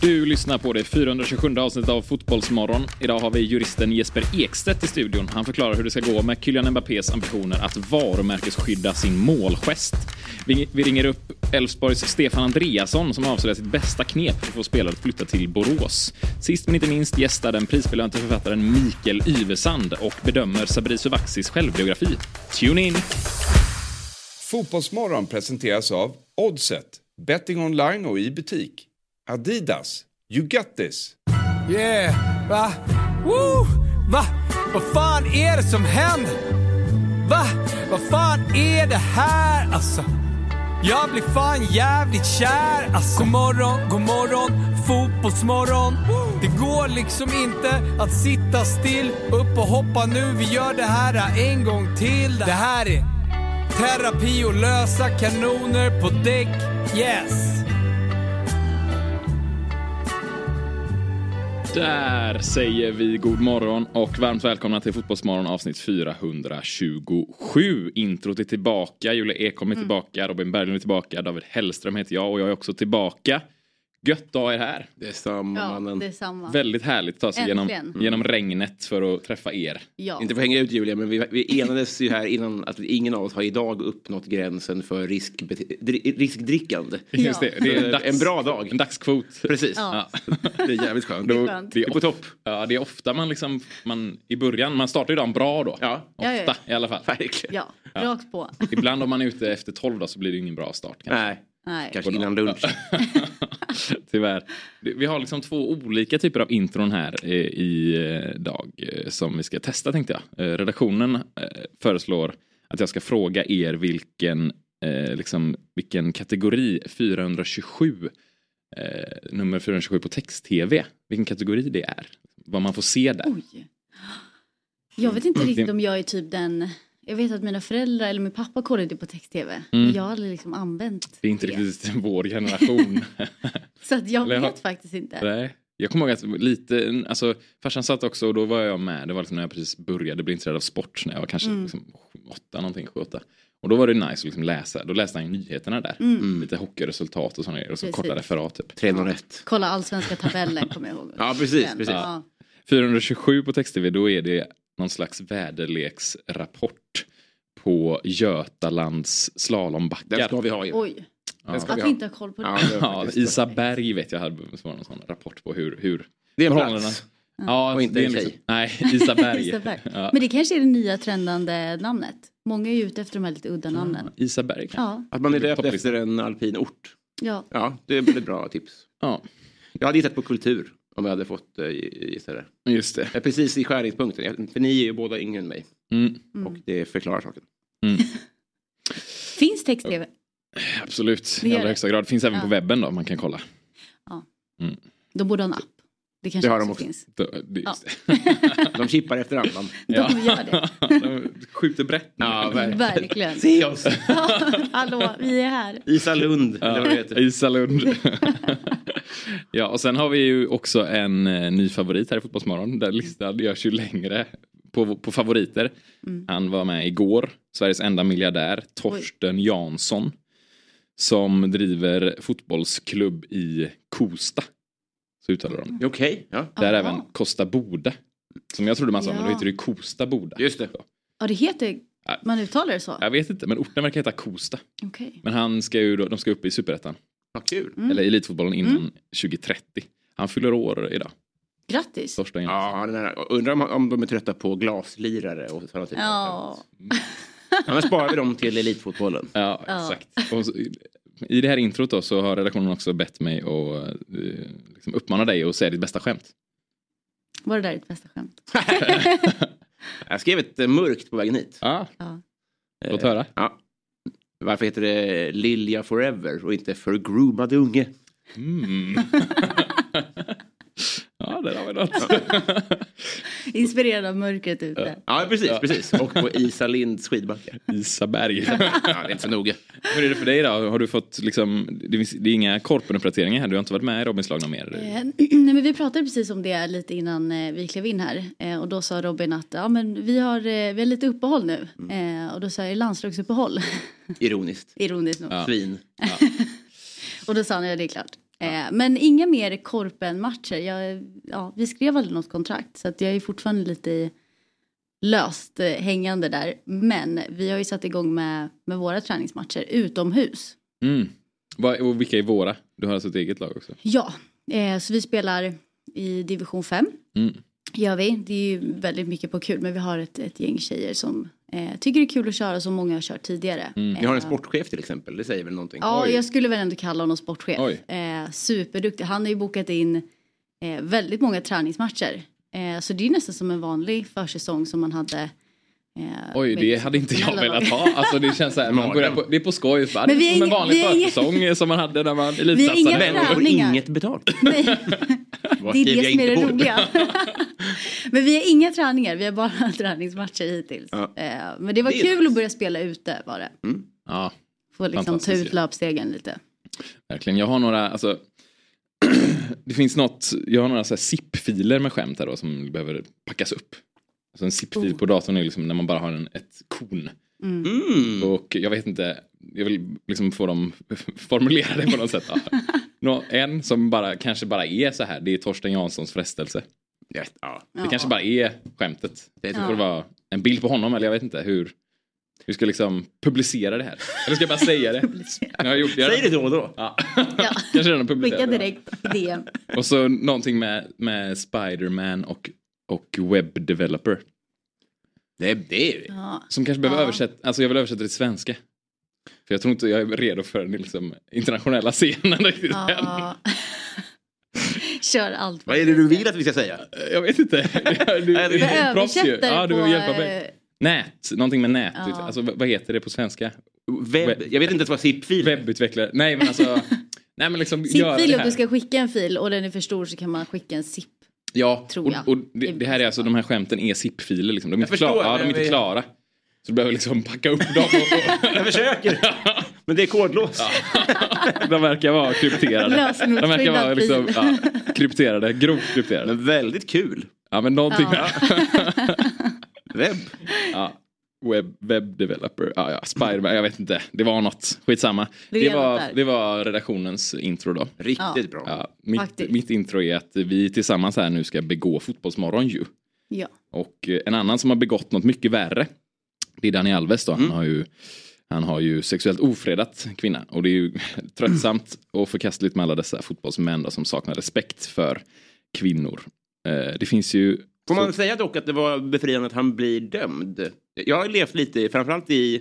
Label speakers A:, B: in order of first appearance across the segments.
A: Du lyssnar på det 427 avsnittet av Fotbollsmorgon. Idag har vi juristen Jesper Ekstedt i studion. Han förklarar hur det ska gå med Kylian Mbappés ambitioner att varumärkesskydda sin målgest. Vi, vi ringer upp Elfsborgs Stefan Andreasson som avslöjar sitt bästa knep för att få spelare att flytta till Borås. Sist men inte minst gästar den prisbelönte författaren Mikael Yvesand och bedömer Sabri Suvaxis självbiografi. Tune in!
B: Fotbollsmorgon presenteras av Oddset, betting online och i butik. Adidas, you got this.
C: Yeah, va? Woo! Va? Vad fan är det som händer? Va? Vad fan är det här alltså? Jag blir fan jävligt kär alltså. God morgon, god morgon, fotbollsmorgon. Det går liksom inte att sitta still. Upp och hoppa nu, vi gör det här en gång till. Det här är terapi och lösa kanoner på däck. Yes!
A: Där säger vi god morgon och varmt välkomna till Fotbollsmorgon avsnitt 427. Introt är tillbaka, Julia Ekholm
D: Mm.
A: är tillbaka, Robin Berglund är tillbaka, David Hellström heter jag och jag är också tillbaka. Gött att ha er här.
E: Det är samma
D: Ja,
E: mannen.
D: det är samma.
A: Väldigt härligt att ta sig Mm. genom,
D: Äntligen.
A: genom regnet för att träffa er.
D: ja.
E: Inte för att hänga ut Julia, men vi, vi enades ju här innan att ingen av oss har idag uppnått gränsen för riskbete- dri- riskdrickande.
A: Just det, det är en, dags,
E: En bra dag.
A: En dagskvot.
E: Precis.
D: Ja.
E: Det är jävligt skönt.
D: är skönt.
E: Vi är på topp.
A: Ja, det är ofta man liksom, man, i början, man startar ju dagen bra då.
E: Ja,
A: Ofta
D: Ja, ja,
A: i alla fall.
E: verkligen.
D: ja, rakt på.
A: Ibland om man är ute efter 12 då så blir det ingen bra start. Kanske.
E: Nej,
D: Nej.
E: kanske innan lunch.
A: Tyvärr. Vi har liksom två olika typer av intron här eh, i eh, dag eh, som vi ska testa tänkte jag. Eh, Redaktionen eh, föreslår att jag ska fråga er vilken, eh, liksom, vilken kategori 427, eh, nummer 427 på text-tv, vilken kategori det är. Vad man får se där.
D: Oj. Jag vet inte riktigt
E: Mm.
D: om jag är typ den... Jag vet att mina föräldrar eller min pappa kollade det på text-tv.
E: Mm.
D: Men Jag har aldrig liksom använt
A: Det är inte riktigt vår generation.
D: Så att jag
A: Eller har-
D: vet faktiskt inte.
A: Nej. Jag kommer ihåg att lite, alltså farsan satt också och då var jag med. Det var liksom när jag precis började bli intresserad av sport. När jag var
D: Mm.
A: kanske liksom, sju, åtta någonting, sju, åtta. Och då var det nice att liksom läsa. Då läste han ju nyheterna där. Mm. Lite hockeyresultat och sådana grejer. Och så
D: Mm. Precis.
A: korta referat typ.
E: 3 rätt.
D: Kolla allsvenska tabellen kommer jag ihåg.
E: Ja, precis,
D: Den,
E: precis.
D: Ja.
A: 427 på text-tv, då är det någon slags väderleksrapport på Götalands
E: Den
A: slalombackar.
E: ska vi ha in.
D: Oj,
E: Den ska vi
D: varför
E: ha.
D: inte ha koll på det?
E: Ja, det, var
A: Ja,
E: faktiskt-
A: Isaberg vet jag hade som var någon sån rapport på hur, hur
E: det är en
A: förhållandena.
E: plats.
A: Ja,
E: Och inte
A: det är
E: en
A: liksom-
E: tjej.
A: Nej, Isaberg.
D: Isaberg.
A: Ja.
D: Men det kanske är det nya trendande namnet. Många är ju ute efter de här lite udda
E: Mm.
D: namnen.
A: Isaberg kanske.
D: Ja,
E: Att man är
A: Det blir
E: döpt
A: topplista.
E: efter en alpin ort.
D: ja.
E: Ja, det är väldigt bra tips.
A: Ja,
E: Jag hade gissat på kultur om jag hade fått eh, gissa det.
A: just det.
E: Jag är precis i skärningspunkten. Jag- För ni är ju båda yngre än mig.
A: Mm,
E: Och det förklarar saken.
D: Finns text-tv?
A: absolut,
D: Det
A: i
D: gör
A: allra
D: det.
A: högsta grad. Finns även på
D: Ja.
A: webben då, man kan kolla.
D: De borde ha en app. Det kanske
E: Mm. Det har
D: också,
E: de också.
D: finns.
A: Då- det-
D: Ja.
A: just det.
E: De chippar efter andan.
A: Ja.
D: De gör det.
A: De skjuter brett. nu.
E: Ja,
D: Verkligen.
E: Se oss!
D: Hallå, vi är här.
E: Isa Lund, eller vad det heter.
A: Isalund. ja, och sen har vi ju också en eh, ny favorit här i Fotbollsmorgon. Den listan görs ju längre på, på favoriter.
D: Mm.
A: Han var med igår, Sveriges enda miljardär, Torsten Jansson. Som driver fotbollsklubb i Kosta. Så uttalar de.
E: Okej, ja.
A: Där
D: Aha.
A: även Kosta Boda. Som jag trodde man sa, men då
D: Ja.
A: heter det ju Kosta Boda.
E: Just det.
D: Ja, det heter...
A: Ja.
D: Man uttalar det så?
A: Jag vet inte, men orten verkar heta Kosta.
D: Okej.
A: Men han ska ju då, de ska upp i Superettan,
E: Vad kul.
D: Mm.
A: eller Elitfotbollen innan 2030. Han fyller år idag,
D: Grattis.
A: Torsten Jansson.
E: Ja, den här, undrar om, om de är trötta på glaslirare och sådana typer
D: Ja.
E: Annars sparar vi dem till elitfotbollen.
A: Ja,
D: Ja.
A: exakt. Och så, I det här introt då så har redaktionen också bett mig att eh, liksom uppmana dig att säga ditt bästa skämt.
D: Var det där ditt bästa skämt?
E: Jag skrev ett eh, mörkt på vägen hit. Eh,
A: Ja,
D: Ja.
A: låt höra.
E: Ja. Varför heter det Lilja Forever och inte Förgroomad unge?
A: Mm. ja, där har vi något.
D: Inspirerad av mörkret ute.
E: Ja, precis. precis. Och på Isa Linds skidbacke.
A: Isaberg.
E: Ja, det är inte så noga.
A: Hur är det för dig då? Har du fått liksom, det finns- det är inga korpenuppdateringar här, du har inte varit med i Robins lag någon mer?
D: Eh, Nej, men vi pratade precis om det lite innan eh, vi klev in här Eh, och då sa Robin att ja, men vi, har, eh, vi har lite uppehåll nu
A: Mm.
D: Eh, och då sa jag landslagsuppehåll
E: Ironiskt.
D: ironiskt nog
A: Ja.
E: Svin.
D: och då sa han ja det är klart. Eh, Eh, men inga mer Korpen-matcher. Jag, ja, vi skrev aldrig något kontrakt så att jag är fortfarande lite i löst eh, hängande där. Men vi har ju satt igång med, med våra träningsmatcher utomhus.
A: Mm. Vad- och vilka är våra? Du har alltså ett eget lag också?
D: Ja, eh, så vi spelar i division 5.
A: Mm.
D: Gör vi. Det är ju väldigt mycket på kul men vi har ett, ett gäng tjejer som eh, tycker det är kul att köra som många har kört tidigare.
A: Mm.
E: Ni har en sportchef till exempel, det säger väl någonting?
D: Ja,
E: Oj.
D: jag skulle väl ändå kalla honom sportchef.
A: Oj.
D: Eh, superduktig. Han har ju bokat in eh, väldigt många träningsmatcher. Eh, så det är ju nästan som en vanlig försäsong som man hade. Eh,
A: Oj,
D: med
A: det hade inte jag
D: professionella
A: velat
D: lag.
A: ha. Alltså det känns så här, man börjar på, det är på skoj. Bara,
D: Men
A: men
D: vi är
A: som en
D: inga-
A: vanlig
D: vi är inga-
A: försäsong som man hade när man
D: Vi är inga
E: Men
A: elitsatsade.
E: vi får
D: Träningar.
E: inget betalt.
D: Nej,
E: Vad
D: det är
E: skriver
D: det
E: jag
D: som är
E: inte
D: det
E: på?
D: roliga. men vi har inga träningar, vi har bara träningsmatcher hittills.
E: Ja.
D: Eh, men det var
E: Det är
D: kul
E: nice.
D: att börja spela ute var det.
A: Ja,
D: Få liksom ta
A: Fantastiskt
D: ut
A: ju.
D: löpstegen lite.
A: verkligen. Jag har några, alltså. det finns något, jag har några så här zip-filer med skämt här då som behöver packas upp. Alltså en zip-fil på datorn är liksom när man bara har en, ett kon.
E: Mm.
A: Och jag vet inte, jag vill liksom få dem formulerade på något sätt. Ja. Nå, en som bara, kanske bara är så här, det är Torsten Janssons frestelse.
E: Ja, ja.
A: Det kanske bara är skämtet.
E: Det
A: Det
E: tror
A: får
D: jag.
A: vara en bild på honom eller jag vet inte hur. Hur ska jag liksom publicera det här? Eller ska jag bara säga det? Jag har gjort det.
E: Säg det då och då.
A: Ja.
D: Ja.
A: Kanske redan publicerat
D: Skicka
A: det.
D: direkt i DM.
A: Och så någonting med, med Spiderman och, och webbdeveloper.
E: Det är det. är-
D: Ja.
A: Som kanske behöver
D: Ja.
A: översätta, alltså jag vill översätta det till svenska. För jag tror inte jag är redo för den liksom internationella scenen riktigt än.
D: Ja. Kör allt.
E: Vad är det du vill att vi ska säga?
A: Jag vet inte. Du, du
E: Du
A: är ju proffs ju.
D: Översätter
A: Ja, du
D: på,
A: får hjälpa mig.
D: eh,
A: Nät, någonting med nät.
D: Ja.
A: Alltså, vad vad heter det på svenska?
E: Webb. Jag vet inte ens vad ZIP-fil är.
A: Webbutvecklare. Nej men alltså. Nej men liksom gör
D: Zip-fil
A: det
D: om
A: här.
D: du ska skicka en fil och den är för stor så kan man skicka en zip.
A: Ja,
D: tror jag.
A: och, och det, det här är alltså de här skämten är zip-filer liksom. De är, inte
E: förstår,
A: klara. Ja, de är
E: men
A: inte
E: vi-
A: klara. Så du behöver liksom packa upp dem. Och,
E: Jag försöker. Men det är kodlås.
A: och, de verkar vara krypterade.
D: Lösenordsskyddad
A: De verkar vara
D: fil.
A: liksom, ja, krypterade, grovt krypterade.
E: Men väldigt kul.
A: Ja men någonting
D: Ja.
E: Webb.
A: Web, web developer, ja, ja, Spiderman, jag vet inte. Det var något, skitsamma.
D: Det är
A: Det
D: något
A: var,
D: där.
A: det var redaktionens intro då.
E: Riktigt bra.
A: Ja,
D: Faktiskt.
A: mitt, mitt intro är att vi tillsammans här nu ska begå fotbollsmorgon ju.
D: Ja.
A: Och eh, en annan som har begått något mycket värre. Det är Dani Alves då.
E: Mm.
A: Han, har ju, han har ju sexuellt ofredat en kvinna. Och det är ju tröttsamt och förkastligt med alla dessa fotbollsmän då, som saknar respekt för kvinnor. Eh, det finns ju...
E: Får man säga dock att det var befriande att han blir dömd? Jag har levt lite, framförallt i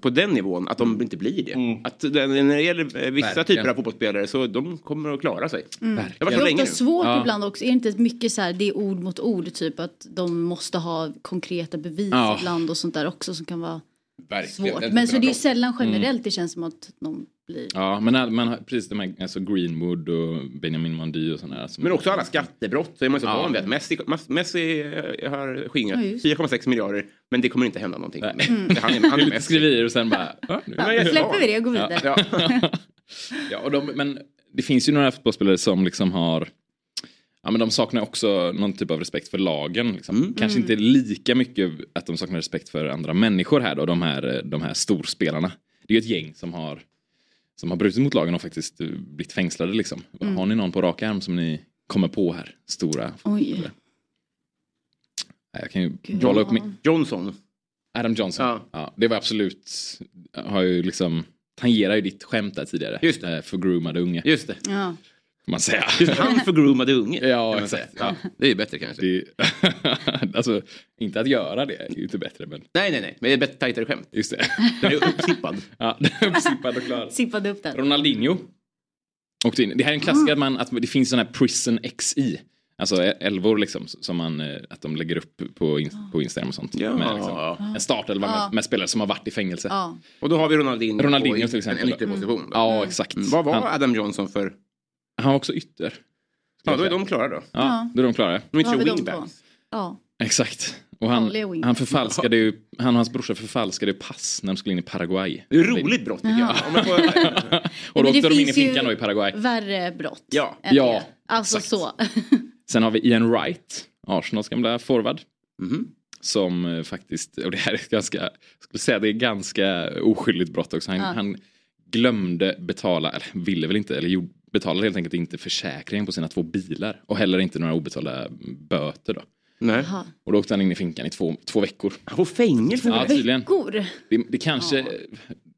E: på den nivån, att de inte blir det. Att det- när det gäller eh, vissa
A: Mm. Verkligen.
E: typer av fotbollsspelare så de kommer att klara sig.
D: Mm.
E: Det var
D: Det
E: så
D: är
E: länge
D: ofta
E: nu.
D: svårt
A: Ja.
D: ibland också. Är det inte mycket så här, det är ord mot ord typ att de måste ha konkreta bevis
A: Ja.
D: ibland och sånt där också som kan vara
B: Verkligen.
D: svårt.
B: Den
D: Men så
B: typen
D: det är
B: av
D: ju sällan generellt det känns som att någon blir...
A: Mm. Ja, men all- man har precis de här, alltså Greenwood och Benjamin Mondy och sådana där. som-
E: Men också alla skattebrott så är man så
A: Ja.
E: van vid att Messi, Messi eh, har skingrat
D: Ja, just.
E: 4,6 miljarder men det kommer inte hända någonting.
A: Nej.
E: Han är, han
A: Det är
E: är
A: lite
E: Messi.
A: skriverier och sen bara... "Ja, nu."
E: jag är
D: Släpper
E: van.
D: vi det och går vidare.
E: Ja.
A: Ja, och de, men det finns ju några fotbollsspelare som liksom har Ja, men de saknar också någon typ av respekt för lagen. Liksom.
D: Mm.
A: Kanske inte lika mycket att de saknar respekt för andra människor här då, de här, eh, de här storspelarna. Det är ju ett gäng som har, som har brutit mot lagen och faktiskt eh, blivit fängslade. Liksom.
D: Mm.
A: Har ni någon på rak arm som ni kommer på här? Stora?
D: Oj.
A: Nej, Jag kan ju
D: Gud.
A: rolla upp min...
E: Johnson.
A: Adam Johnson.
E: Ja.
A: Ja. det var absolut, har ju liksom, tangerar ju ditt skämt där tidigare.
E: Just det.
A: Eh, Förgroomade unge,
E: Just det.
D: Ja.
A: kan man säga.
E: Han förgroomade unge.
A: Ja,
E: kan man
A: exakt.
E: säga. Ja, det är ju bättre kanske.
A: Det, alltså, inte att göra det är ju inte bättre, men
E: Nej, nej, nej. Men det är bättre tajtare skämt.
A: just det.
E: Den är uppsippad.
A: ja, uppsippad och klar.
D: Sippade upp den.
A: Ronaldinho. Åkte in. Det här är en klassiker att, man, att det finns sån här prison XI. Alltså elvor liksom, som man, eh, att de lägger upp på, in, på Instagram och sånt.
E: Ja.
A: Med, liksom, en startelva
D: Ja.
A: med, med spelare som har varit i fängelse. Ja,
D: Ja.
E: Och då har vi Ronaldinho,
A: Ronaldinho
E: på i-
A: till exempel.
E: en ytterposition. då.
A: exakt.
E: Mm. Vad var
A: han,
E: Adam Johnson för?
A: han var också ytter.
E: Ja, då är de klara då.
A: Ja,
D: Ja.
A: Då är de klara.
E: De är
D: Vad har vi
E: inte
D: de
E: wingbacks.
D: ja.
A: Exakt. Och han,
D: Vanliga wing.
A: han förfalskade ju, han och hans brorsa förfalskade ju pass när de skulle in i Paraguay.
E: Det är ett roligt brott tycker jag. Om man får,
A: Och då
D: Men det
A: åkte de in i
D: finns ju-
A: finkan då i Paraguay.
D: Värre brott.
E: Ja.
D: än
A: Ja,
D: det. Alltså så.
A: Sen har vi Ian Wright, Arsenals gamla forward.
E: Mhm.
A: Som eh, faktiskt, och det här är ett ganska, jag skulle säga det är ganska oskyldigt brott också. Han, han glömde betala, eller ville väl inte, eller gjorde, betalade helt enkelt inte försäkringen på sina två bilar. Och heller inte några obetalda böter då.
E: Nej.
D: Jaha.
A: Och då åkte han in i finkan i två, två veckor.
E: Han får fängelse för
A: Ja,
E: det.
A: tydligen.
D: Gor.
A: Det, det kanske,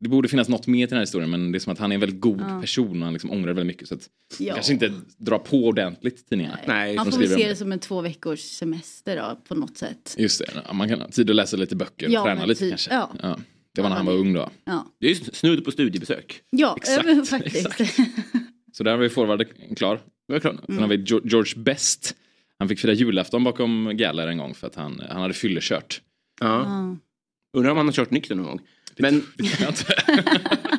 A: det borde finnas något mer till den här historien men det är som att han är en väldigt god person och han liksom ångrar väldigt mycket. Så att
D: Ja.
A: kanske inte dra på ordentligt tidningarna.
E: Nej,
D: Man
A: de
D: får väl
A: skriver
D: se
A: om
D: det som en två veckors semester då, på något sätt.
A: Just det, ja, man kan ha tid att läsa lite böcker och
D: Ja,
A: träna
D: men
A: lite
D: typ,
A: kanske.
D: ja.
A: Det var när han var ung då.
D: Ja,
E: Det är ju snudd på studiebesök.
D: ja
A: Exakt,
D: eh, men faktiskt.
A: Så där har vi forwarden klar.
E: Det är klart.
A: Sen har vi Jo- George Best. Han fick fira julafton bakom galler en gång för att han, han hade fyllekört.
E: Ja.
D: Ja.
E: Undrar om han har kört nykter någon gång. Men,
A: Det kan jag inte.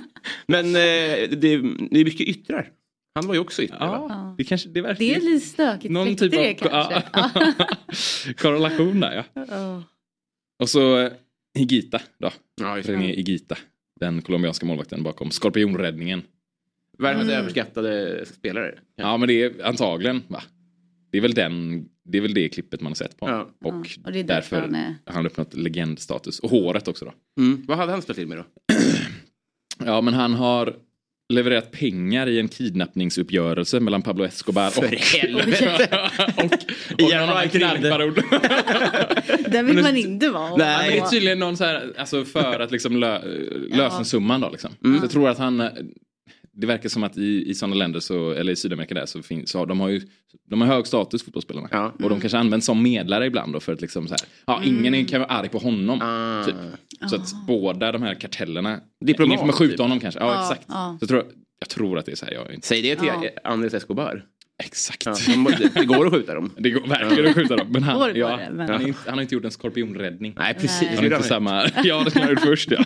E: men eh, det, det är mycket yttrar. Han var ju också yttrar. va?
A: ja, det kanske det verkar
D: Det är
A: ju-
D: lite stökigt
A: Någon
D: släkte
A: typ av
D: det kanske. Ja.
A: korrelation där ja.
D: Ja.
A: Och så eh, Higita då.
E: Ja, just det.
A: René Higuita. Den colombianska målvakten bakom skorpionräddningen.
E: Världens
D: Mm.
E: överskattade spelare.
A: Ja men det är antagligen va? Det är väl den, det är väl det klippet man har sett på honom.
D: Ja,
A: Och,
D: och det är därför
A: därför
D: han är-
A: har han uppnått legendstatus. Och håret också då.
E: Mm. Vad hade han ställt till med då?
A: Ja men han har levererat pengar i en kidnappningsuppgörelse mellan Pablo Escobar och... och, och
E: Ian
A: någon annan
E: Wright ringde.
A: knarkbaron.
D: Där vill man inte vara.
A: Nej,
E: Nej,
A: det är tydligen någon så här, alltså för att liksom lö, lösensumman då liksom.
E: Mm.
A: Så jag tror att han, eh, det verkar som att i, i sådana länder, så, eller i Sydamerika där, så finns, så har, de har ju de har hög status fotbollsspelarna.
E: Ja.
A: Och de kanske används som medlare ibland då för att liksom så här, ja ingen är- kan vara arg på honom.
E: Ah.
A: Typ. Så att båda de här kartellerna,
E: Diplomat,
A: ingen får skjuta
E: typ.
A: honom kanske. Ja,
D: Ja,
A: exakt.
D: ja.
A: Så jag tror, jag tror att det är så här, jag är inte
E: Säg det till
D: Ja.
E: eh, Andres Escobar.
A: exakt.
E: Ja, de må- det, det går att skjuta dem.
A: Det går verkligen att skjuta dem. Men
D: Går
A: han,
D: det,
A: ja,
D: går det, men-
A: han, är inte, han har inte gjort en skorpionräddning.
E: Nej, precis.
D: Nej.
E: Det
A: Han är
E: gjorde
A: inte
E: han ju.
A: samma... Ja, det skulle jag ha gjort först. Ja.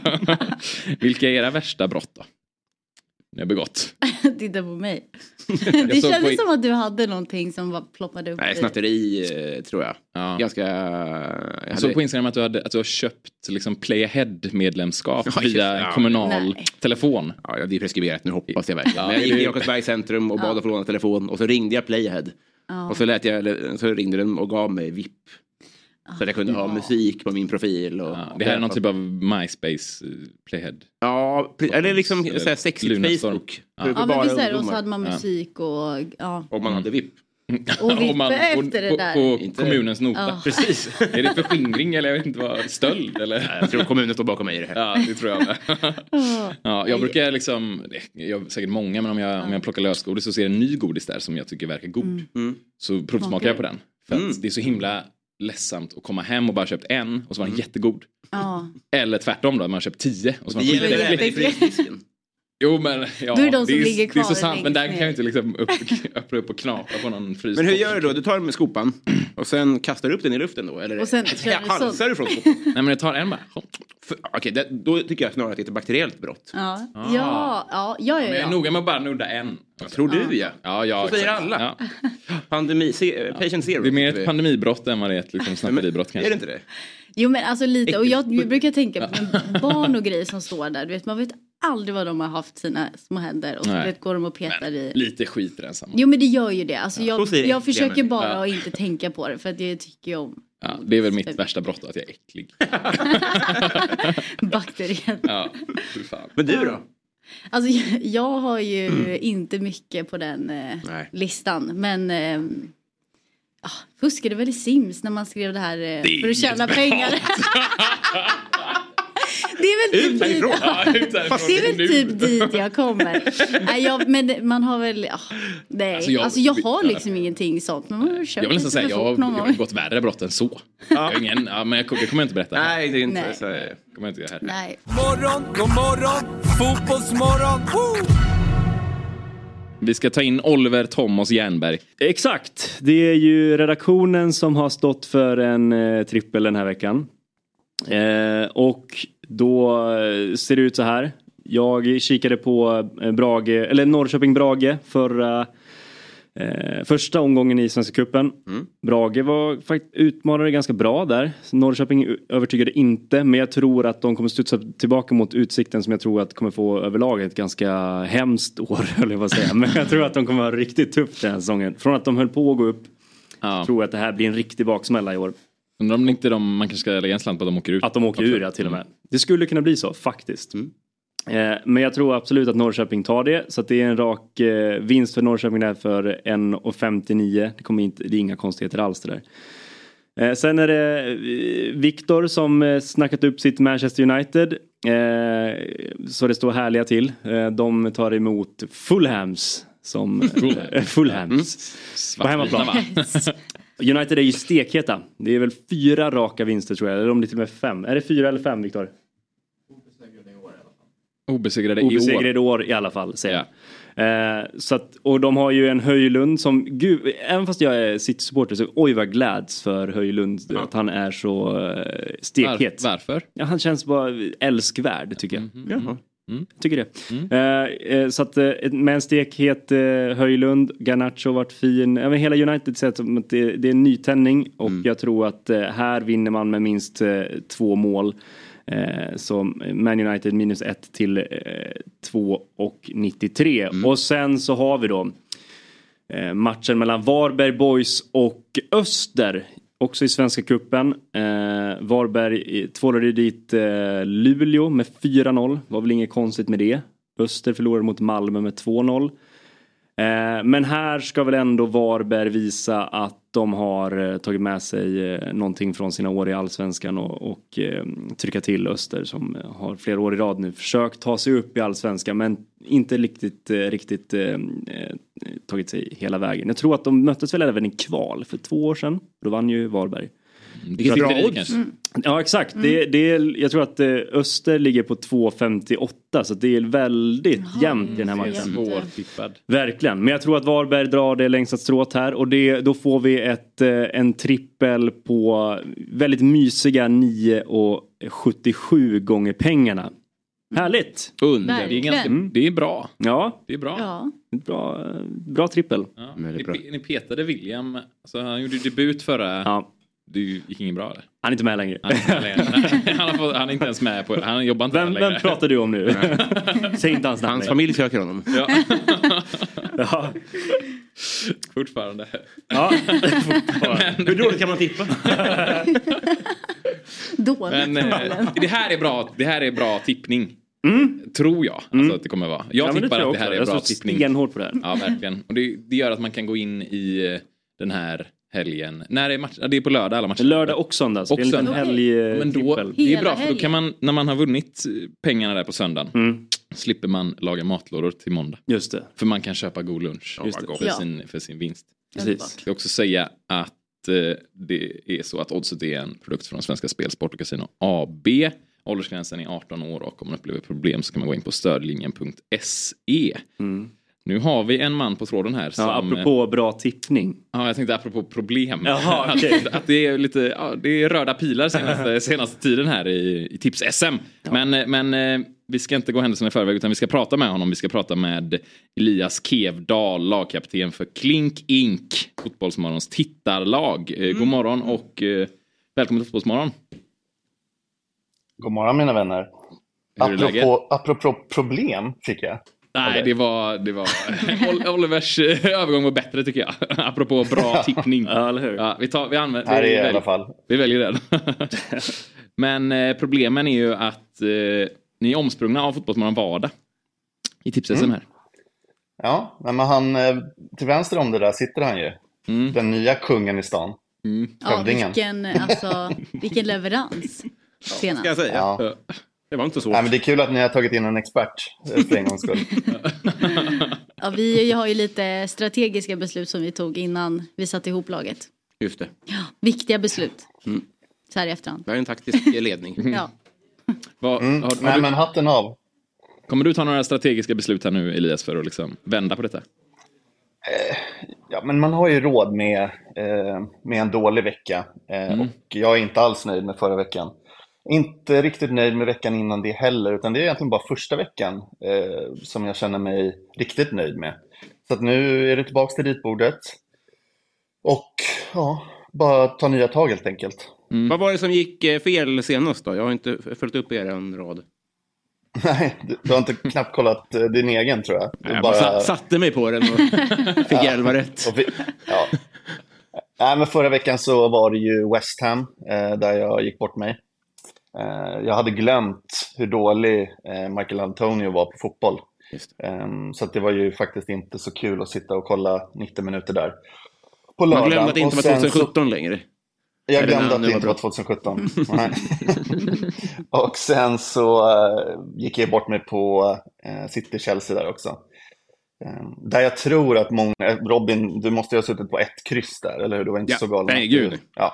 A: Vilka är era värsta brott då? Ni har begått.
D: Titta på mig. Det
A: såg
D: kändes
A: på-
D: som att du hade någonting som var ploppade upp.
E: Nej,
D: i-
E: snatteri eh, tror jag.
A: Ja.
E: Ganska... Jag
A: Jag
E: hade-
A: såg på Instagram att du, hade, att du har köpt liksom Playahead-medlemskap
E: Ja, just det.
A: via
E: Ja.
A: kommunal
D: Nej.
A: telefon.
E: Ja, det är preskriberat nu hoppas jag verkligen. Men jag gick
A: det-
E: till Jakobsbergs centrum och bad att få låna telefon och så ringde jag Playhead. Och så, lät jag, eller, så ringde den och gav mig VIP.
D: Ah,
E: Så att jag kunde ha musik på min profil. Och,
A: Ja, det här är någon typ av MySpace eh, Playahead.
E: Ja, pre- eller liksom såhär sexigt
A: Lunarstorm.
E: Facebook.
A: Ja.
E: För- för
D: Ja men
E: bara
D: visst är det, och så
E: ungdomar.
D: hade man musik och ja.
E: Om man hade VIP.
D: Och
A: Om
D: vippa
A: man-
D: efter
A: på-
D: det
A: på-
D: där.
A: På
E: Inte-
A: kommunens nota.
D: Ja.
E: Precis.
A: Är det förskingring eller jag vet inte vad, stöld eller?
E: Jag tror kommunen står bakom mig i det här.
A: Ja, det tror jag med. Ja, jag brukar liksom, jag har säkert många, men om jag, om jag plockar lösgodis så ser jag en ny godis där som jag tycker verkar god.
D: Mm.
A: Så provsmakar jag på den. För att
E: Mm.
A: det är så himla ledsamt att komma hem och bara köpt en och så var
E: Mm.
A: den jättegod.
D: ja.
A: Eller tvärtom då, man har köpt tio och så var
E: Det
A: den
E: gäller väl även i
A: skitäcklig.
E: frysdisken.
A: Jo men ja,
D: Då är det de som
A: är,
D: ligger
A: det är
D: kvar
A: så sant. Men
D: längst
A: där kan
D: ner.
A: jag inte liksom upp, öppna upp och knapra på någon frys.
E: Men hur gör du då? Du tar med skopan och sen kastar du upp den i luften då? Eller
D: Och sen kör du
E: halsar
D: sånt.
E: du från skopan?
A: Nej men jag tar en bara.
E: För- Okej, det- då tycker jag snarare att det är ett bakteriellt brott.
D: Ja. Ja. Ja. Ja.
A: Ah. Men jag är
D: Ja.
A: noga med att bara nudda en.
E: Tror du ja.
A: Ja, ja,
E: Så säger
A: exakt.
E: alla.
A: Ja.
E: Pandemi, se, eh, patient zero.
A: Det är mer ett pandemibrott än vad det är ett liksom, snatteribrott kanske.
E: Är det inte det?
D: Jo men alltså lite. Och jag, jag brukar tänka på barn och grejer som står där. Du vet man vet aldrig vad de har haft sina små händer. Och så
A: Nej.
D: du vet, går de och petar i.
A: Lite skit rensamma.
D: Jo men det gör ju det. Alltså,
E: så
D: jag
E: ser det
D: jag
E: äckliga
D: försöker
E: människor.
D: bara att inte tänka på det. För att jag tycker ju om
A: Ja, det är väl mitt värsta brott att jag är äcklig.
D: bakterien.
A: Ja, fy fan.
E: Men du då?
D: Alltså jag, jag har ju
A: Mm.
D: inte mycket på den eh,
E: Nej.
D: listan. Men eh, ah, fuskade väl i Sims när man skrev det här eh, för att tjäna pengar. det är väl typ dit,
E: Härifrån?
A: Ja, ut därifrån
D: det är väl
A: nu.
D: typ dit jag kommer. nej, jag, men man har väl, ah, nej.
A: Alltså,
D: Alltså
A: jag-
D: jag, har liksom ingenting sånt. Men man har
A: Jag
D: köpt
A: vill nästan säga jag, har-
D: någon
A: jag har
D: gång.
A: gått värre brott än så. Jag har ingen, ja, men jag, det kommer jag inte berätta här.
E: Nej, det är inte
D: Nej.
E: så.
A: Det kommer jag inte göra här.
D: Nej.
C: Morgon, god morgon, fotbollsmorgon. Woo!
A: Vi ska ta in Oliver Thomas Jernberg.
F: Exakt. Det är ju redaktionen som har stått för en eh, trippel den här veckan. Eh, och då eh, ser det ut så här. Jag kikade på eh, Brage, eller Norrköping-Brage förra eh, första omgången i Svenska cupen. Brage var faktiskt utmanade ganska bra där. Norrköping u- övertygade inte men jag tror att de kommer studsa tillbaka mot Utsikten som jag tror att kommer få överlag ett ganska hemskt år höll jag på att säga. Men jag tror att de kommer ha riktigt tufft den här säsongen. Från att de höll på att gå upp
A: Ja.
F: tror jag att det här blir en riktig baksmälla i år.
A: Undrar om inte de, man kanske ska lägga en slant på att de åker ut.
F: Att de åker ur ja till och med. Det skulle kunna bli så faktiskt. Eh, Men jag tror absolut att Norrköping tar det. Så att det är en rak eh, vinst för Norrköping där för 1,59. Det, kommer inte, det är inga konstigheter alls det där. Eh, Sen är det eh, Viktor som eh, snackat upp sitt Manchester United. Eh, Så det står härliga till. Eh, De tar emot Fulhams. Som, eh, Fulhams. På hemmaplan. United är ju stekheta. Det är väl fyra raka vinster tror jag. Eller om det till och med är fem. Är det fyra eller fem Viktor?
A: Obesegrade, i år.
F: Obesegrade i år i alla fall säger jag. Eh, så att, och de har ju en Höjlund som, gud, även fast jag är City-supporter så oj vad jag gläds för Höjlund att han är så eh, stekhet.
A: Var, varför?
F: Ja, han känns bara älskvärd tycker jag. Jaha. Jag tycker det. Eh, eh, så att eh, med en stekhet eh, Höjlund, Garnacho varit fin. Ja, men hela United sett som att det, det är en nytändning och jag tror att eh, här vinner man med minst eh, två mål. Eh, så Man United minus 1 till eh, 2 och 93. Och sen så har vi då eh, matchen mellan Varberg Boys och Öster. Också i Svenska Cupen. Eh, Varberg eh, tvålade dit eh, Luleå med 4-0. Var väl inget konstigt med det. Öster förlorade mot Malmö med 2-0. Eh, men här ska väl ändå Varberg visa att de har eh, tagit med sig eh, någonting från sina år i allsvenskan och, och eh, trycka till Öster som eh, har flera år i rad nu försökt ta sig upp i allsvenskan men inte riktigt, eh, riktigt eh, eh, tagit sig hela vägen. Jag tror att de möttes väl även i kval för två år sedan. Då vann ju Varberg.
A: Vilket
F: Bra
A: titteri
F: odds.
A: Mm, kanske.
D: Mm.
F: Ja exakt, det, det är, jag tror att eh, Öster ligger på 2,58 så det är väldigt jämnt i den här
D: Mm, det är
F: matchen.
D: jämnt.
A: Svårtippad.
F: Verkligen, men jag tror att Varberg drar det längsta strået här och det, då får vi ett, eh, en trippel på väldigt mysiga 9,77 gånger pengarna. Härligt! Mm.
E: Under.
D: Verkligen.
A: Det är, ganska, mm. det är bra.
F: Ja,
A: Det är bra.
D: Ja,
F: bra, bra trippel.
A: Ja.
E: Men det
A: Ni,
E: är bra.
A: pe- ni petade William, alltså, han gjorde ju debut förra,
F: Ja,
A: det gick inget bra eller?
F: han är inte med längre.
A: Han är inte med längre. Han, har fått, han är inte ens med på, han jobbar inte
F: Vem,
A: med längre.
F: vem pratar du om nu? Säg inte hans namn.
E: Hans
F: mer.
E: familj söker honom.
A: Ja,
F: Ja.
A: fortfarande.
F: Ja.
E: Hur dåligt kan man tippa?
D: dåligt.
A: Men eh, det här är bra, det här är bra tippning. Tror jag alltså, att det kommer vara. Jag
F: Mm. Ja, men det
A: tippar
F: tror jag
A: att det här
F: också.
A: är
F: jag
A: bra
F: står
A: tippning.
F: Stenhårt på det här.
A: Ja, verkligen. Och det, det gör att man kan gå in i eh, den här helgen. När är match? Ja, Det är på lördag alla matcher.
F: Lördag och söndag, så det är en liten eh,
A: söndag. Ja, Men då,
F: helgtrippel.
A: det är
D: Hela
A: bra för då
D: helgen.
A: kan man, när man har vunnit eh, pengarna där på söndagen,
F: Mm.
A: slipper man laga matlådor till måndag.
F: Just det.
A: För man kan köpa god lunch
F: Just det.
A: för,
D: Ja.
A: sin, för sin vinst.
F: Precis.
A: Jag ska också säga att eh, det är så att Oddset är en produkt från Svenska Spel, Sport och Casino AB. Åldersgränsen är 18 år och om man upplever problem så kan man gå in på stödlinjen.se. Nu har vi en man på tråden här som... eh,
F: Ja, apropå bra tippning.
A: Ja, jag tänkte apropå problem.
F: Jaha, okej.
A: att, att det är lite, ja, det är röda pilar senaste, senaste tiden här i, i tips-SM. Men, eh, men eh, vi ska inte gå händelserna i förväg utan vi ska prata med honom. Vi ska prata med Elias Kevdal, lagkapten för Klink Ink, Fotbollsmorgons tittarlag. Eh,
F: Mm.
A: God morgon och eh, välkommen till Fotbollsmorgon.
G: God morgon mina vänner.
A: Hur är läget?
G: Apropå, apropå problem fick jag.
A: Nej, det var, det var Ol- Olivers eh, övergång var bättre tycker jag. apropå bra tippning.
F: Ja, eller hur?
A: Ja, vi, tar, vi använder...
G: Här är
A: vi
G: jag i alla
A: väljer-
G: fall.
A: Vi väljer den. Men eh, problemen är ju att eh, ni är omsprungna av Fotbollsmorgon Vardag. I tips SM här.
G: Mm. Ja, nej, men han, eh, till vänster om det där sitter han ju.
E: Mm.
G: Den nya kungen i stan.
D: Ja,
G: Hövdingen.
D: vilken, alltså, vilken leverans. Senast.
E: Ska jag säga.
G: Ja.
E: Det var inte svårt.
G: Nej, men det är kul att ni har tagit in en expert eh, för en gångs skull.
D: Ja, vi har ju lite strategiska beslut som vi tog innan vi satte ihop laget.
E: Just det.
D: Viktiga beslut.
A: Mm.
D: Så här i efterhand.
E: Det här är en taktisk ledning.
D: Ja.
A: Vad- Mm. har, har
G: Mm. Nej,
A: du,
G: men hatten av.
A: Kommer du ta några strategiska beslut här nu Elias för att liksom vända på detta?
G: Ja, men man har ju råd med, eh, med en dålig vecka. Eh, Och jag är inte alls nöjd med förra veckan. Inte riktigt nöjd med veckan innan det heller, utan det är egentligen bara första veckan eh, som jag känner mig riktigt nöjd med. Så att nu är det tillbaks till ritbordet. Och ja, bara ta nya tag helt enkelt.
A: Mm.
E: Vad var det som gick eh, fel senast då? Jag har inte f- följt upp er en rad.
G: Nej, du, du har inte knappt kollat eh, din egen tror jag. Du
E: Jag bara... sa- satte mig på den och fick elva rätt.
G: Och vi, ja. Nej, men förra veckan så var det ju West Ham eh, där jag gick bort mig. Eh, jag hade glömt hur dålig eh, Michael Antonio var på fotboll.
E: Just
G: Ehm, så att det var ju faktiskt inte så kul att sitta och kolla 90 minuter där. På
E: Man
G: lördagen.
E: glömde att det inte
G: Och
E: var
G: sen så-
E: 2017 längre.
G: jag
E: Eller när
G: glömde att
E: det
G: det
E: var
G: inte
E: bra.
G: var 2017. Nej. och sen så eh, gick jag bort mig på eh, City-Chelsea där också. Eh, där jag tror att många, eh, Robin, du måste ju ha suttit på ett kryss där, eller hur? Du var inte
A: Ja,
G: så galen.
A: nej, gud.
G: Ja.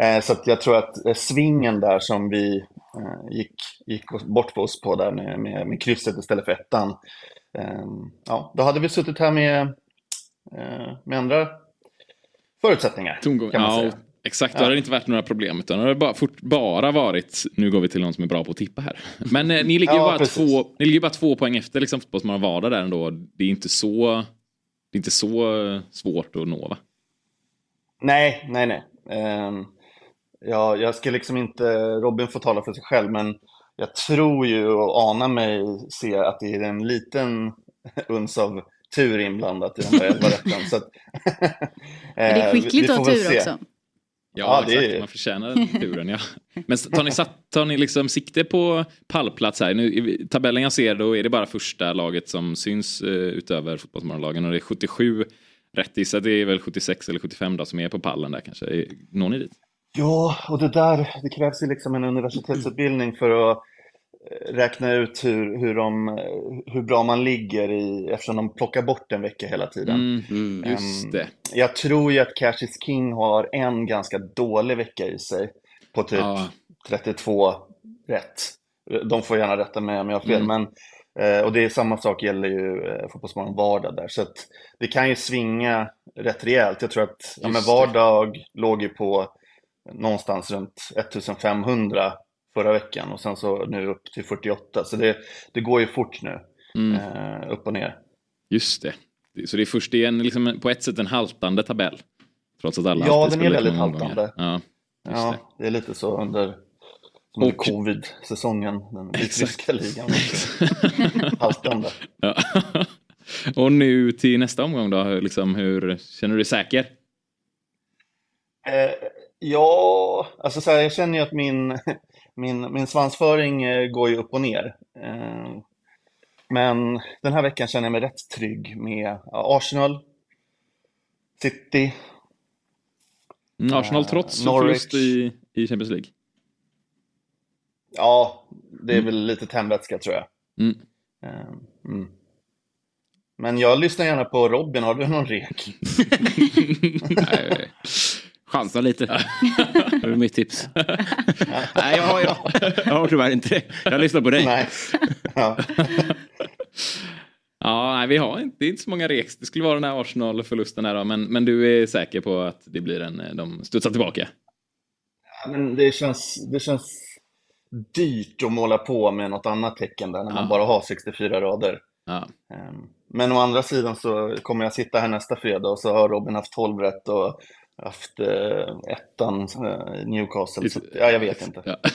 G: Eh, så att jag tror att eh, svingen där som vi eh, gick, gick oss- bort på oss på där med, med, med krysset istället för ettan. Eh, ja, då hade vi suttit här med, eh, med andra förutsättningar.
A: Tongång.
G: kan man
A: Ja,
G: säga.
A: exakt. Då hade det inte varit några problem. Utan det hade bara, fort, bara varit, nu går vi till någon som är bra på att tippa här. Men eh, ni ligger ju
G: Ja,
A: bara,
G: precis.
A: två, ni ligger ju bara två poäng efter liksom, Fotbollsmorgon Vardag där ändå. Det är inte så, det är inte så eh, svårt att nå va?
G: Nej, nej, nej. Ehm, ja, jag ska liksom inte, Robin får tala för sig själv, men jag tror ju och anar mig se att det är en liten uns av tur inblandat i de där elva rätten. Så att,
D: Men det är
G: eh, vi- vi
D: skickligt att
G: får
D: ha
G: väl
D: tur
G: se.
D: också.
A: Ja,
G: Ja, det är-
A: exakt. Man förtjänar den turen, ja. Men tar ni, satt, tar ni liksom sikte på pallplats här? Nu, i tabellen jag ser då är det bara första laget som syns eh, utöver fotbollsmorgonlagen och det är 77 rätt gissat. Det är väl 76 eller 75 då som är på pallen där kanske. Eh, Når ni dit?
G: Ja, och det där, det krävs ju liksom en universitetsutbildning för att eh, räkna ut hur, hur, de, eh, hur bra man ligger i, eftersom de plockar bort en vecka hela tiden.
A: Mm,
E: Mm.
A: just
G: Ehm,
A: det.
G: Jag tror ju att Cash is King har en ganska dålig vecka i sig på typ
A: Ja.
G: 32 rätt. De får gärna rätta mig om jag har
A: Mm.
G: fel, men eh, och det är samma sak gäller ju eh, Fotbollsmorgon Vardag där, så att det kan ju svinga rätt rejält. Jag tror att ja, men
A: Just det.
G: Vardag låg ju på någonstans runt 1500 förra veckan och sen så nu upp till 48, så det, det går ju fort nu
A: Mm,
G: eh, upp och ner.
A: just det. Det- Så det är först det är en, liksom, på ett sätt en haltande tabell. Trots att alla
G: Ja,
A: alltid
G: den är
A: spelar
G: väldigt
A: många omgångar.
G: haltande.
A: Ja, just
G: Ja,
A: det.
G: det är lite så under, som under
A: Och-
G: covid-säsongen, den vitryska ligan. Haltande.
A: Ja. och nu till nästa omgång då, hur- liksom, hur känner du dig säker?
G: Eh, ja, alltså så här, jag känner ju att min, min, min svansföring eh, går ju upp och ner. Eh, men den här veckan känner jag mig rätt trygg med ja, Arsenal, City,
A: Mm, Arsenal
G: Eh,
A: trots
G: Norwich.
A: förlust i, i Champions League.
G: ja, det är
A: Mm.
G: väl lite tändvätska tror jag.
A: Mm.
G: Eh, mm. Men jag lyssnar gärna på Robin, har du någon rek?
E: Nej, chansa lite. Det är mitt tips. Nej, jag har, jag, jag har tyvärr inte det. Jag lyssnar på dig.
G: Nej. Ja.
A: Ja, nej, vi har inte, det är inte så många reks. Det skulle vara den här Arsenal-förlusten här då, men, men du är säker på att det blir en, eh, de studsar tillbaka?
G: Ja, Men det känns, det känns dyrt att måla på med något annat tecken där när man
A: Ja.
G: bara har 64 rader.
A: Ja.
G: Ehm, Men å andra sidan så kommer jag sitta här nästa fredag och så har Robin haft 12 rätt och haft eh, ettan eh, i Newcastle. Så, att- ja, jag vet inte.
A: Ja.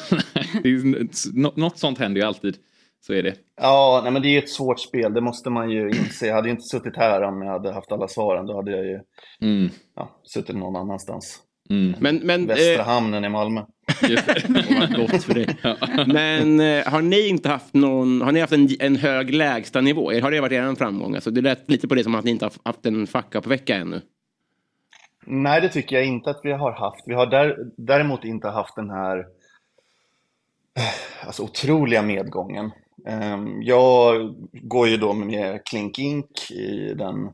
A: det är, nå- något sånt händer ju alltid. Så är det.
G: Ja, nej, men det är ju ett svårt spel, det måste man ju inse. Jag hade ju inte suttit här om jag hade haft alla svaren. Då hade jag ju
A: Mm.
G: ja, suttit någon annanstans.
A: Mm.
E: Men, men,
G: Västra
E: eh,
G: hamnen i Malmö.
A: Just det.
E: vad gott för dig. men eh, har ni inte haft någon, har ni haft en, en hög lägstanivå? Har det varit er framgång? Alltså, det lät lite på det som att ni inte har haft en fuck på vecka ännu.
G: Nej, det tycker jag inte att vi har haft. Vi har där, däremot inte haft den här eh, alltså, otroliga medgången. Ehm, Jag går ju då med Klink Ink i den,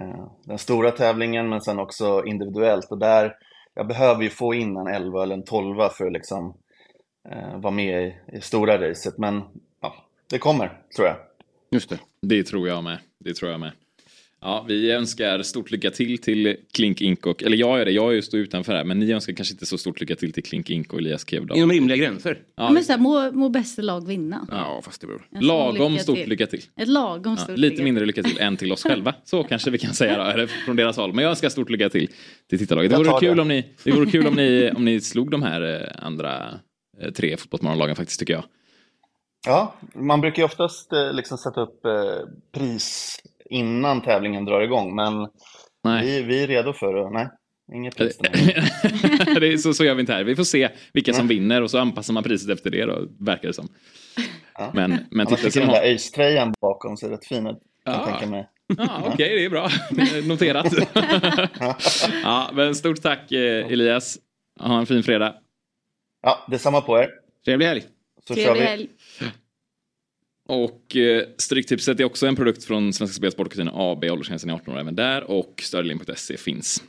G: eh, den stora tävlingen, men sen också individuellt. Och där, jag behöver ju få in en 11 eller en 12 för att liksom eh, vara med i, i stora racet. Men ja, det kommer, tror jag.
E: Just det.
A: Det tror jag med. Det tror jag med. Ja, vi önskar stort lycka till till Klink Ink och, eller jag gör det, jag är står utanför här, men ni önskar kanske inte så stort lycka till till Klink Ink och Elias Kevdahl.
E: Inom rimliga gränser.
D: Ja, men så här, må, må bästa lag vinna.
E: Ja, fast det beror.
D: En sån
A: Lagom stort lycka till.
D: Ett lagom
A: Ja,
D: stort
A: lite
D: lycka till.
A: mindre lycka till än till oss själva. Så kanske vi kan säga då, eller från deras håll. Men jag önskar stort lycka till till tittarlaget. Det
G: Jag
A: vore
G: tar
A: kul,
G: det.
A: om ni, det vore kul om, ni, om ni slog de här eh, andra eh, tre fotbollsmorgonlagen faktiskt, tycker jag.
G: Ja, man brukar ju oftast eh, liksom sätta upp eh, pris innan tävlingen drar igång, men
A: Nej.
G: vi, vi är redo för det. Nej. Inget pris den här gången.
A: det är, så, så gör vi inte här. Vi får se vilka som vinner och så anpassar man priset efter det då, verkar det som.
G: Ja.
A: Men, men
G: Annars
A: titta,
G: fick jag
A: sen
G: den
A: har...
G: där ÖIS-tröjan bakom, så rätt fin ut. Kan
A: Ah.
G: jag tänka mig.
A: Ja, Okej, det är bra. Noterat. ja, men stort tack eh, Elias. Ha en fin fredag.
G: Ja, detsamma på er.
E: Trevlig helg.
G: Så kör
D: Trevlig
G: vi.
D: helg.
A: Och eh, Stryktipset är också en produkt från Svenska Spel Sportcasino AB. Åldersgränsen är 18 år även där och stödlinjen.se finns.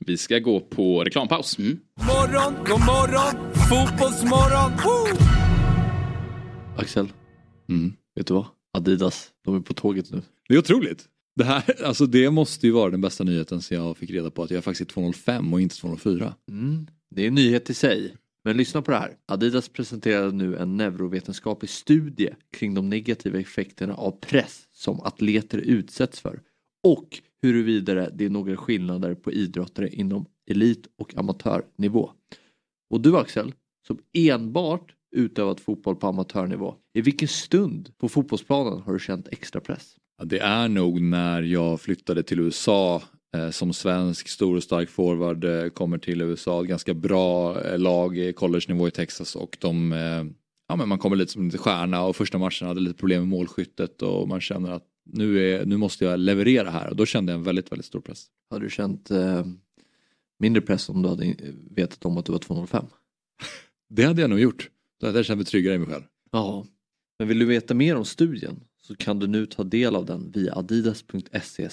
A: Vi ska gå på reklampaus. Mm.
C: Morgon, god morgon, fotbollsmorgon. Woo!
H: Axel, vet du vad? Adidas, de är på tåget nu.
I: Det är otroligt. Det, här, alltså det måste ju vara den bästa nyheten sen jag fick reda på att jag faktiskt är 205 och inte 204.
H: Mm. Det är en nyhet i sig. Men lyssna på det här. Adidas presenterar nu en neurovetenskaplig studie kring de negativa effekterna av press som atleter utsätts för och huruvida det är några skillnader på idrottare inom elit och amatörnivå. Och du Axel, som enbart utövat fotboll på amatörnivå, i vilken stund på fotbollsplanen har du känt extra press?
I: Ja, Det är nog när jag flyttade till USA eh, som svensk, stor och stark forward, eh, kommer till USA, ett ganska bra eh, lag i college-nivå i Texas och de, eh, ja men man kommer lite som lite stjärna och första matchen hade lite problem med målskyttet och man känner att nu, är, nu måste jag leverera här och då kände jag en väldigt, väldigt stor press.
H: Hade du känt eh, mindre press om du hade eh, vetat om att du var 205?
I: Det hade jag nog gjort. Då hade jag känt mig tryggare i mig själv.
H: Ja, men vill du veta mer om studien så kan du nu ta del av den via adidas.se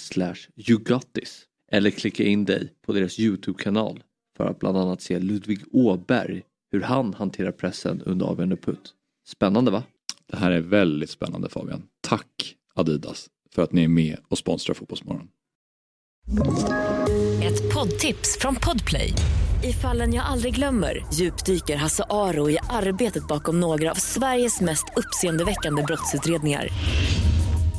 H: yougotis eller klicka in dig på deras Youtube-kanal för att bland annat se Ludvig Åberg hur han hanterar pressen under avgörande putt. Spännande va?
I: Det här är väldigt spännande Fabian. Tack Adidas för att ni är med och sponsrar Fotbollsmorgon.
J: Ett poddtips från Podplay. I fallen jag aldrig glömmer djupdyker Hasse Aro i arbetet bakom några av Sveriges mest uppseendeväckande brottsutredningar.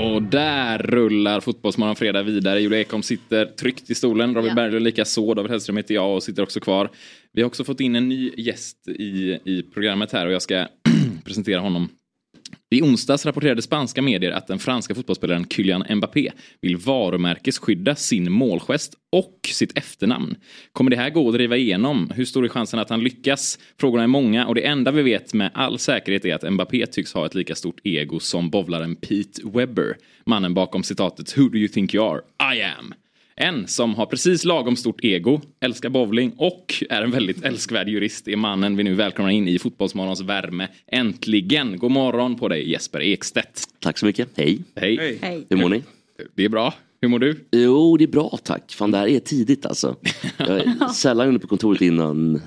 A: Och där rullar Fotbollsmorgon Fredag vidare. Julia Ekholm sitter tryckt i stolen. Robin
D: Ja.
A: Berglund lika så. David Hellström heter jag och sitter också kvar. Vi har också fått in en ny gäst i, i programmet här och jag ska presentera honom. I onsdags rapporterade spanska medier att den franska fotbollsspelaren Kylian Mbappé vill varumärkesskydda sin målgest och sitt efternamn. Kommer det här gå att driva igenom? Hur stor är chansen att han lyckas? Frågorna är många och det enda vi vet med all säkerhet är att Mbappé tycks ha ett lika stort ego som bowlaren Pete Webber, mannen bakom citatet “Who do you think you are? I am”. En som har precis lagom stort ego, älskar bowling och är en väldigt älskvärd jurist är mannen vi nu välkomnar in i Fotbollsmorgons värme. Äntligen! God morgon på dig Jesper Ekstedt.
K: Tack så mycket. Hej.
A: Hej.
D: Hej.
K: Hur mår ni?
A: Det är bra. Hur mår du?
K: Jo, det är bra tack. Fan, det här är tidigt alltså. Jag är sällan inne på kontoret innan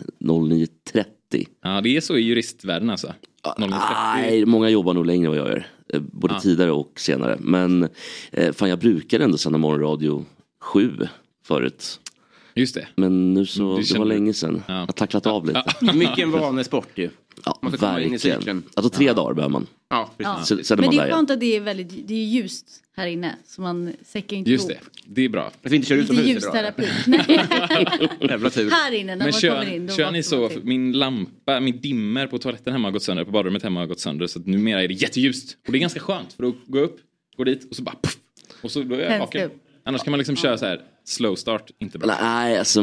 K: 09.30.
A: Ja, det är så i juristvärlden alltså. 0,30.
K: Nej, många jobbar nog längre än vad jag gör. Eh, Både tidigare och senare. Men eh, fan, jag brukade ändå sända morgonradio sju förut.
A: Just det. Mm,
K: Men nu så,
A: Det
K: det,
A: känner
K: var
A: du.
K: länge sedan.
A: Ja.
K: Jag har tacklat av lite.
E: Mycket en vanesport ju.
K: Ja,
E: Man får komma in i
K: verkligen.
E: cykeln.
K: Alltså tre dagar behöver man.
E: Ja, precis.
D: Ja.
K: Så, sen är
D: Men
K: man
D: det
K: där
D: är
K: igen.
D: skönt att det är väldigt det är ljust här inne så man säckar inte
A: Just det.
D: ihop.
A: Det är bra.
E: Att vi inte kör
D: Lite
E: utomhus är bra.
D: ljusterapi. Nej.
E: Jävla tur.
D: här inne när
A: Men
D: man
A: kör,
D: kommer in. då
A: kör
D: vaknar
A: ni
D: man
A: så?
D: till.
A: Min lampa, min dimmer på toaletten hemma har gått sönder, på badrummet hemma har gått sönder. Så att numera är det jätteljust. Och det är ganska skönt för då går jag upp, går dit och så bara puff, Och så då är jag
D: Tänds
A: vaken.
D: upp.
A: Annars kan man liksom köra så här slow start, inte bra.
K: Nej, alltså,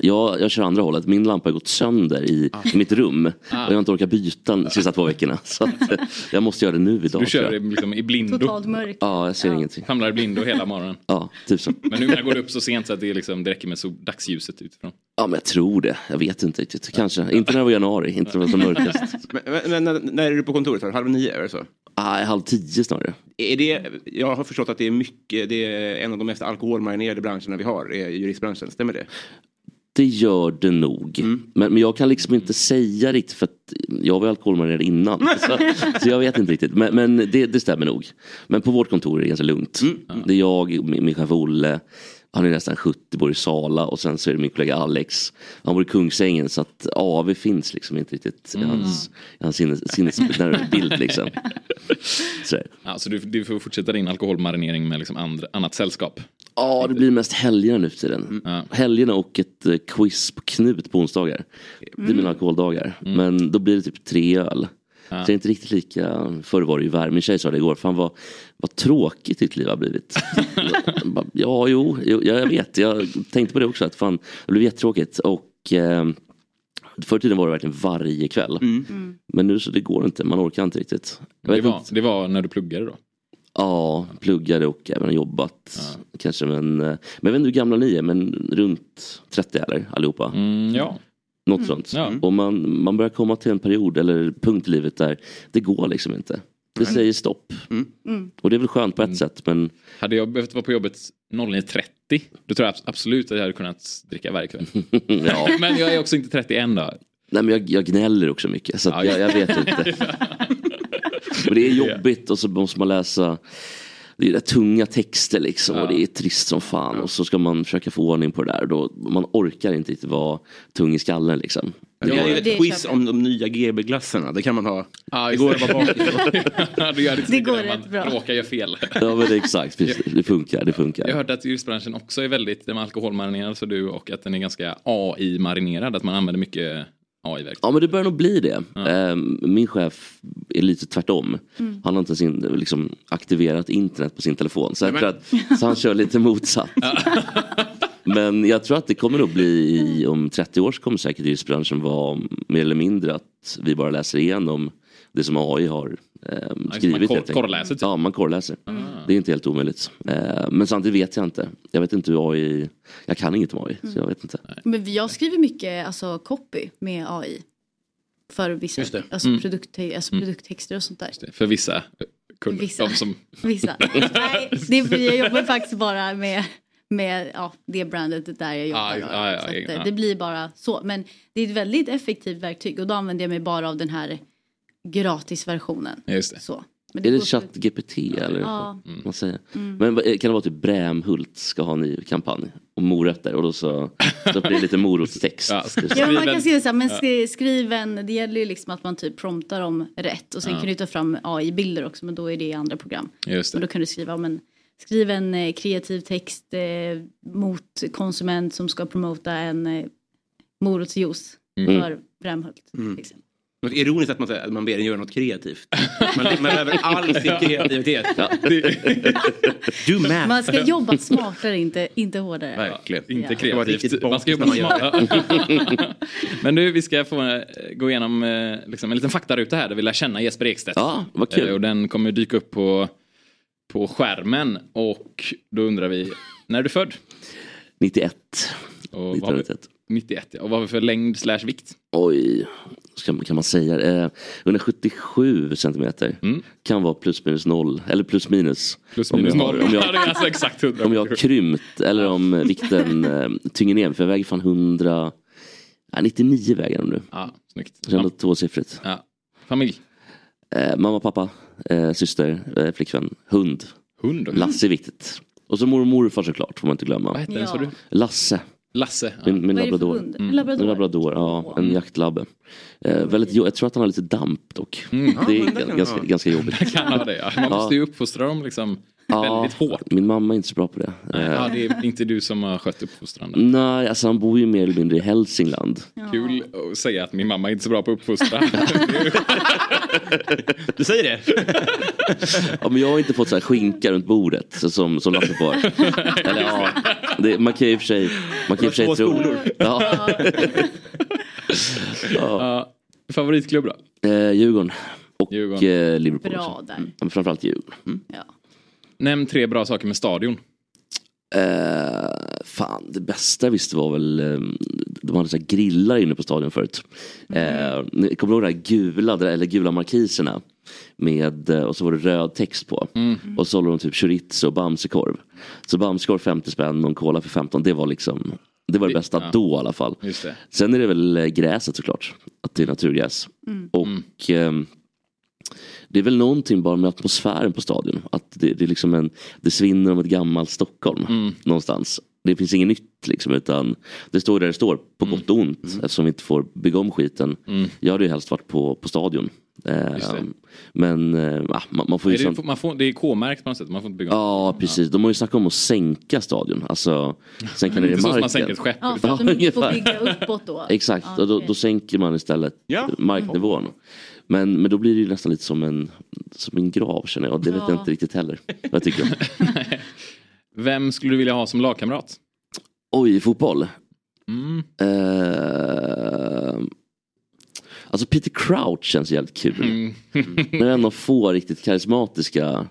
K: jag, jag kör andra hållet. Min lampa har gått sönder i
A: Ah.
K: mitt rum. Och jag har inte orkat byta de sista två veckorna. Så att, eh, jag måste göra det nu idag.
A: Du kör
K: tror
A: i-
K: jag.
A: liksom i blindo.
D: Totalt mörkt.
K: Ja, jag ser ingenting.
A: Famlar i blindo hela morgonen.
K: Ja, typ så.
A: Men numera går det upp så sent så att det, är liksom, det räcker med så dagsljuset utifrån.
K: Ja, men jag tror det. Jag vet inte riktigt. Kanske. Inte när det var januari. Inte när det var som mörkast.
E: Men, men, när, när är du på kontoret? Halv nio eller så?
K: Nej, halv tio snarare.
E: Är det, jag har förstått att det är mycket, det är en av de mest alkoholmarinerade branscherna vi har, är juristbranschen. Stämmer det?
K: Det gör det nog. Men, men jag kan liksom inte säga riktigt för att jag var ju alkoholmarinerad innan. Så, så jag vet inte riktigt. Men, men det, det stämmer nog. Men på vårt kontor är det ganska lugnt. Det är jag, min, min chef Olle, Han är nästan 70, bor i Sala och sen så är det min kollega Alex. Han bor i Kungsängen så att AV finns liksom inte riktigt i
A: Mm.
K: hans, i hans sinnes, sinnesbild liksom. Så.
A: Ja, så Alltså, du, du får fortsätta din alkoholmarinering med liksom andra, annat sällskap.
K: Ja, det blir mest helgerna nu för tiden.
A: Mm.
K: Helgerna och ett eh, quiz på Knut på onsdagar. Det blir
A: Mm.
K: mina alkoholdagar. Men då blir det typ tre öl.
A: Ja.
K: Så det är inte riktigt lika, förr var det ju värre. Min tjej sa det igår, fan vad, vad tråkigt ditt liv har blivit. Jag bara, ja, jo, jo, ja, jag vet. Jag tänkte på det också, att fan, det blev jättetråkigt. Och eh, förr i tiden var det verkligen varje kväll.
A: Mm.
K: Men nu så det går inte, man orkar inte riktigt. Jag
A: Det
K: vet
A: var,
K: inte.
A: det var när du pluggade då?
K: Ja, pluggade och även jobbat. Kanske, men, eh, men jag vet inte hur gamla ni är, men runt 30 eller allihopa?
A: ja.
K: Något
A: Mm.
K: sånt.
A: Ja.
K: Och man, man börjar komma till en period eller punkt i livet där det går liksom inte. Det
A: Nej. Mm.
K: säger stopp. Och det är väl skönt på ett sätt men
A: Hade jag behövt vara på jobbet 09.30 då tror jag abs- absolut att jag hade kunnat dricka varje kväll.
K: ja.
A: Men jag är också inte 30 än då.
K: Nej, men jag, jag gnäller också mycket så att jag, jag vet inte. Men det är jobbigt och så måste man läsa det är rätt tunga texter liksom och det är trist som fan och så ska man försöka få ordning på det där. Då, man orkar inte riktigt vara tung i skallen liksom.
E: Jag har ju ett quiz om de nya GB-glassarna. Det kan man ha. det går att vara bakis.
A: det gör det, det går rätt bra. råkar göra fel.
K: Ja men det är exakt, precis. det funkar, det funkar.
A: Jag har hört att juristbranschen också är väldigt den är alkoholmarinerad så du och att den är ganska AI-marinerad. Att man använder mycket AI-verktyg.
K: Ja men det börjar nog bli det. Eh, Min chef är lite tvärtom.
A: Mm.
K: Han har inte ens in, liksom, aktiverat internet på sin telefon. Så, jag
A: Nej,
K: tror att, så han kör lite motsatt. men jag tror att det kommer att bli i, om 30 år så kommer säkert juristbranschen vara mer eller mindre att vi bara läser igenom det som AI har eh,
A: man
K: skrivit.
A: kor-
K: helt
A: typ. Ah.
K: enkelt.
A: korrläser,
K: Ja, man korrläser. Det är inte helt omöjligt. Eh, men samtidigt vet jag inte. Jag vet inte hur AI... Jag kan inget om AI, så jag vet inte.
D: Men jag skriver mycket alltså, copy med AI. För vissa
A: Just det.
D: alltså,
A: Mm.
D: produkte- alltså,
A: Mm.
D: produkttexter och sånt där.
A: För vissa kunder.
D: Vissa.
A: De som...
D: Vissa. Nej, det, jag jobbar faktiskt bara med, med ja, det brandet där jag jobbar.
A: Ah,
D: då.
A: ah, ja,
D: så att,
A: ja.
D: eh, Det blir bara så. Men det är ett väldigt effektivt verktyg och då använder jag mig bara av den här gratisversionen.
A: Just det.
D: Så. Men det
K: Är det
D: går-
K: ChatGPT eller
D: Ja.
K: vad man säger?
D: Mm.
K: Men vad- kan det vara typ Brämhult ska ha en ny kampanj om morötter och då så, så blir det lite morotstext.
D: Ja, men man kan skriva så här, men skri- skriv en, det gäller ju liksom att man typ promptar om rätt och sen
K: Ja.
D: kan du ta fram AI-bilder också men då är det i andra program.
A: Just det.
D: Men då kan du skriva, men skriv en eh, kreativ text eh, mot konsument som ska promota en eh, morotsjuice
E: Mm.
D: för Brämhult.
E: Mm.
D: Liksom.
E: Något ironiskt att man, säger att man ber en göra något kreativt. Man lämnar över all sin kreativitet. Du med.
D: Man ska jobba smartare, inte, inte hårdare.
E: Verkligen.
A: Inte
D: Ja.
A: kreativt. Man ska jobba
E: när man gör
A: smart. Men nu, vi ska få eh, gå igenom eh, liksom, en liten faktaruta här där vi lär känna Jesper Ekstedt.
K: Ja, vad kul.
A: Eh, Och den kommer dyka upp på, på skärmen och då undrar vi, när är du född?
K: 91.
A: Och vad har vi,
K: 1991.
A: 91, ja. Och vad har vi för längd slash vikt?
K: Oj, ska, man- kan man säga det? Eh, 177 centimeter. Kan vara plus minus noll, eller plus minus.
A: Mm. Plus
K: Om jag
A: minus
K: har-
A: noll.
K: om jag-
A: Ja, det är alltså exakt 100.
K: Om jag har krympt eller om eh, vikten eh, tynger ner. För jag väger fan 100... Nej, 99 väger jag nu.
A: Ja, snyggt.
K: Så ändå tvåsiffrigt.
A: Familj?
K: Eh, mamma, pappa, eh, syster, eh, flickvän, hund.
A: Hund också?
K: Lasse är viktigt. Och så mormor och morfar såklart, får man inte glömma. Vad
A: hette den, sa du?
K: Lasse.
A: Lasse? Mm.
K: Min, min
A: Vad är det för
K: labrador.
A: hund? En labrador?
K: En labrador, ja. En jaktlabbe. Eh, väldigt, jo- jag tror att han har lite damp dock.
A: Mm.
K: Det är
A: Ja, men det
K: ganska,
A: kan
K: ganska,
A: vara.
K: ganska jobbigt.
A: Kan ha det, ja. Man måste ju uppfostra dem liksom väldigt hårt.
K: Min mamma är inte så bra på det. Eh,
A: Ja, det är inte du som har skött uppfostran.
K: Nej, alltså han bor ju mer eller mindre i Hälsingland.
A: Kul att säga att min mamma är inte så bra på att uppfostra.
E: du säger det?
K: Ja, men jag har inte fått så här skinka runt bordet så som, som Lasse får. Eller, ja, det, man kan ju i och för sig, man kan i och för sig
A: Det var två
K: tro.
A: skolor.
K: Ja.
A: Ja. Favoritklubb då?
K: Eh, Djurgården och
A: Djurgården.
K: Eh, Liverpool.
A: Bra
K: också.
A: där.
K: Mm. Ja, men Framförallt Djurgården.
A: Nämn tre bra saker med stadion.
K: Eh, fan, det bästa jag visste var väl, eh, de hade så här grillar inne på stadion förut.
A: Mhm.
K: Eh, ni kommer du ihåg de här gula, eller gula markiserna? Med, eh, och så var det röd text på.
A: Mm.
K: Och så håller de typ chorizo och bamsekorv. Så bamsekorv 50 spänn och en cola för 15, det var liksom, det var det bästa
A: ja.
K: då i alla fall.
A: Just det.
K: Sen är det väl eh, gräset såklart, att det är naturgräs.
A: Mm.
K: Och ehm, det är väl någonting bara med
A: Mm.
K: atmosfären på stadion. Att det, det, är liksom en, det svinner om ett gammalt Stockholm någonstans. det finns inget nytt liksom utan det står där det står på gott och ont eftersom vi inte får bygga om skiten.
A: Mm.
K: Jag hade ju helst varit på, på stadion. Eh,
A: Just det.
K: men eh, ah, man, man får ju
A: Nej, det,
K: samt-
A: får- man får, det är K-märkt på något sätt, man får inte bygga om.
K: Ja, precis. De har ju snackat om att sänka stadion. Alltså, sänka ner i
A: Det är så som man
K: marken.
A: sänker ett skepp.
D: Ja, för att de inte får
K: ungefär.
D: bygga uppåt då.
K: Exakt,
D: Ja,
K: och då,
D: okej.
K: då sänker man istället marknivån. Men, men då blir det ju nästan lite som en, som en grav känner jag. Det vet jag
A: Ja.
K: inte riktigt heller. vad Jag tycker.
A: Vem skulle du vilja ha som lagkamrat?
K: Oj, i fotboll.
A: Mm.
K: Eh, alltså Peter Crouch känns jävligt kul.
A: Mm.
K: Men en av få riktigt karismatiska.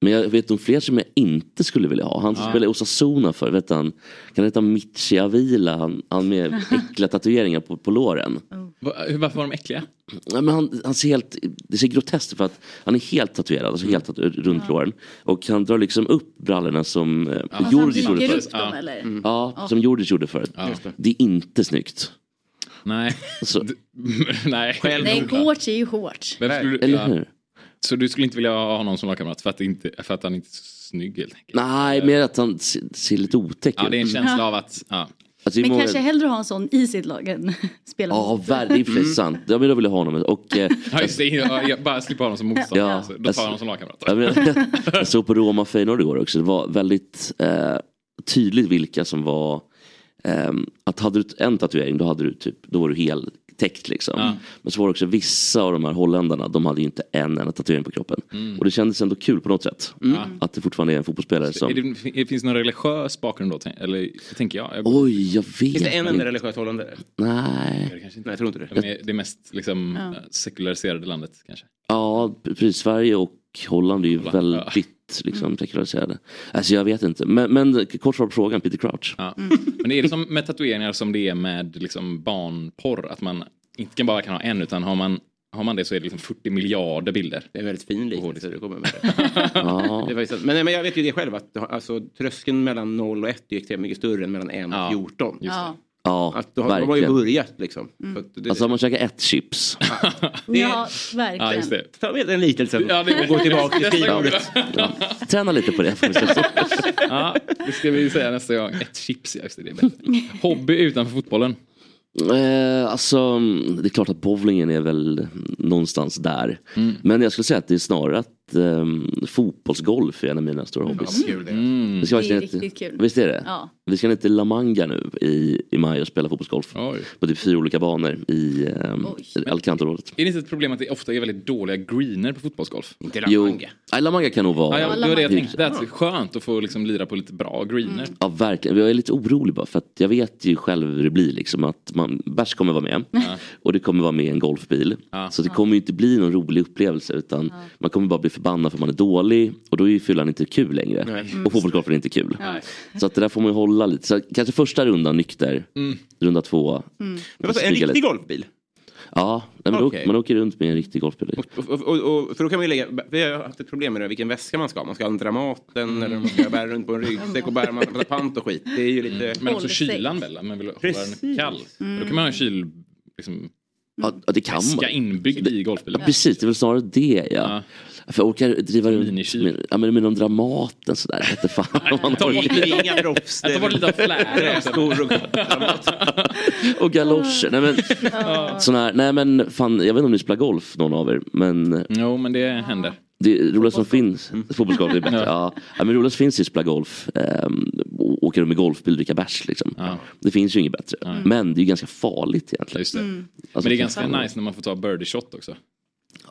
K: Men jag vet om fler som jag inte skulle vilja ha. Han som
A: Ja.
K: spelade i Osasuna för, vet han, kan det heta Michi Avila? Han, han med äckliga tatueringar på, på låren.
A: Va, hur- varför var de äckliga?
K: Ja, men han, han ser helt, det ser groteskt ut för att han är helt tatuerad, alltså helt tatu- runt låren. Och han drar liksom upp brallorna som eh,
A: Alltså, han
K: Jordis
A: viker
K: gjorde
A: upp
K: förut.
A: dem, Ja. eller? Mm.
K: Ja,
A: Ja.
K: som Jordis gjorde förut.
A: Ja. Just det.
K: Det är inte snyggt.
A: Nej.
K: Så,
A: Nej.
D: Nej, shorts är ju shorts.
A: Vem skulle du,
K: Eller hur?
A: Så du skulle inte vilja ha honom som lagkamrat för att, det inte, för att han inte är så snygg helt enkelt?
K: nej, mer att han ser, ser lite otäck
A: Ja, det är en
K: ut.
A: känsla av att... Ja.
K: Alltså, det är
D: Men
K: många-
D: kanske hellre ha en sån i sitt lag än spela
K: Ja,
D: mot.
K: ver- det är i och för sig
D: Mm.
K: sant. Jag vill, jag vill ha honom. Och, eh,
A: Ja, just det, jag, jag bara slipper ha honom som motståndare.
K: Ja,
A: alltså. Då tar jag
K: alltså-
A: honom som lagkamrat.
K: Jag, menar, jag såg på Roma Feyenoord igår också. Det var väldigt eh, tydligt vilka som var... ehm, att hade du en tatuering då, hade du typ, då var du heltäckt liksom.
A: Ja.
K: Men så var det också vissa av de här holländarna, de hade ju inte en enda tatuering på kroppen.
A: Mm.
K: Och det kändes ändå kul på något sätt.
A: Ja.
K: Att det fortfarande är en fotbollsspelare som...
A: Är det, finns det någon religiös bakgrund då? tän- Eller tänker jag? jag
K: Oj, jag vet
A: Finns det en enda
K: inte.
A: religiös holländare?
K: Nej.
A: Det kanske inte.
E: Nej, jag tror inte det.
A: De är det mest liksom,
E: Ja.
A: eh, sekulariserade landet kanske.
K: Ja, precis. Sverige och Holland är ju
A: Holland, ja.
K: väldigt liksom,
A: Mm.
K: sekulariserade. Alltså jag vet inte. Men, men kort svar på frågan, Peter Crouch.
A: Ja. Men är det som med tatueringar som det är med liksom barnporr? Att man inte kan bara kan ha en utan har man, har man det så är det liksom 40 miljarder bilder.
E: Det är väldigt fin liknelse du kommer med.
K: Ja.
E: Det var ju sant. men, nej, men jag vet ju det själv att alltså, tröskeln mellan 0 och 1 är ju extremt mycket större än mellan 1 och 14.
D: Ja.
K: Ja,
E: Att då har, de har ju
K: verkligen.
E: börjat liksom.
D: Mm.
E: Så att det,
K: Alltså om man käkar ett chips.
D: ja, verkligen.
E: Ta med den liknelsen
A: Ja, det-
E: och gå tillbaka till
A: Nästa
E: skrivbordet.
A: gång.
K: Ja. Träna lite på det.
A: ja, det ska vi säga nästa gång. Ett chips, ja, just det, det är bättre. Hobby utanför fotbollen?
K: Eh, alltså, det är klart att bowlingen är väl någonstans där.
A: Mm.
K: Men jag skulle säga att det är snarare att ehm, fotbollsgolf är en av mina stora hobbys.
A: vad kul det är. Mm.
K: Vi ska
A: Det är
K: verkligen
A: riktigt
K: inte-
A: kul.
K: Visst är det?
A: Ja.
K: Vi ska ner till La Manga nu i, i maj och spela fotbollsgolf. På typ fyra olika banor i um, Alicanteområdet.
A: Är det inte ett problem att det ofta är väldigt dåliga greener på fotbollsgolf? Inte
K: Jo, Nej, La Manga kan nog vara...
A: Ja, ja, det var det jag
K: hyggligt.
A: tänkte. Det är alltså skönt att få liksom lira på lite bra greener.
K: Ja, verkligen. Jag är lite orolig bara för att jag vet ju själv hur det blir. Liksom, att man, bärs kommer vara med
A: Ja.
K: och det kommer vara med en golfbil.
A: Ja.
K: Så det kommer ju inte bli någon rolig upplevelse utan man kommer bara bli förbannad för att man är dålig och då är ju fyllan inte kul längre.
A: Nej. Mm.
K: Och fotbollsgolfen är inte kul.
A: Nej.
K: Så att det där får man ju hålla lite. Så kanske första rundan nykter,
A: Mm.
K: runda två.
E: Mm. Men vadå, en
K: Smyga
E: riktig golfbil?
K: Ja, nej, men då,
E: Okej.
K: man åker runt med en riktig golfbil.
E: Och, och, och, för då kan man ju lägga, vi har ju haft ett problem med det, vilken väska man ska ha. Man ska ha en Dramaten eller man ska bära runt på en ryggsäck och bära massa pant och skit. Det är ju lite...
A: Mm. Men också kylan väl? att Man vill hålla den
E: Precis.
A: kall.
E: Mm.
A: Då kan man ha en kyl... Liksom,
K: Ja, ja, det kan
A: väska
K: man.
A: inbyggd i
K: Ja,
A: golfbilen.
K: precis, det är väl snarare det ja. För jag orkar driva runt med, ja, men med någon Dramaten sådär. Jag vet inte fan om man
E: Ta bort
K: orkar.
E: lite- inga drops.
A: Jag tar bort lite av flärden också.
E: Träskor och...
K: Och galoscher. Nej men, sån här, nej men fan, jag vet inte om ni spelar golf någon av er. Men
A: Jo, men det händer.
K: det roligaste som finns,
D: Mm.
K: fotbollsgolf det är bättre. Ja. Ja. men det roligaste som finns är att spela golf. Um, åka runt med golfbil och dricka bärs liksom. Det finns ju inget bättre. Men det är ju ganska farligt egentligen.
A: Just det.
K: Alltså,
A: men det är ganska
K: fan.
A: nice när man får ta birdie shot också.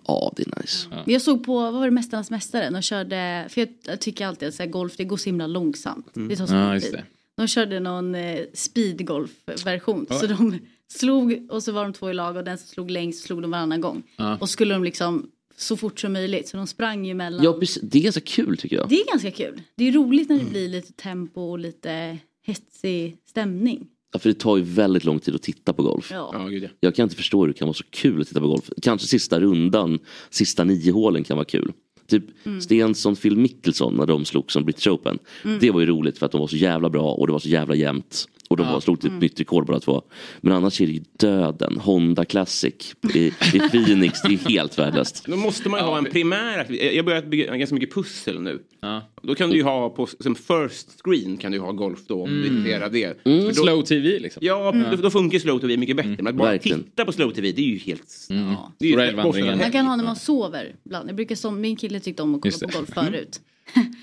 K: Ja, det är nice.
A: Ja.
D: Men Jag såg på, vad var det, Mästarnas Mästare? De körde, för jag tycker alltid att så här, golf det går så himla långsamt. Det tar så
A: Mm. Ja,
D: lång
A: just
D: tid.
A: det.
D: De körde någon eh, speedgolf-version.
A: Ja.
D: Så de slog och så var de två i lag och den som slog längst slog de varannan gång.
K: Ja.
D: Och skulle de liksom så fort som möjligt. Så de sprang ju mellan.
K: Ja, precis. Det är ganska kul tycker jag.
D: Det är ganska kul. Det är roligt när det
A: Mm.
D: blir lite tempo och lite hetsig stämning.
K: Ja, för det tar ju väldigt lång tid att titta på golf.
D: Ja.
K: Jag kan inte förstå hur det kan vara så kul att titta på golf. Kanske sista rundan, sista nio hålen kan vara kul. Typ
D: Mm.
K: Stensson, Phil Mickelson när de slog som British Open.
D: Mm.
K: Det var ju roligt för att de var så jävla bra och det var så jävla jämnt. Och de
D: Ja.
K: var, slog typ
D: Mm.
K: nytt rekord båda två. Men annars är det ju döden. Honda Classic i, i Phoenix, det är helt värdelöst.
E: Då måste man ju ha en primär aktivitet. Jag har börjat bygga ganska mycket pussel nu. Då kan du ju ha på som first screen kan du ju ha golf då om du
A: Mm.
E: intresserar det.
A: Mm.
E: För då-
A: Slow TV liksom.
E: Ja,
A: Mm.
E: då, då funkar ju slow tv mycket bättre. Men att bara
A: Verkligen.
E: titta på slow tv det är ju helt... Mm. Det
A: Stora elvandringen.
D: Man kan ha när man sover. Ibland. Jag brukar som, min kille tyckte om att
A: Just
D: kolla
A: det. Mm.
D: på golf förut.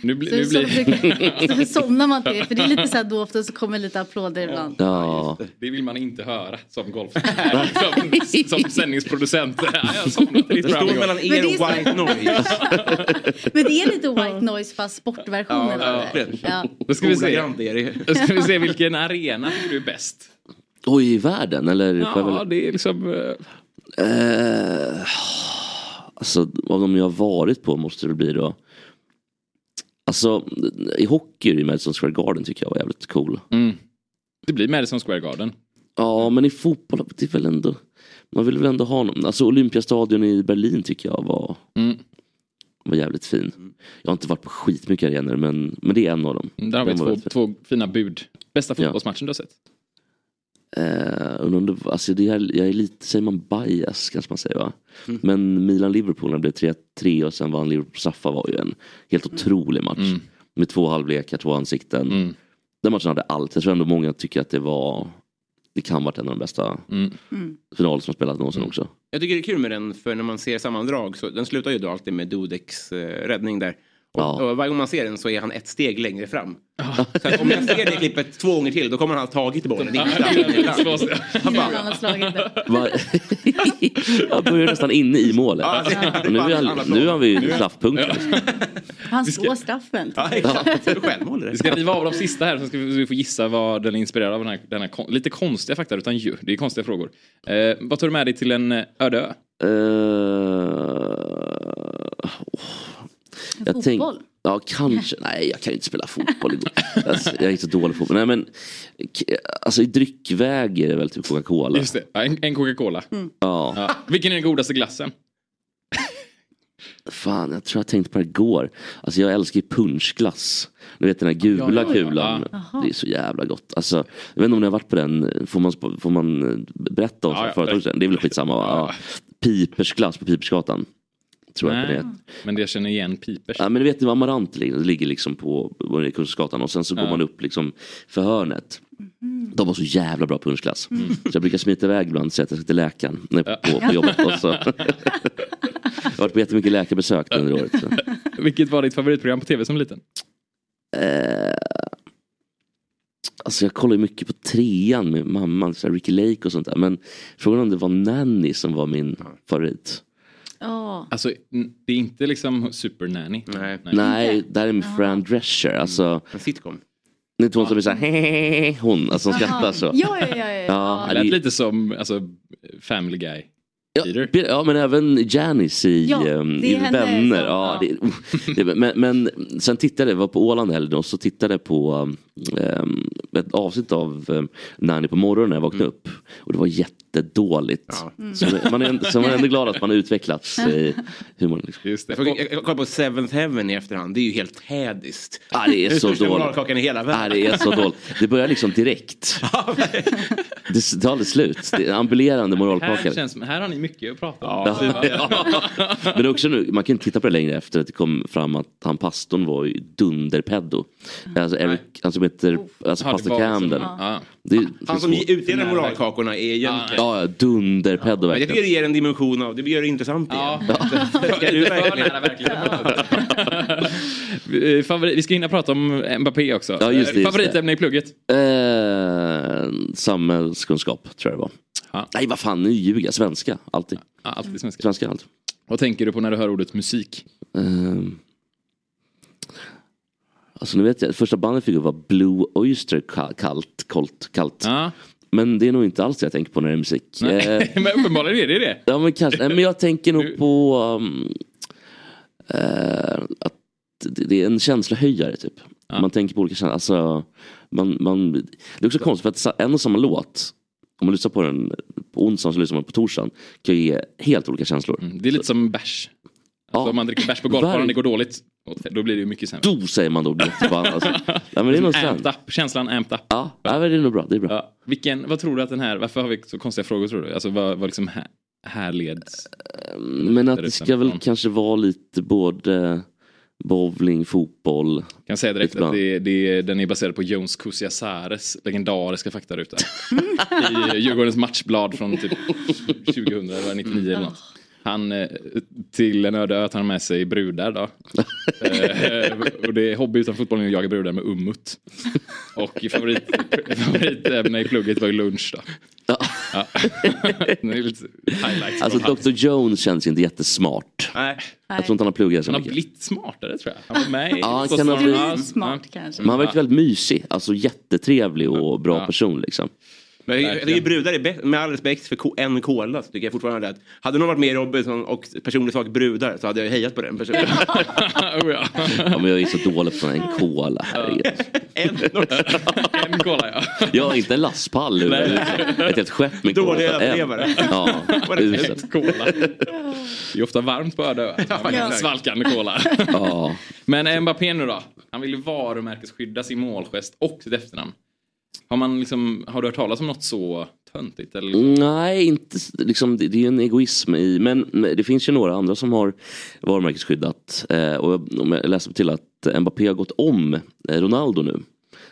A: Nu, bli,
D: Så,
A: nu
D: så, brukar, så
A: blir...
D: somnar man till det. För det är lite så här då och då så kommer lite applåder ibland.
K: Ja.
A: Det vill man inte höra som golf. som, som sändningsproducent. Ja, jag somnade lite
E: Det
A: fram
E: står
A: igår.
E: mellan er och white noise.
D: Men det är lite white noise fast sportversionen av det. Ja.
A: Då ska vi se.
E: Ordagrant är det.
A: Då ska vi se vilken arena tycker du är bäst.
K: Oj, i världen eller? får jag väl-
A: Ja, det är liksom... eh,
K: Eh, alltså av de jag har varit på måste det bli då. Alltså i hockey är det ju Madison Square Garden tycker jag var jävligt cool.
A: Det blir Madison Square Garden.
K: Ja men i fotboll, det är väl ändå. Man vill väl ändå ha någon. Alltså Olympiastadion i Berlin tycker jag var,
A: Mm.
K: var jävligt fin. Jag har inte varit på skitmycket arenor men, men det är en av dem.
A: Mm, Där har vi
K: Den var
A: två,
K: väldigt fin.
A: två fina bud. Bästa fotbollsmatchen du har sett?
K: Eh, undrar om det, var- alltså det här, jag är lite, säger man bias kanske man säger va?
A: Mm.
K: Men Milan-Liverpool när det blev 3-3 och sen vann Liverpool Saffa var ju en helt otrolig match. Med två halvlekar, två ansikten. Den matchen hade allt. Jag tror ändå många tycker att det var, det kan varit en av de bästa
E: Mm.
K: finaler som har spelats någonsin också.
E: Jag tycker det är kul med den för när man ser sammandrag så den slutar ju då alltid med Dodeks eh, räddning där. Och, och varje gång man ser den så är han ett steg längre fram. Så att om jag ser det klippet två gånger till då kommer han ha tagit bollen ingenstans. ingenstans. Han
D: Innan
E: bara,
D: han har slagit det.
K: Va- jag började nästan inne i målet.
D: Ja, det är-
K: Och nu, är han, nu har vi straffpunkten.
D: Han slår straffen.
A: Vi ska riva av de sista här så ska vi vi får gissa vad den är inspirerad av. Den här, den här kon- lite konstiga fakta utan ju. Det är konstiga frågor. Eh, vad tar du med dig till en eh, öde ö?
K: Eh, åh.
D: Fotboll?
K: ja, kanske. Nej, jag kan ju inte spela fotboll. alltså, jag är så dålig på fotboll. Nej, men, k- alltså, I dryckväg är det väl typ Coca-Cola.
A: Just det, ja, en, en Coca-Cola.
K: Ja.
A: Ja. Vilken är den godaste glassen?
K: Fan, jag tror jag tänkte på det igår. Alltså, jag älskar ju punschglass. Du vet den här
A: Ja,
K: gula
A: ja, ja.
K: kulan.
A: Ja. Jaha.
K: Det är så jävla gott. Alltså, jag vet inte om ni har varit på den. Får man, sp- får man eh, berätta om
A: Ja,
K: ja,
A: ja,
K: företaget?
A: berätta.
K: Det är väl skitsamma. va? Ja. Pipersglass på Pipersgatan. Tror jag att den
A: Nej,
K: heter.
A: men det känner igen Pipers.
K: Ja, men du vet ni var Amarant ligger, ligger liksom på på Kungsgatan och sen så
A: Ja.
K: går man upp liksom för hörnet. De har så jävla bra punschglass. Så jag brukar smita iväg ibland och säga att jag ska till läkaren när jag är på, på jobbet. Och så. jag har varit på jättemycket läkarbesök under året. Så.
A: Vilket var ditt favoritprogram på tv som liten?
K: Eh, alltså jag kollar ju mycket på trean med mamman, så här Ricky Lake och sånt där. Men frågan är om det var Nanny som var min favorit.
D: Ja.
A: Alltså, n- det är inte liksom supernanny. Nej.
K: Nej, där är min Fran Drescher. Alltså,
E: en sitcom.
K: Ni vet hon som är så här, "Hehehe", hon, alltså hon
A: Jaha.
K: skrattar så.
A: Ja, ja, ja, ja, ja. Det lät
K: lite
A: som alltså, Family Guy.
K: Ja, Be- ja men även Janice i,
A: Ja,
K: ehm,
A: det
K: i
A: är henne
K: Vänner.
A: som-
K: ja,
A: ja.
K: det, oh, det, men, men sen tittade jag, var på Åland helgen och så tittade jag på ehm, ett avsnitt av um, Nanny på morgonen när jag vaknade upp. Och det var jättedåligt.
E: Mm.
K: Så, man är, så man är ändå glad att man har utvecklats
A: Mm.
K: i humorn. Liksom.
A: Just
E: Jag, jag, jag kollar på Seventh Heaven i efterhand. Det är ju helt hädiskt.
K: Ja, det är så
E: Största
K: dåligt.
E: moralkakan i hela
K: Nej,
E: världen.
K: det är så dåligt. Det börjar liksom direkt. Det s- tar aldrig slut. Det är ambulerande
A: Här,
K: moralkakare.
A: känns, här har ni mycket att prata om.
K: Ja. Men det är också nu, man kan inte titta på det längre efter att det kom fram att han pastorn var ju dunderpeddo.
E: Mm.
K: Alltså Eric, han som heter, alltså
E: Ja, det
K: pastor
E: var så.
K: Camden.
E: Ja.
K: Det är- liksom-
E: Han som utdelar moralkakorna är egentligen...
K: Ja, ja, dunderpeddo
E: Men jag tycker
K: verkligen.
E: det ger en dimension av, det gör det intressant igen. Ska du
A: Lite för
E: verkligen?
A: nära verkligen. Eh, Favorit, vi ska hinna prata om Mbappé också.
K: Ja, just det,
A: Eh,
K: just
A: Favoritämne i plugget?
K: Eh, samhällskunskap tror jag det var. Nej vad fan, nu ljuger jag. Svenska, alltid.
A: alltid svenska.
K: Svenska, alltid.
A: Vad tänker du på när du hör ordet musik?
K: Ehm. Alltså nu vet jag, första bandet jag fick upp var Blue Oyster Ka- Cult. Cult, Cult. Men det är nog inte alls det jag tänker på när det är musik. Eh,
A: Nej, men uppenbarligen är det det.
K: Ja men kanske, nej, men jag tänker nog på um, eh, att det det är en känslohöjare typ. Man tänker på olika känslor. Alltså, man, man, det är också konstigt för att sa- en och samma låt, om man lyssnar på
A: Mm.
K: den på onsdagen så lyssnar man på torsdagen, kan ju ge helt olika känslor.
A: Det är lite som bärs. Alltså om man dricker bärs på golfbanan
K: Verk-
A: det går dåligt, då blir det ju mycket sämre.
K: Do säger man då blir förbannad. Alltså. Ja, men det är nog sant.
A: amped up, känslan amped up.
K: Ja, ja, men det är nog bra. Det är bra.
A: Vilken, vad tror du att den här, varför har vi så konstiga frågor tror du? Alltså vad, vad liksom här, härleds?
K: Ehm, Men att
A: Där
K: det
A: ute
K: ska väl
A: från.
K: kanske vara lite både bowling, fotboll.
A: Kan säga direkt
K: Lite
A: att
K: bra.
A: det, det, den är baserad på Jones Kusiasares legendariska faktaruta. I eh, Djurgårdens matchblad från typ 2000 eller 99 eller något. Han, eh, till en öde ö tar han med sig brudar då. Eh, och det är hobby utan fotboll är att jaga brudar med ummut. Och favorit, favoritämne i plugget var ju lunch då. Ja. Det är lite highlights
K: Alltså
A: från hans-
K: Dr Jones känns ju inte jättesmart.
A: Nej.
K: Jag tror inte han har pluggat så
A: Han har
K: mycket.
A: blivit smartare tror jag. Han var med i-
K: Ja, han
A: så
K: kan ha
A: smart.
K: blivit-
A: Ja,
D: Smart
A: ja.
D: kanske.
K: Men han verkar väldigt mysig, alltså jättetrevlig och bra
E: Ja.
K: person liksom.
E: Men jag
K: Verkligen.
E: tycker brudar är bäst, med all respekt för ko- en cola så tycker jag fortfarande att hade någon varit med i Robinson och personlig sak brudar så hade jag hejat på den personen.
A: Oh,
K: Ja, men jag är så dålig på sån här cola, herregud.
A: En cola ja.
K: Ja, inte en lastpall utan liksom ett helt skepp med cola.
A: Dåliga
K: utan en.
A: överlevare.
K: Ja,
A: Bara
K: uselt.
A: ett cola. Det är ofta varmt på öde ja,
K: Ja.
A: Svalkande cola.
K: Ja.
A: Men Mbappé nu då? Han vill ju varumärkesskydda sin målgest och sitt efternamn. Har, man liksom, har du hört talas om något så töntigt? Eller?
K: Mm. Nej, inte, s- liksom, det, det är ju en egoism i, men men det finns ju några andra som har varumärkesskyddat. Eh, och jag- om jag läste till att Mbappé har gått om eh, Ronaldo nu.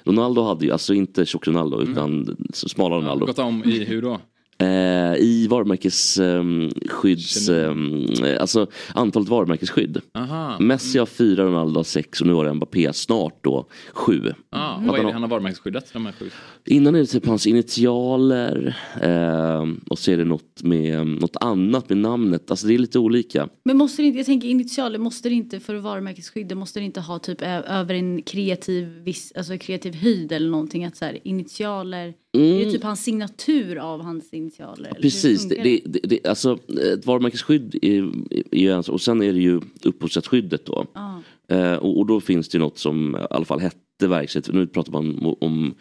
K: Ronaldo hade ju, alltså inte tjock Ronaldo utan s- smala Ronaldo.
A: Mm. Gått om i hur då?
K: Eh, I varumärkesskydds... Eh, alltså antalet varumärkesskydd.
A: Aha. mm.
K: Messi har fyra, Ronaldo har sex och nu har Mbappé snart då sju.
A: Ah,
K: Att
A: vad är
K: han
A: det
K: har-
A: han har varumärkesskyddat? De här sju?
K: Innan är det typ hans initialer eh, och så är det något, med, något annat med namnet. Alltså det är lite olika.
D: Men måste det inte, jag tänker initialer, måste det inte för varumärkesskydd, det måste det inte ha typ ö- över en kreativ, viss, alltså kreativ höjd eller någonting att så här initialer,
K: Mm.
D: är det typ hans signatur av hans initialer? eller hur
K: Precis, det,
D: funkar
K: det, det, det, alltså ett varumärkesskydd är, är ju en sak. och sen är det ju upphovsrättsskyddet då.
D: Ja.
K: Eh, och, och då finns det ju något som i alla fall hette verksamhet. Nu pratar man om, om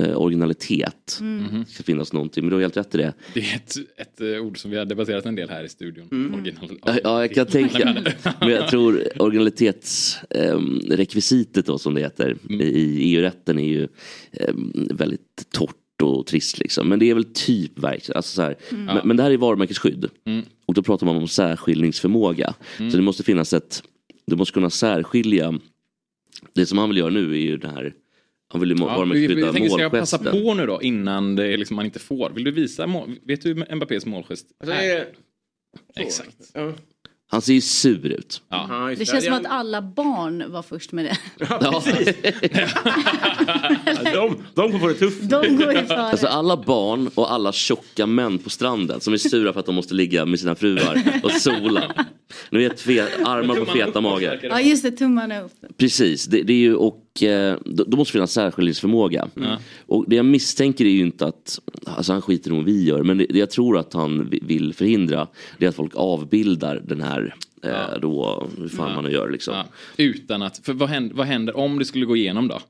K: eh, originalitet.
A: Mm. Mhm.
K: Det ska finnas någonting, men du har helt rätt i det.
A: Det är ett, ett eh, ord som vi har debatterat en del här i studion. Original,
K: Ja, jag kan tänka. Men jag tror originalitetsrekvisitet då som det heter
A: Mm.
K: i- i EU-rätten är ju ehm, väldigt torrt och trist liksom. Men det är väl typ verkligen, alltså så här.
A: Mm.
K: Men,
A: Ja.
K: men det här är varumärkesskydd.
A: Mm.
K: Och då pratar man om särskiljningsförmåga.
A: Mm.
K: Så det måste finnas ett, du måste kunna särskilja, det som han vill göra nu är ju det här, han vill ju
A: Ja, vi, vi
K: varumärkesskydda
A: tänker, ska jag passa
K: målgesten.
A: på nu då innan det är liksom man inte får? Vill du visa? mål- Vet du hur Mbappés målgest
E: Alltså, är det-
A: Exakt.
K: Han ser ju sur ut.
D: det? Det känns som att alla barn var först med det.
E: de, de kommer få det tufft.
D: De går ju före.
K: Alltså alla barn och alla tjocka män på stranden som är sura för att de måste ligga med sina fruar och sola. Nu vet fe- armar på feta magar.
D: Ja just det, tummarna upp.
K: Precis, det, det är ju och eh, då, då måste det finnas särskiljningsförmåga.
D: Ja.
K: Och det jag misstänker är ju inte att, alltså han skiter i vad vi gör, men det, det jag tror att han vi- vill förhindra det är att folk avbildar den här eh, då, hur fan man nu gör liksom.
A: Utan att, för vad händer, vad händer om det skulle gå igenom då?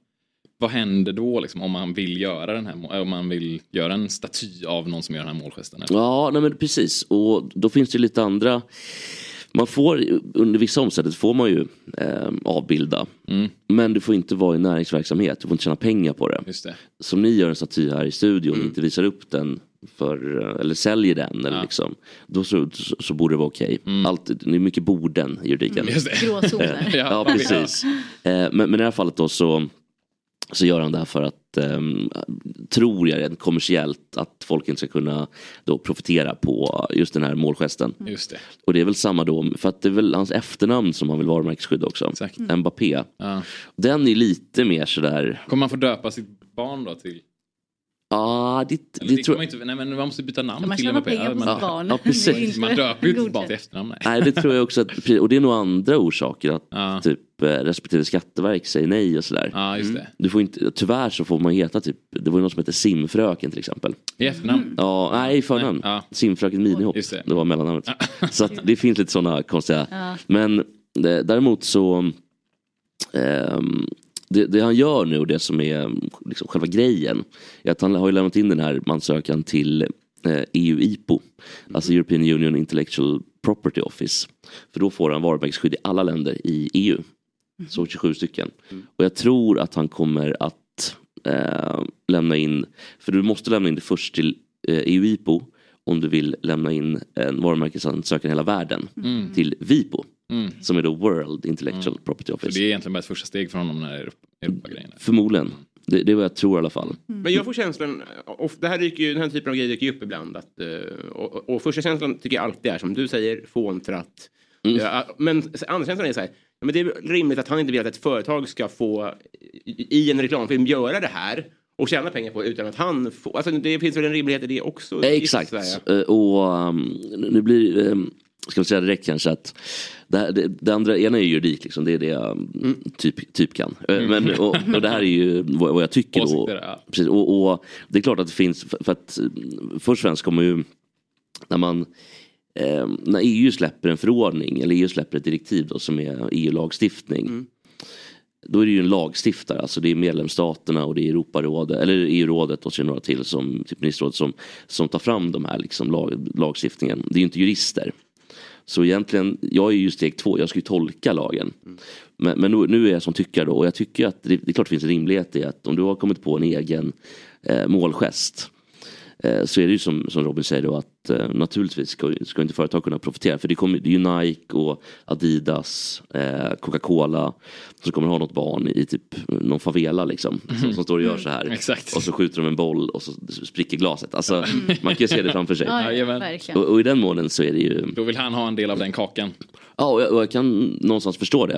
A: Vad händer då liksom om man vill göra den här, må- om man vill göra en staty av någon som gör den här målgesten? eller?
K: Ja, nej men precis. Och då finns det ju lite andra... Man får, under vissa omständigheter får man ju eh, avbilda.
A: Mm.
K: Men du får inte vara i näringsverksamhet, du får inte tjäna pengar på det.
A: Just det. Mm.
K: Som ni gör en staty här i studion och inte visar upp den för, eh, eller säljer den. Eller liksom, då så, så, så borde det vara okej. Allt, det är mycket borden i juridiken.
A: Mm, just det. Gråzoner.
K: ja,
A: Ja.
K: precis. Eh, Men, men i det här fallet då så, så gör han det här för att, ehm, tror jag rent kommersiellt, att folk inte ska kunna då profitera på just den här målgesten.
A: Mm. Just det.
K: Och det är väl samma då, för att det är väl hans efternamn som han vill varumärkesskydda också.
A: Mm.
K: Mbappé.
A: Ja.
K: Den är lite mer sådär,
A: Kommer man få döpa sitt barn då till?
K: ah, det,
A: Eller
K: det
A: det
K: tror
A: kommer inte, nej men man måste byta namn
D: Ja, man
A: till
D: tjänar
A: Mbappé.
D: pengar på
A: man,
D: sitt barn.
K: Ja, precis. Det är inte
A: man döper ju inte sitt
D: godkänt.
A: barn till efternamn. nej.
K: Nej, det tror jag också. Att, och det är nog andra orsaker. Att typ eh, respektive skatteverk säger nej och sådär. Mm.
A: Ja, just det.
K: Du får inte, tyvärr så får man heta typ, det var ju någon som hette Simfröken till exempel.
A: I efternamn?
K: Mm. Ja, nej i förnamn. Simfröken Minihopp, det. var mellannamnet. så att det finns lite sådana konstiga.
A: Ja.
K: Men eh, däremot så, ehm, det, det han gör nu och det som är liksom, själva grejen är att han har ju lämnat in den här ansökan till eh, EU-IPO, alltså European Union Intellectual Property Office. För då får han varumärkesskydd i alla länder i EU. Så 27 stycken. Och jag tror att han kommer att eh, lämna in, för du måste lämna in det först till eh, EU-IPO om du vill lämna in en varumärkesansökan i hela världen
A: Mm.
K: till VIPO.
A: Mm.
K: Som är då World Intellectual
A: Mm.
K: Property
A: Så
K: Office.
A: det är egentligen bara ett första steg från honom när Europa-grejen.
K: Förmodligen. Det, det är vad jag tror i alla fall.
E: Men jag får känslan, och det här dyker ju, den här typen av grejer dyker ju upp ibland. Att, eh, och, och första känslan tycker jag alltid är som du säger, fåntrat.
K: Mm.
E: Ja, eh, men andra känslan är så här, ja, men det är väl rimligt att han inte vill att ett företag ska få i i en reklamfilm göra det här och tjäna pengar på det utan att han får, alltså det finns väl en rimlighet i det också.
K: Eh, Exakt.
E: gissar jag.
K: Eh, Och um, nu blir um, ska vi säga direkt kanske att det, här, det, det andra, ena är ju juridik liksom, det är det jag um, typ, typ kan. Eh,
A: Mm.
K: Men, och, och det här är ju vad, vad jag tycker. och,
A: Åsikter, ja.
K: precis, och, och det är klart att det finns, för, för att eh, först och främst kommer ju när man eh, när EU släpper en förordning eller EU släpper ett direktiv då, som är E EU-lagstiftning.
A: Mm.
K: Då är det ju en lagstiftare, alltså det är medlemsstaterna och det är Europarådet eller EU-rådet och så är det några till som typ ministerrådet som, som tar fram de här liksom, lag, lagstiftningen. Det är ju inte jurister. Så egentligen, jag är ju steg två, jag ska ju tolka lagen. Men, men nu, nu är jag som tycker då och jag tycker att det, det är klart det finns en rimlighet i att om du har kommit på en egen eh, målgest eh, så är det ju som, som Robin säger då att eh, naturligtvis ska, ska inte företag kunna profitera för det, kommer, det är ju Nike och Adidas, eh, Coca-Cola som kommer ha något barn i typ någon favela liksom som,
A: Mm.
K: som står och gör så här och så skjuter de en boll och så spricker glaset. Alltså man kan ju se det framför sig.
A: Ja, jajamän. verkligen.
K: och, och i den månen så är det ju
A: Då vill han ha en del av den kakan.
K: Ja, och jag, och jag kan någonstans förstå det.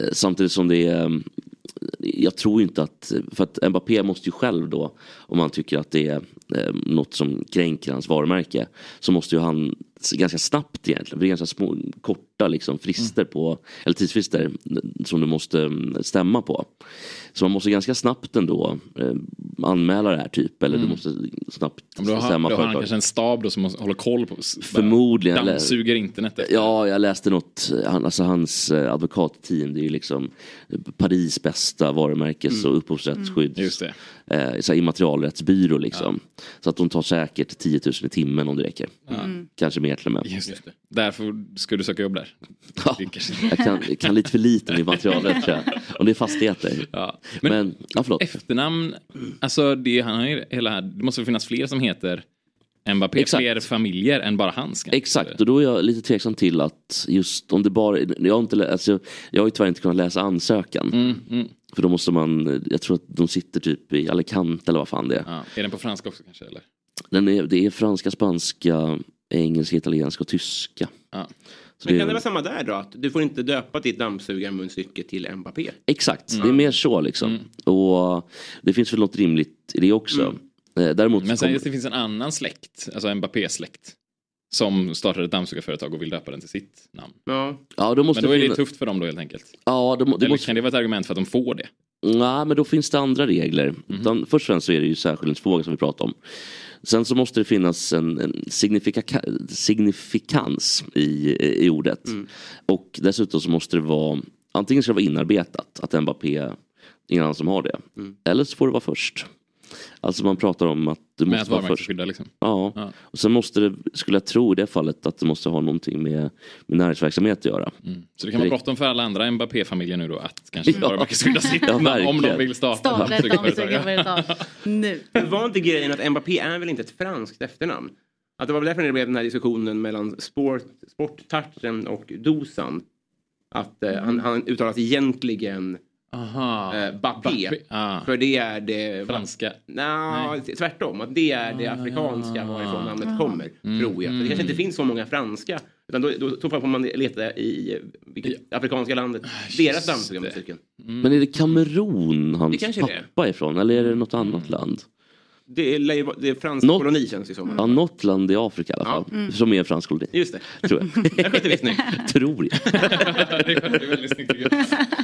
K: Eh, Samtidigt som det är... eh, Jag tror inte att... För att Mbappé måste ju själv då, om han tycker att det är eh, något som kränker hans varumärke, så måste ju han s- ganska snabbt egentligen, för det är ganska små, korta liksom frister på, eller tidsfrister eh, som du måste mm, stämma på. Så man måste ganska snabbt ändå eh, anmäla det här typ, eller du
A: Mm.
K: måste snabbt
A: Om du har,
K: stämma
A: då har han
K: företaget.
A: kanske en stab då som håller koll på.
K: Förmodligen. eller-
A: Dammsuger internet. efter.
K: Ja, jag läste något, han, alltså hans eh, advokatteam, det är ju liksom Paris bästa varumärkes
A: Mm.
K: och upphovsrättsskydd.
A: Mm. Just det.
K: Eh, så här immaterialrättsbyrå liksom. Så att de tar säkert 10 000 i timmen om det räcker.
A: Mm.
K: Kanske mer till och med.
A: Just det. Därför ska du söka jobb där. Det kanske-
K: Jag kan, jag kan lite för lite om immaterialrätt tror jag. Om det är fastigheter. Men, ja, förlåt.
A: Efternamn, alltså det, han har ju hela, det måste finnas fler som heter Mbappé,
K: Exakt.
A: fler familjer än bara hans. kanske.
K: Exakt, och då är jag lite tveksam till att just om det bara, jag har, inte, lä- alltså, jag har ju tyvärr inte kunnat läsa ansökan.
A: Mm, mm.
K: För då måste man, jag tror att de sitter typ i Alicante eller vad fan det är.
A: Ja. Är den på franska också kanske? Eller?
K: Den är, det är franska, spanska, engelska, italienska och tyska.
A: Ja.
K: Så
E: Men
K: det
E: kan det
K: är,
E: vara samma där då? Att du får inte döpa ditt dammsugarmunstycke till Mbappé?
K: exakt, det är
A: Mm.
K: mer så liksom. Och det finns väl något rimligt i det också. Eh, Däremot
A: Mm. Men
K: så
A: sen
K: kommer-
A: just det finns en annan släkt, alltså Mbappé-släkt, som startade ett dammsugarföretag och vill döpa den till sitt namn.
E: Ja.
K: Ja, då måste
A: Men då är det
K: finnas-
A: tufft för dem då helt enkelt.
K: Ja, det, må- det
A: Eller
K: måste...
A: kan det vara ett argument för att de får det?
K: Nej, men då finns det andra regler.
A: Mhm.
K: Utan, först och främst så är det ju särskiljningsfrågan som vi pratar om. Sen så måste det finnas en, en signifika- signifikans i, i ordet.
A: Mm.
K: Och dessutom så måste det vara, antingen ska det vara inarbetat, att Mbappé är en annan som har det.
A: Mm.
K: Eller så får det vara först. Alltså man pratar om att du
A: Men
K: måste
A: att
K: vara
A: varumärket
K: först.
A: skyddar liksom.
K: Ja.
A: Ja.
K: och sen måste det, skulle jag tro i det fallet, att det måste ha någonting med, med näringsverksamhet att göra.
A: Mm. Så det kan vara
K: Direkt.
A: bråttom för alla andra Mbappé-familjer nu då att kanske
K: Ja.
A: varumärket skyddar sitt
K: Ja,
A: namn om de
K: verkligen.
A: vill starta ett
D: Starta ett
A: dammsugarföretag.
D: dammsugarföretag nu.
E: Men var inte grejen att Mbappé är väl inte ett franskt efternamn? Att det var väl därför det blev den här diskussionen mellan sport, sporttouchen och dosan. Att eh, han, han uttalas egentligen
A: Aha.
E: eh, Bappé.
A: Bappé, ah.
E: För det är det...
A: Franska?
E: Nja, tvärtom. Att det är det afrikanska varifrån namnet
A: Ah.
E: kommer. Tror jag. För det kanske
A: mm.
E: inte finns så många franska. Utan då, då, då får man leta i eh, vilket afrikanska landet.
A: Ah,
E: Deras dammsugarmusiken.
K: Men är det Kamerun hans
E: kanske är Mm. det. Mm.
K: pappa är ifrån? Eller är det något annat land?
E: Det är, lär ju vara- det är fransk
K: Något-
E: koloni känns det som.
K: Ja, något land i Afrika i alla fall.
E: Mm. Ja. Mm.
K: Som är en fransk koloni.
E: Just det.
K: Tror jag.
E: Jag skötte visst nu.
K: Tror jag.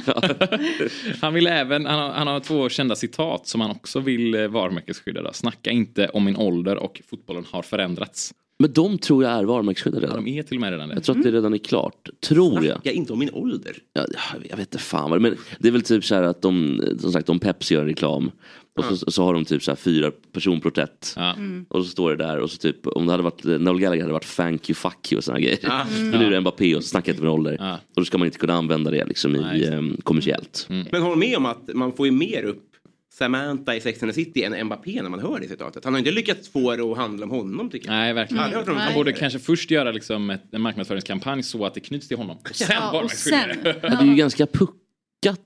A: Han vill även, han har, han har två kända citat som han också vill eh, varumärkesskydda. Då. Snacka inte om min ålder och fotbollen har förändrats.
K: Men de tror jag är varumärkesskyddade redan.
A: De är till och med redan det.
K: Jag tror att
E: Mm.
K: det redan är klart. Tror jag.
E: Snacka inte om min ålder.
K: Ja, jag vet inte fan vad det men det är väl typ så här att de, som sagt om Pepsi gör reklam och så, så har de typ så här fyra personporträtt
A: Mm.
K: och så står det där och så typ om det hade varit Noel Gallagher hade varit thank you fuck you och sådana grejer.
A: Ja. Mm.
K: Men nu är det Mbappé och så snackar jag inte med ålder och då ska man inte kunna använda det liksom i eh, kommersiellt.
E: Men håll med om att man får ju mer upp Samantha i Sex and the City än Mbappé när man hör det citatet. Han har inte lyckats få det att handla om honom tycker jag.
A: Nej, verkligen.
E: Aldrig hört om
A: Han
E: det.
A: borde kanske först göra liksom ett, en marknadsföringskampanj så att det knyts till honom. Och sen
D: Ja, och
A: varumärkesskyddade.
K: Men det är ju ganska puckat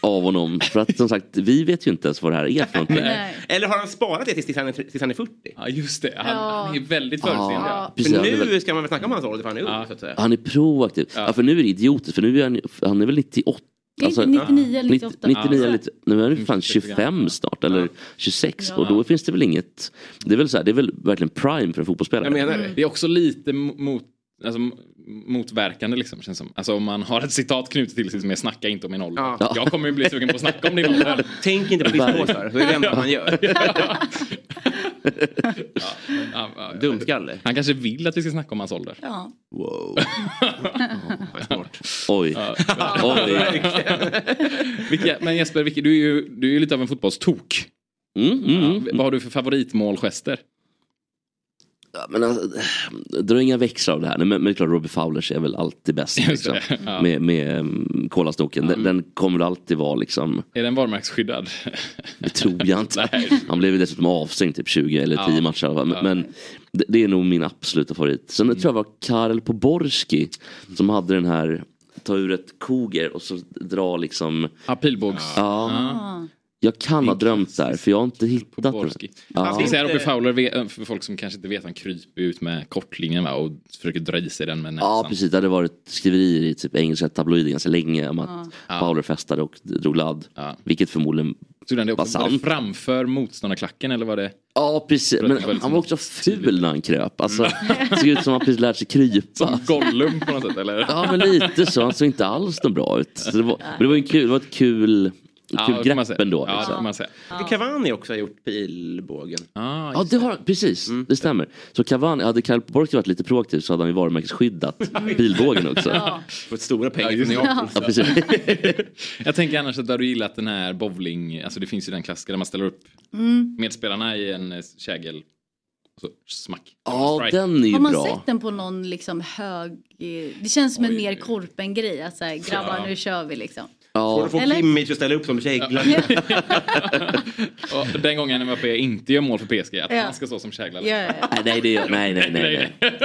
K: av honom för att som sagt vi vet ju inte ens vad det här är för någonting.
D: Nej.
E: Eller har han sparat det tills, tills, han, är, tills han är 40?
A: Ja just det,
D: Han- Ja. han är
A: väldigt
K: Ja. förutseende. Ja. Precis,
E: För
K: han är
E: nu
K: väl-
E: ska man väl snacka om hans ålder för han är ung så att säga.
K: Han är proaktiv. Ja. för nu är det idiotiskt för nu är han, han är väl Alltså, 98.
D: Det är inte 99 eller 98.
K: 99
D: Ja.
K: eller lite, nu är
A: Mm,
K: han fan
A: typ
K: 25 snart eller 26 och då finns det väl inget. Det är väl, så här, det är väl verkligen prime för en fotbollsspelare.
E: Mm.
A: Det är också lite mo- mot, alltså, m- motverkande liksom. Känns som. Alltså om man har ett citat knutet till sig som är snacka inte om min ålder.
E: Ja.
A: Jag kommer ju bli sugen på att snacka om din ålder.
E: Tänk inte på diskpåsar, så är det enda man gör. Dumskalle.
A: Han kanske vill att vi ska snacka om hans ålder.
D: Ja.
K: Wow.
E: Smart.
K: Oj. Oj.
A: Vilka, men Jesper, vilka, du är ju du är ju lite av en fotbollstok.
K: Mm,
A: ja, vad har du för favoritmålgester?
K: Ja, men alltså, dra inga växlar av det här. Men, men det är klart Robbie Fowlers är väl alltid bäst.
A: Just det,
K: Liksom.
A: ja.
K: Med, med um, kolasnoken. Den, den kommer alltid vara liksom.
A: Är den varumärkesskyddad?
K: Det tror jag inte. Han blev ju dessutom avstängd typ 20 eller 10
A: Ja.
K: matcher i alla fall. Men,
A: Ja.
K: men det, det är nog min absoluta favorit. Sen tror jag det var Karel Poborski som hade den här ta ur ett koger och så dra liksom.
A: Apilbågs.
K: Ja. Jag kan ha drömt där för jag har inte hittat den.
A: Ja.
K: Ja.
A: Vi säger Robbie Fowler, ve- för folk som kanske inte vet, han kryper ut med kortlinjen va, och försöker dra i sig den med näsan.
K: Ja precis, det hade varit skriverier i typ engelska tabloider ganska länge om att
A: Ja.
K: Fowler festade och drog ladd. Vilket förmodligen
A: Stod han det
K: var
A: också var det
K: sant.
A: framför motståndarklacken eller var det?
K: Ja precis,
A: För att det var
K: men
A: liksom
K: han var också ful när han kröp. Alltså, det såg ut som att han precis lärt sig krypa.
A: Som Gollum på något sätt eller?
K: Ja men lite så, han såg inte alls så bra ut. Så det var, men det var, en kul, det var ett kul,
E: Ja, det
K: kul
E: får man
K: grepp
E: säga.
K: ändå.
E: Ja,
K: liksom.
E: det får man säga. Ah, Cavani också har gjort pilbågen.
K: Ja, det har, precis,
E: Mm.
K: det stämmer. Så Cavani, hade Karl Borgström varit lite proaktiv så hade han ju varumärkesskyddat bilbågen också.
D: Ja.
E: Fått stora pengar
A: just
E: från
A: det.
E: Neapel.
K: Ja, precis.
A: Jag tänker annars att du hade gillat den här bowling, alltså det finns ju den klassiska där man ställer upp
D: Mm.
A: medspelarna i en eh, kägel och så smack.
K: Ja, den är ju
D: Har man
K: bra.
D: sett den på någon liksom hög... eh, Det känns som en mer korpen-grej. Att så här, grabbar,
E: Ja.
D: nu kör vi liksom.
E: Får du få
D: Eller?
E: image att ställa upp som käglare?
A: Och den gången Mbappé inte gör mål för PSG, att
D: Ja.
A: han ska stå som käglare.
D: Ja, ja, ja.
K: Nej, nej, det är, nej, nej, nej, nej.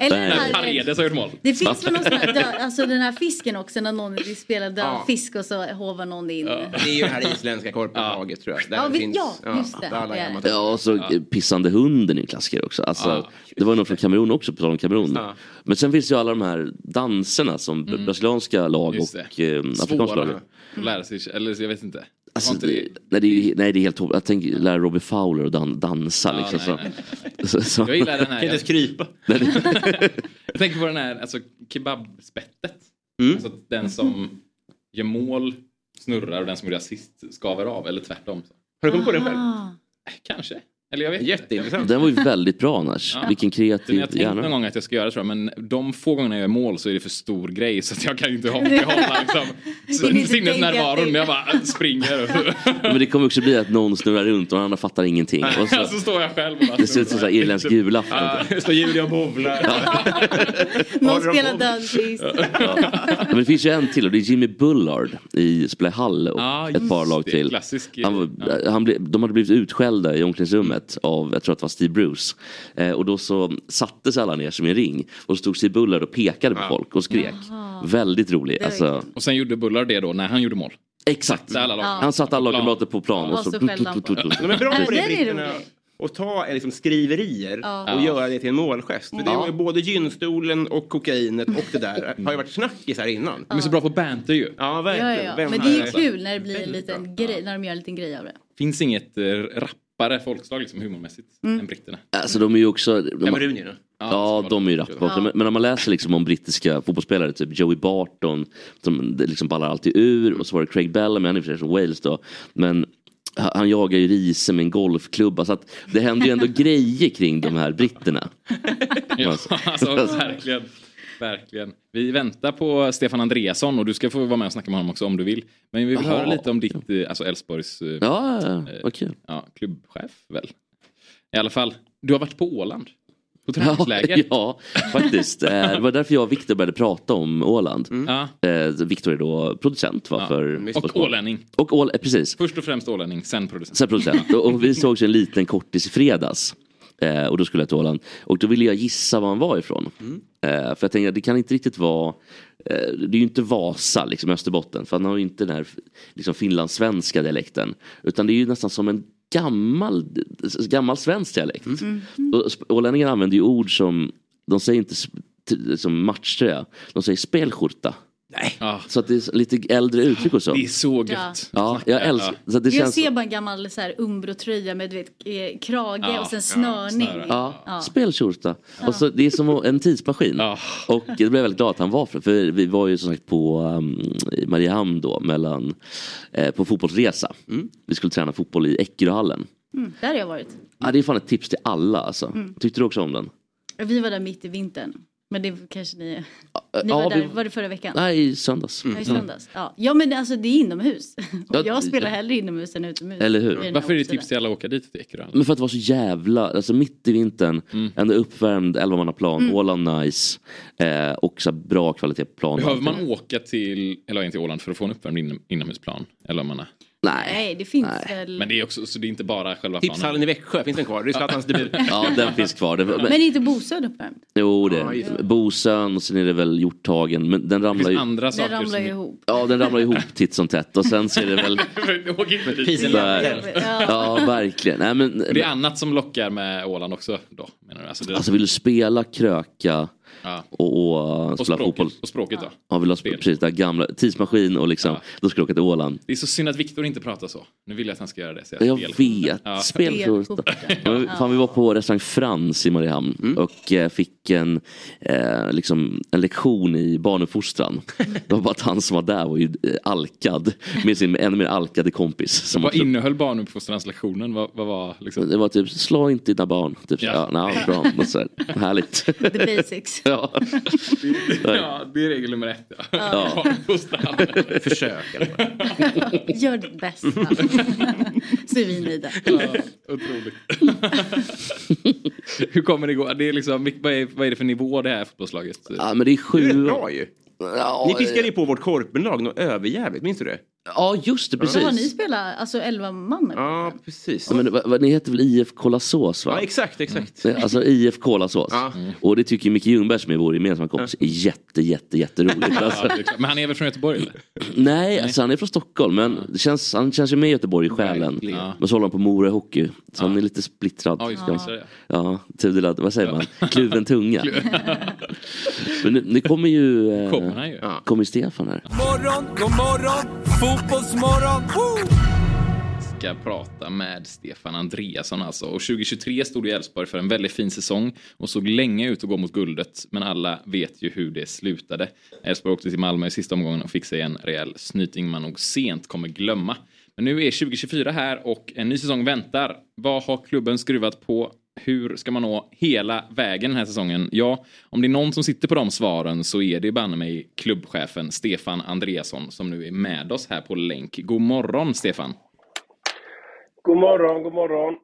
D: Eller den
A: Nej.
D: här,
A: Paredes har gjort mål.
D: det finns väl någon sån här död, alltså den här fisken också när någon vill spela död
E: Ja.
D: fisk och så hovar någon in. Ah. Ja,
E: Det är ju det här isländska korpenlaget tror jag. Där
D: Ja, vi-
E: finns,
D: ja, just det.
E: där alla
D: Det är det.
E: amatörer.
K: Ja, och så eh, pissande hunden är en klassiker också. Alltså,
E: Ja.
K: Det var ju någon från Kamerun också, på tal om Kamerun.
E: Ja. Mm.
K: Men sen finns ju alla de här danserna som br- brasilianska lag
A: Just
K: och eh, afrikanska lag.
A: Svåra att lära sig, eller jag vet inte.
K: Alltså,
A: Har inte
K: det, nej, det är, ju- nej det är helt tomt. Jag tänker lära Robbie Fowler att dan, dansa.
A: Ja,
K: liksom,
A: nej,
K: så.
A: nej,
K: Så, så.
A: Jag gillar den här.
E: Kan inte krypa.
A: Jag tänker på den här alltså, kebabspettet.
K: Mm.
A: Alltså den som gör mål snurrar och den som gjorde assist skaver av eller tvärtom. Ah.
E: Har du kommit på den själv?
A: Kanske. Eller jag vet
E: Jätteintressant.
K: Den var ju väldigt bra annars.
A: Ja.
K: Vilken kreativ
A: Jag har tänkt någon
K: hjärna.
A: gång att jag ska göra det tror jag, men de få gångerna jag gör mål så är det för stor grej så att jag kan inte ha- behålla liksom,
D: Hinner inte
A: sinnesnärvaron.
D: tänka.
A: Jag bara springer och
K: Men det kommer också bli att någon snurrar runt och den andra fattar ingenting. Och
A: så,
K: så,
A: alltså, så står jag själv och bara
K: det ser ut som så här irländsk julafton.
A: Ja, Står Julia och bowlar.
D: Någon spelar död fisk.
K: Ja, Men det finns ju en till och det är Jimmy Bullard i Spelade Hall och
A: Ja,
K: ett par
A: just
K: lag
A: det.
K: till.
A: Klassisk,
K: han, var- han blev, de hade blivit utskällda i omklädningsrummet av, jag tror att det var Steve Bruce. Eh, och då så sattes alla ner som i en ring och så stod sig Bullard och pekade på folk och skrek.
A: Jaha.
K: Väldigt rolig. Alltså,
A: Och sen gjorde Bullar det då när han gjorde mål.
K: Exakt.
A: Där alla lag-
K: Han satte alla lagkamrater på plan och så...
E: De är bra på det
D: Den är
E: britterna.
D: rolig.
E: Och ta eh, liksom, skriverier
D: Ja.
E: och
D: Ja.
E: göra det till en målgest. För det
D: Ja.
E: var ju både gynstolen och kokainet och det där har ju varit snackis här innan.
A: De är så bra på banter ju.
E: Ja,
D: Ja,
E: verkligen.
D: ja, ja.
E: Vem
D: Men det är ju
E: här-
D: kul när det blir en liten grej, när de gör en liten grej av det.
A: Finns inget eh, rappare folkslag liksom humormässigt än britterna.
K: Alltså de är ju också... De,
E: Kamerunierna.
K: Ja, de är ju rappa också.
A: Ja.
K: Men, men när man läser liksom om brittiska fotbollsspelare, typ Joey Barton, som det liksom ballar alltid ur. Och så var det Craig Bellamy, han är i och för sig från Wales då. Men han han jagar ju Riise med en golfklubba. Så att det händer ju ändå grejer kring de här britterna.
A: Ja, alltså, verkligen. Verkligen. Vi väntar på Stefan Andreasson och du ska få vara med och snacka med honom också om du vill. Men vi vill
K: Jaha.
A: höra lite om ditt, eh, alltså Elfsborgs... eh,
K: Ja, ja, ja.
A: eh,
K: vad kul.
A: Ja, klubbchef väl. I alla fall, du har varit på Åland. På träningsläger.
K: Ja, faktiskt. Eh, Det var därför jag och Viktor började prata om Åland.
A: Ja.
K: Eh, Viktor är då producent va,
A: Mm. Ja,
K: för
A: Och ålänning.
K: Och ål, eh, precis.
A: Först och främst ålänning, sen producent.
K: Sen producent. Och, och vi såg en liten kortis i fredags. Eh, och då skulle jag till Åland. Och då ville jag gissa var han var ifrån. Eh, för jag tänkte att det kan inte riktigt vara... Eh, det är ju inte Vasa, liksom Österbotten. För han har ju inte den här liksom, finlandssvenska dialekten. Utan det är ju nästan som en gammal, gammal svensk dialekt.
A: Mm.
K: Och sp- Ålänningar använder ju ord som... De säger inte sp- t- som matchtröja. De säger spelskjorta.
A: Ja.
K: Så att det är lite äldre uttryck och så.
A: Det är så
D: gött.
K: Ja, jag älskar så att det.
D: jag
K: Känns...
D: ser bara en gammal så här umbrotröja med du vet, eh, krage
K: Ja,
D: och
K: ja,
D: sen snörning.
K: Ja,
D: Ja.
K: spelskjorta.
D: Ja.
K: Och så, det är som en tidsmaskin. Och det blev jag väldigt glad att han var för, för vi var ju som sagt på um, i Mariehamn då mellan, eh, på fotbollsresa. Vi skulle träna fotboll i Eckeröhallen.
D: Mm, där har jag varit.
K: Ja, det är fan ett tips till alla alltså.
D: Mm.
K: Tyckte du också om den?
D: Vi var där mitt i vintern. Men det kanske ni... Ni
K: Äh, ja,
D: var där,
K: vi-
D: var det förra veckan?
K: Nej, i söndags. Mm.
D: Ja, i söndags. Ja. ja men alltså det är inomhus.
K: Ja,
D: Och jag spelar
K: ja.
D: hellre inomhus än utomhus.
K: Eller
D: i den här
K: hur?
D: årstiden.
A: till alla att åka dit till Ekerö?
K: Men för att det var så jävla, alltså mitt i vintern, ändå uppvärmd 11-mannaplan,
A: Mm.
K: Åland nice eh, och så här bra kvalitet på planen.
A: Behöver man åka till, eller in till Åland för att få en uppvärmd inom, inomhusplan? Eller om man är...
D: Nej, det finns väl...
A: Men det är också, så det är inte bara själva
E: Tipshallen i Växjö, finns den kvar? Det är Zlatans debut.
K: Ja, den finns kvar. Det,
D: Men, inte Bosön uppvärmd.
K: Jo, det
D: Ja, just det.
K: Bosön och sen är det väl Hjorthagen. Men den ramlar ju...
D: Den ramlar ju ihop.
K: Ja, den ramlar ihop titt som tätt. Och sen så är det väl...
A: Åk inte dit.
K: Nej. Ja, verkligen. Nej, men,
A: Och Det är annat som lockar med Åland också då? Menar du? Alltså, det,
K: alltså vill du spela, kröka
A: Ja.
K: och, och,
A: och,
K: spela fotboll?
A: språket, och språket då?
K: Ja, vill du ha sp- precis det där gamla, tidsmaskin och liksom, då ska du åka till Åland.
A: Det är så synd att Viktor inte pratar så. Nu vill jag att han ska göra det. Så
K: Jag
A: fel.
K: vet,
A: Ja.
K: spelskjorta. Men vi- Fan, vi var på restaurang Frans i Mariehamn och eh, fick en, eh, liksom, en lektion i barnuppfostran. Det var bara att han som var där var ju eh, alkad med sin ännu mer alkade kompis. Som
A: Vad
K: också-
A: innehöll barnuppfostranslektionen? Vad, vad var liksom...
K: det var typ, slå inte dina barn. Typ,
A: Ja.
K: ja. Ja, nej, bra. Men så här, härligt.
D: The basics.
K: Ja.
A: ja, det är regel nummer ett. Ja.
K: Ja.
A: Barnuppfostran.
E: Försök.
D: Gör ditt bästa. Så är vi nöjda.
A: Ja, otroligt. Hur kommer det gå? Det är liksom, vilk- vad, är, vad är det för nivå det här fotbollslaget?
K: Ja, men det är sju...
E: Det är bra ju.
K: Ja,
E: Ni fiskade ju på vårt korpenlag något överjävligt, minns du det?
K: Ja, just det.
D: Så har ni spelat alltså 11 man?
E: Ja, precis.
K: Ja, men, vad, vad, ni heter väl IFK Lasås? Va?
E: Ja, exakt, exakt.
K: Det är Alltså IFK Lasås.
E: Ja.
K: Och det tycker Micke Ljungberg som är vår gemensamma kompis är jätte, jätte, jätteroligt. Alltså,
A: Ja, det är klart. Men han är väl från Göteborg eller?
K: nej, alltså han är från Stockholm men det känns, han känns ju med i Göteborg i själen.
A: Verkligen.
K: Men så håller han på Mora Hockey. Så han är lite splittrad.
A: Ja, just det. Så är det.
K: Ja, tudelad, vad säger man? Kluven tunga. men nu, nu kommer ju... Eh,
C: Kommer han ju. Ja.
K: Kommer Stefan här.
C: Morgon, god morgon, fotbollsmorgon. Woo!
A: ska prata med Stefan Andreasson alltså. Och 2023 stod ju Elfsborg för en väldigt fin säsong och såg länge ut att gå mot guldet. Men alla vet ju hur det slutade. Elfsborg åkte till Malmö i sista omgången och fick sig en rejäl snyting man nog sent kommer glömma. Men nu är 2024 här och en ny säsong väntar. Vad har klubben skruvat på? Hur ska man nå hela vägen den här säsongen? Ja, om det är någon som sitter på de svaren så är det banne mig klubbchefen Stefan Andreasson som nu är med oss här på länk. God morgon Stefan!
L: God morgon, god morgon.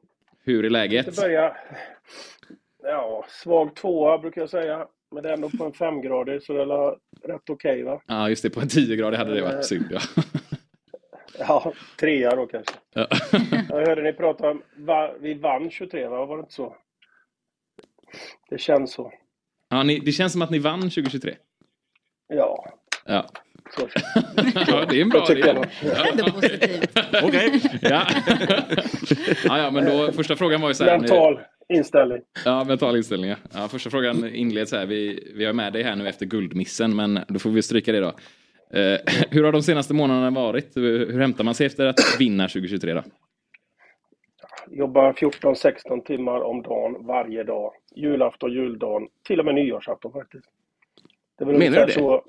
A: Hur är
L: Jag
A: läget?
L: ska börja. Ja, svag tvåa brukar jag säga. Men det är ändå på en femgradig, så det är väl rätt okej va?
A: Ja, just det. På en 10-gradig hade det
L: Eh.
A: varit synd. Ja.
L: Ja, trea då kanske.
A: Ja.
L: Jag hörde ni prata om, va, vi vann 23 va? Var det inte så? Det känns så.
A: Ja, ni, det känns som att ni vann 2023.
L: Ja.
A: Ja.
L: Så.
A: ja, det är en bra
L: Jag tycker
A: idé.
L: jag.
A: Ja.
L: Okej.
A: Ja. ja, ja, men då första frågan var ju så här.
L: Mental inställning.
A: Ja, mental inställning. ja. Ja, första frågan inleds här. Vi, vi har med dig här nu efter guldmissen, men då får vi stryka det då. Eh, hur har de senaste månaderna varit? Hur hur hämtar man sig efter att vinna 2023 då?
L: Jobbar 14-16 timmar om dagen varje dag. Julafton, juldagen, till och med nyårsafton faktiskt. Det är väl
E: Menar du
L: ungefär
E: det?
L: Så...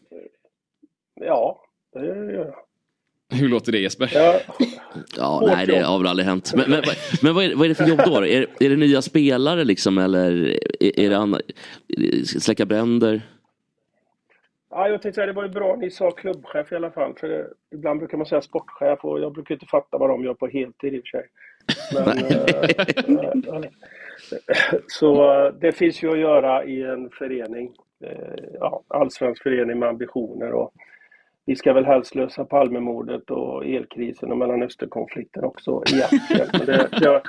L: Ja, det gör jag.
A: Hur låter det Jesper?
K: Ja, nej, det har väl aldrig hänt. Men, men, vad- men vad, är, vad är det för jobb då? då? Är, är det nya spelare liksom eller är, är det annat? Släcka bränder?
L: Ja, jag tänkte säga, det var ju bra ni sa klubbchef i alla fall. För det, ibland brukar man säga sportchef och jag brukar inte fatta vad de gör på heltid i och för sig. Men, eh, eh, så eh, det finns ju att göra i en förening. Eh, ja, allsvensk förening med ambitioner. Och vi ska väl helst lösa Palmemordet och elkrisen och Mellanösternkonflikten också egentligen. Men det, det, har,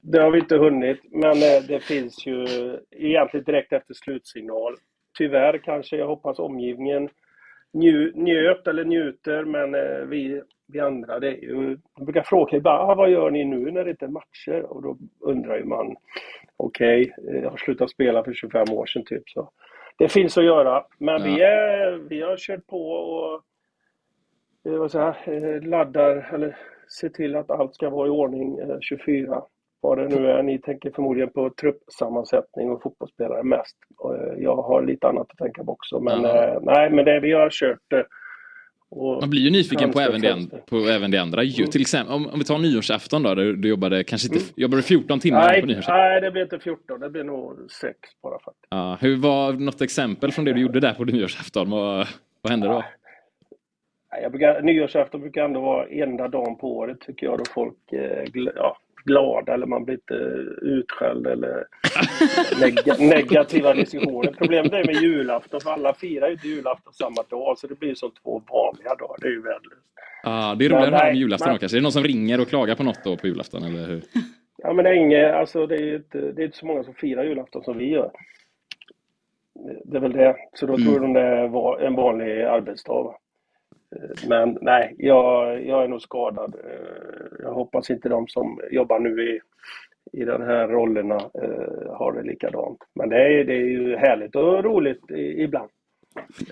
L: det har vi inte hunnit. Men eh, det finns ju egentligen direkt efter slutsignal. Tyvärr kanske, jag hoppas omgivningen nju- njöt eller njuter, men eh, vi, vi andra, det är ju... De brukar fråga ibland, ah, vad gör ni nu när det inte är matcher? Och då undrar ju man, okej, eh, jag har slutat spela för 25 år sedan typ. Så. Det finns att göra, men vi, är, vi har kört på och eh, vad säger, jag, eh, laddar eller ser till att allt ska vara i ordning eh, 24. Vad det nu är. Ni tänker förmodligen på truppsammansättning och fotbollsspelare mest. Och, eh, Jag har lite annat att tänka på också. Men
A: Ja.
L: eh, nej, men det vi har kört. eh, Och
A: Man blir ju nyfiken på
L: Fönster,
A: även, det, an-
L: fönster.
A: på även det andra.
L: Mm.
A: Ju, till exempel, om, om vi tar nyårsafton då, du, du jobbade kanske inte, jobbade du 14 timmar på
L: Nej,
A: nyårsafton.
L: nej, det blir inte 14. Det blir nog 6 bara faktiskt.
A: Ja, hur var något exempel från det du gjorde där på nyårsafton? Vad, vad hände då?
L: Nej, Jag brukar, nyårsafton brukar ändå vara enda dagen på året tycker jag då folk eh, gl- ja, glada eller man blir inte utskälld eller neg- negativa diskussioner. Problemet är med julafton för alla firar ju inte julafton samma dag så det blir ju som två vanliga dagar. Det är ju värdelöst.
A: Ja, det är
L: Nej,
A: roligare att höra om
L: nej,
A: julafton då
L: men-
A: kanske. Är det någon som ringer och klagar på något då på julafton? Eller hur?
L: Ja men det är, inget, alltså, det är ju inte, det är inte så många som firar julafton som vi gör. Det är väl det. Så då tror de det var en vanlig arbetsdag. va? Eh, Men nej, jag, jag är nog skadad. Eh, Jag hoppas inte de som jobbar nu i, i den här rollerna eh, har det likadant. Men det är, det är ju härligt och roligt i, ibland.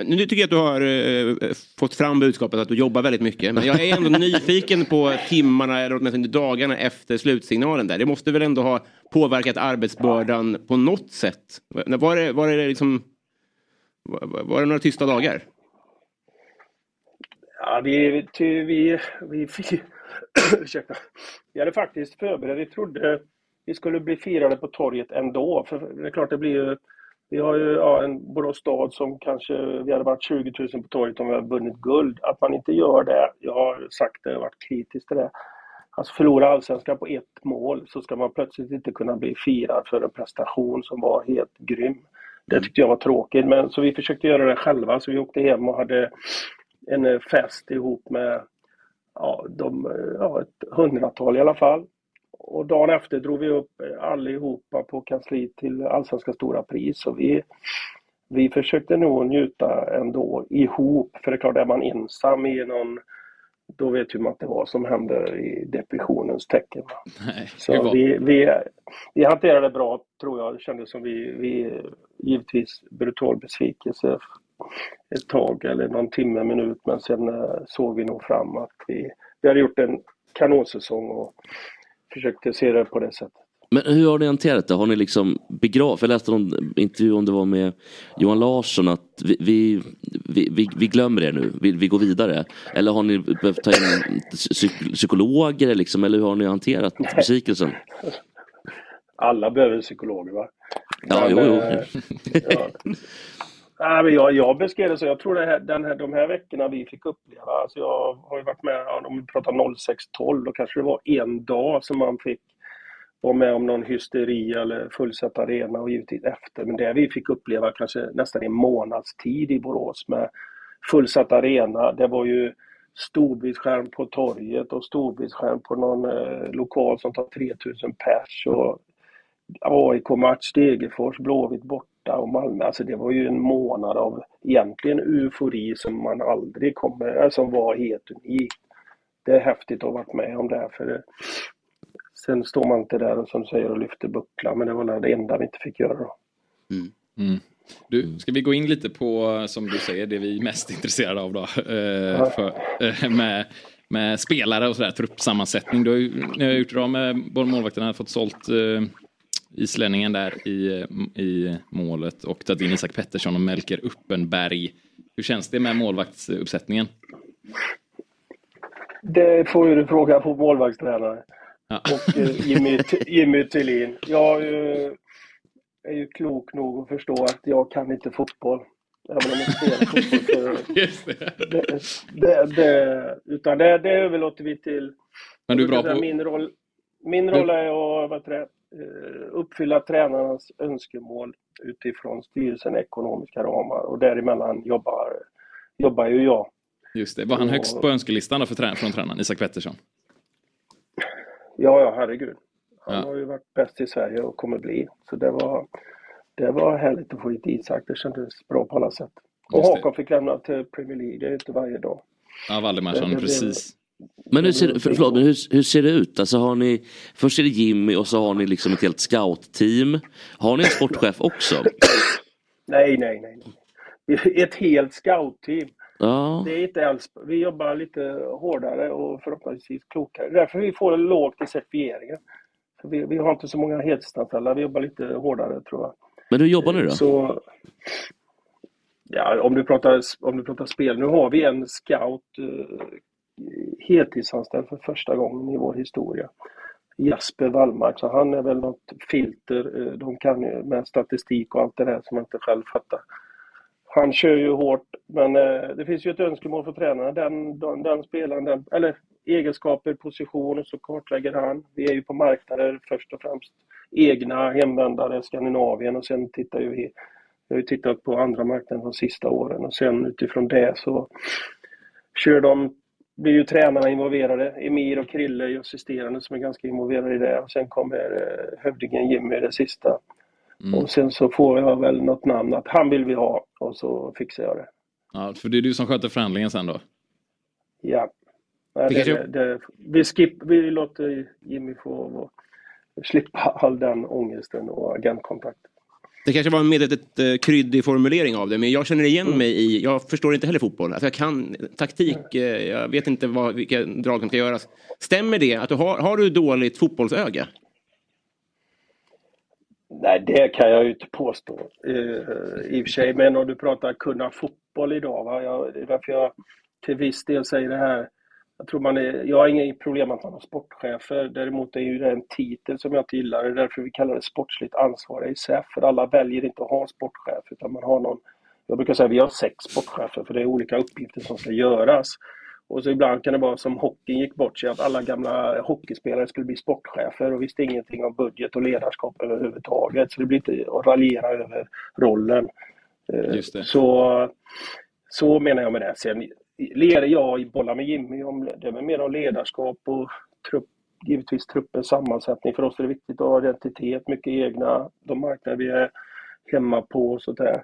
E: Nu tycker jag att du har eh, fått fram budskapet att du jobbar väldigt mycket. Men jag är ändå nyfiken på timmarna eller åtminstone dagarna efter slutsignalen där. Det måste väl ändå ha påverkat arbetsbördan på något sätt? Var det, var det, liksom, var, var det några tysta dagar?
L: Ja, vi, ty, vi, vi, fick, ursäkta. vi hade faktiskt förberett, vi trodde vi skulle bli firade på torget ändå. För det är klart, det blir ju, vi har ju ja, en Borås stad som kanske, vi hade varit 20 000 på torget om vi hade vunnit guld. Att man inte gör det, jag har sagt det, jag har varit kritisk till det. Alltså förlora allsvenskan på ett mål så ska man plötsligt inte kunna bli firad för en prestation som var helt grym. Det tyckte jag var tråkigt, men så vi försökte göra det själva. Så vi åkte hem och hade en eh, fest ihop med ja, de, eh, ja, ett hundratal i alla fall. Och dagen efter drog vi upp eh, allihopa på kansliet till Allsvenska stora pris. Så vi, vi försökte nog njuta ändå ihop. För det är klart, är man ensam i någon, då vet ju man inte vad som händer i depressionens tecken. va.
A: Nej, hur
L: Så
A: var-
L: vi, vi, vi hanterade det bra, tror jag. Det kändes som vi, vi givetvis brutal besvikelse ett tag eller någon timme, minut, men sen eh, såg vi nog fram att vi, vi hade gjort en kanonsäsong och försökte se det på det sättet.
K: Men hur har ni hanterat det? Har ni liksom begravt? Jag läste någon intervju om det var med Johan Larsson att vi, vi, vi, vi, vi glömmer det nu, vi, vi går vidare. Eller har ni behövt ta in psyk- psykologer liksom, eller hur har ni hanterat besvikelsen?
L: Alla behöver psykologer, va?
K: Ja,
L: Men,
K: jo, jo.
L: eh, ja. Nej, men jag, jag beskrev det så. Jag tror det här, den här, de här veckorna vi fick uppleva, alltså jag har ju varit med, ja, om vi pratar 06.12, då kanske det var en dag som man fick vara med om någon hysteri eller fullsatt arena och givetvis efter. Men det vi fick uppleva kanske nästan en månads tid i Borås med fullsatt arena, det var ju storbildsskärm på torget och storbildsskärm på någon eh, lokal som tar 3000 pers. Och AIK-match, Degerfors, Blåvitt borta och Malmö. Alltså det var ju en månad av egentligen eufori som man aldrig kommer, eh, som var helt unik. Det är häftigt att ha varit med om det här. För det, sen står man inte där och som du säger och lyfter bucklan, men det var det enda vi inte fick göra då.
A: Mm. Du, ska vi gå in lite på, eh, som du säger, det vi är mest intresserade av då? Eh, för, eh, med, med spelare och sådär, truppsammansättning. Du har ju, ni har gjort det bra med båda målvakterna, fått sålt eh, islänningen där i, i målet och tagit in Isak Pettersson och Melker Uppenberg. Hur känns det med målvaktsuppsättningen?
L: Det får ju du fråga på målvaktstränare.
A: Ja.
L: Och eh, Jimmy, Jimmy Thulin. Jag eh, är ju klok nog att förstå att jag kan inte fotboll. Även om jag spelar fotboll. så- det, det, det, utan det, det överlåter vi till...
A: Men du är bra
L: Jag brukar
A: på-
L: säga Min roll, min
A: Du-
L: roll är att vad trä, eh, uppfylla tränarnas önskemål utifrån styrelsen ekonomiska ramar och däremellan jobbar, jobbar ju jag.
A: Just det. Var han
L: Och-
A: högst på önskelistan då för trä- från tränaren, Isak Pettersson?
L: Ja, ja, herregud. Han
A: Ja.
L: har ju varit bäst i Sverige och kommer bli. Så det var, det var härligt att få hit Isak. Det kändes bra på alla sätt. Och
A: Just det.
L: Håkan fick lämna till Premier League. Det är inte varje dag.
A: Ja, Valdemarsson,
L: Det- det-
A: precis.
K: Men hur ser, för, förlåt, men hur, hur ser det ut? Alltså har ni, först är det Jimmy och så har ni liksom ett helt scoutteam. Har ni en sportchef också?
L: Nej, nej, nej. nej. Vi är Ett helt scoutteam.
K: Ja.
L: Det är inte alls, vi jobbar lite hårdare och förhoppningsvis klokare. Därför vi får en låg till certifieringen. För Vi, vi har inte så många heltidsanställda. Vi jobbar lite hårdare tror jag.
K: Men hur jobbar ni då?
L: Så, ja, om, du pratar, om du pratar spel, nu har vi en scout eh, heltidsanställd för första gången i vår historia. Jasper Wallmark, så han är väl något filter. eh, De kan ju med statistik och allt det där som jag inte själv fattar. Han kör ju hårt, men eh, det finns ju ett önskemål för tränaren. Den, den, den spelaren, den, eller egenskaper, positioner, så kartlägger han. Vi är ju på marknader först och främst egna hemvändare, Skandinavien och sen tittar ju vi jag har ju tittat på andra marknaden de sista åren och sen utifrån det så kör de, blir ju tränarna involverade. Emir och Krille är ju assisterande som är ganska involverade i det och sen kommer eh, hövdingen Jimmy det sista. Och sen så får jag väl något namn att han vill vi ha och så fixar jag det.
A: Ja, för det är du som sköter förhandlingen sen då?
L: Ja. Nej,
A: Det
L: det,
A: kanske-
L: det, vi, skip, vi låter Jimmy få slippa all den ångesten och agentkontakt.
E: Det kanske var en medvetet eh, kryddig formulering av det, men jag känner igen mig i... Jag förstår inte heller fotboll. Alltså jag kan taktik, eh, jag vet inte vad, vilka drag som ska göras. Stämmer det? Att du har, har du dåligt fotbollsöga?
L: Nej, det kan jag ju inte påstå eh, i och för sig. Men om du pratar kunna fotboll idag, va? Jag, det är därför jag till viss del säger det här. Jag, tror man är, jag har inga problem att man har sportchefer, däremot är ju det en titel som jag inte gillar. Det är därför vi kallar det sportsligt ansvariga i SEF, för alla väljer inte att ha en sportchef, utan man har någon... Jag brukar säga att vi har sex sportchefer, för det är olika uppgifter som ska göras. Och så ibland kan det vara som hockeyn gick bort sig, att alla gamla hockeyspelare skulle bli sportchefer och visste ingenting om budget och ledarskap överhuvudtaget. Så det blir inte att raljera över rollen. Eh,
A: Just det.
L: Så, så menar jag med det. Sen leder jag i bollar med Jimmy om det är mer om ledarskap och trupp, givetvis truppens sammansättning. För oss är det viktigt att ha identitet, mycket egna, de marknader vi är hemma på och sånt där.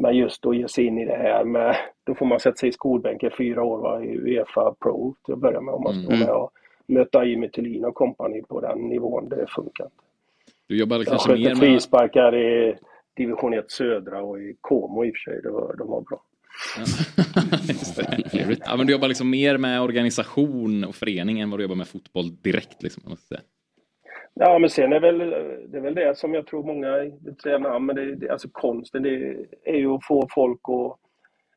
L: Men just att ge sig in i det här med, då får man sätta sig i skolbänken fyra år va, i Uefa Pro till att börja med om man ska
A: Mm.
L: vara med och möta Jimmy Thulin och kompani på den nivån. Det funkar inte.
A: Du jobbar väl
L: Jag
A: kanske mer
L: skötte
A: med...
L: frisparkar i division 1 södra och i Como i och för sig. Det var, de var bra.
A: Just det. Trevligt. Ja, men du jobbar liksom mer med organisation och förening än vad du jobbar med fotboll direkt. Liksom, om man ska säga.
L: Ja, men sen är väl, det är väl det som jag tror många inte säger namn, men det, det, alltså konsten det är ju att få folk att,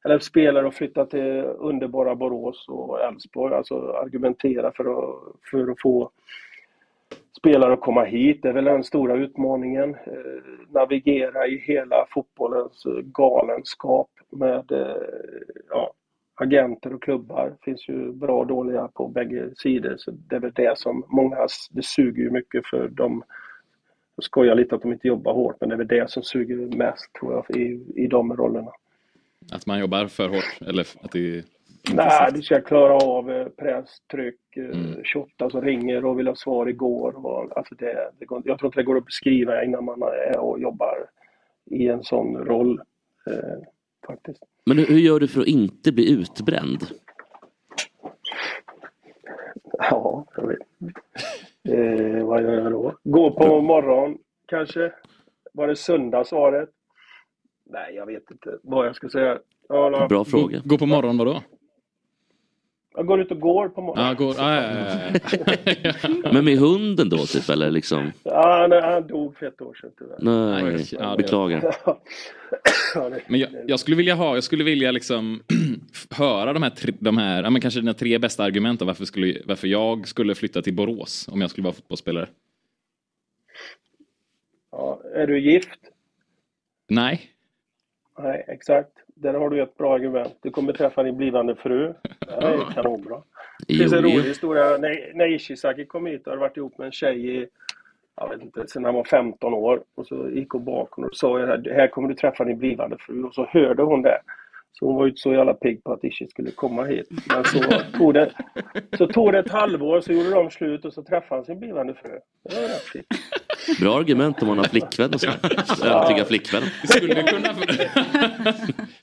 L: eller spelare att flytta till underbara Borås och Elfsborg, alltså argumentera för att, för att få spelare att komma hit. Det är väl den stora utmaningen. Eh, navigera i hela fotbollens eh, galenskap med eh, ja, agenter och klubbar. Det finns ju bra och dåliga på bägge sidor. Så det är väl det som många, det suger ju mycket för de jag skojar lite att de inte jobbar hårt, men det är väl det som suger mest tror jag i, i de rollerna.
A: Att man jobbar för hårt. Eller att det är
L: Nej, du ska klara av eh, press, tryck, eh,
K: Mm.
L: 28 som ringer och vill ha svar igår. Och, alltså det, det går, jag tror inte det går att beskriva innan man är och jobbar i en sån roll. Eh, faktiskt.
K: Men hur, hur gör du för att inte bli utbränd?
L: Ja, jag vet inte. eh, Vad gör jag då? Gå på morgon, kanske? Var det söndag svaret? Nej, jag vet inte vad jag ska säga. Ja, la-
A: Gå, gå på morgon vadå?
L: Jag går ut och går på morgonen.
A: Ja, går, ah, ja, ja, ja.
K: Men med hunden då typ eller liksom?
L: Ja, han, han dog för ett år sedan tyvärr.
K: Nej,
A: Ja, det-
K: beklagar.
L: Ja, det-
A: Men jag, jag skulle vilja ha, jag skulle vilja liksom höra de här, tre, de här ja, men kanske dina tre bästa argument om varför, skulle, varför jag skulle flytta till Borås om jag skulle vara fotbollsspelare.
L: ja, är du gift?
A: Nej.
L: Nej, exakt. Där har du ett bra argument. Du kommer träffa din blivande fru. Det här är kanonbra. Det finns en
K: Jo, jo.
L: rolig historia. När- När Ishizaki kom hit och hade varit ihop med en tjej i, jag vet inte, sen han var 15 år. Och så gick hon bakom och sa här här kommer du träffa din blivande fru. Och så hörde hon det. Så hon var ju inte så jävla pigg på att Ishi skulle komma hit. Men så tog det, så tog det ett halvår, så gjorde de slut och så träffade han sin blivande fru. Det var rätt fint.
K: Bra argument om man har flickvän och sådär. Övertyga flickvännen.
A: Skulle kunna...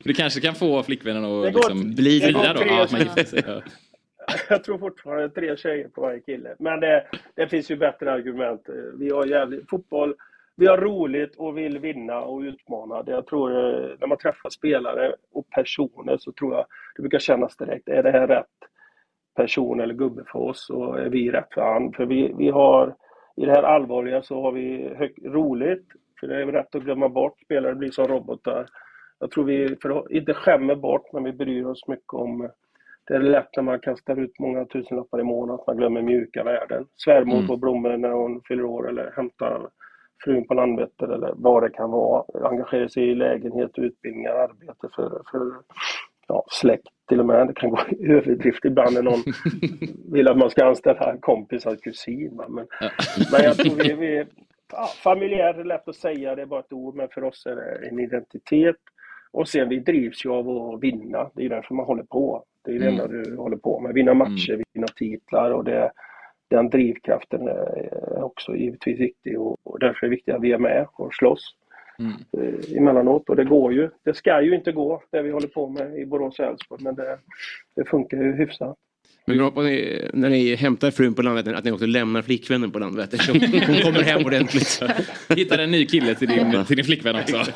A: För du kanske kan få flickvännen
L: Det
A: att
L: går-
A: liksom bli
L: det går
A: fria då.
L: tre
A: Ja, att man
L: år.
A: gifter sig. Ja.
L: Jag tror fortfarande tre tjejer på varje kille. Men det, det finns ju bättre argument. Eh, Vi har jävligt fotboll. Vi har roligt och vill vinna och utmana. Det Jag tror eh, när man träffar spelare och personer så tror jag det brukar kännas direkt. Är det här rätt person eller gubbe för oss och är vi rätt för han? För vi, vi har i det här allvarliga så har vi hög, roligt. För det är väl rätt att glömma bort. Spelare blir som robotar. Jag tror vi, för, inte skämmer bort, men vi bryr oss mycket om eh, det är lätt när man kastar ut många tusenlappar i månaden att man glömmer mjuka värden. Svärmor
M: Mm.
L: får blommor när hon fyller år eller hämtar frun på Landvetter eller vad det kan vara. Engagera sig i lägenhet, utbildningar, arbete för, för ja, släkt till och med. Det kan gå i överdrift ibland när någon vill att man ska anställa en kompis och en kusin. va. Men, men jag tror vi, vi ja, familjär är lätt att säga, det är bara ett ord, men för oss är det en identitet. Och sen vi drivs ju av att vinna, det är ju därför man håller på. Det är det
M: Mm.
L: enda du håller på med, vinna matcher, vinna titlar och det, den drivkraften är också givetvis viktig och, och därför är det viktigt att vi är med och slåss eh, emellanåt. Och det går ju. Det ska ju inte gå, det vi håller på med i Borås och Elfsborg, men det, det funkar ju hyfsat.
E: Men jag hoppas ni, när ni hämtar frun på Landvetter att ni också lämnar flickvännen på Landvetter så hon kommer hem ordentligt.
A: Hittar en ny kille till din, till din flickvän också.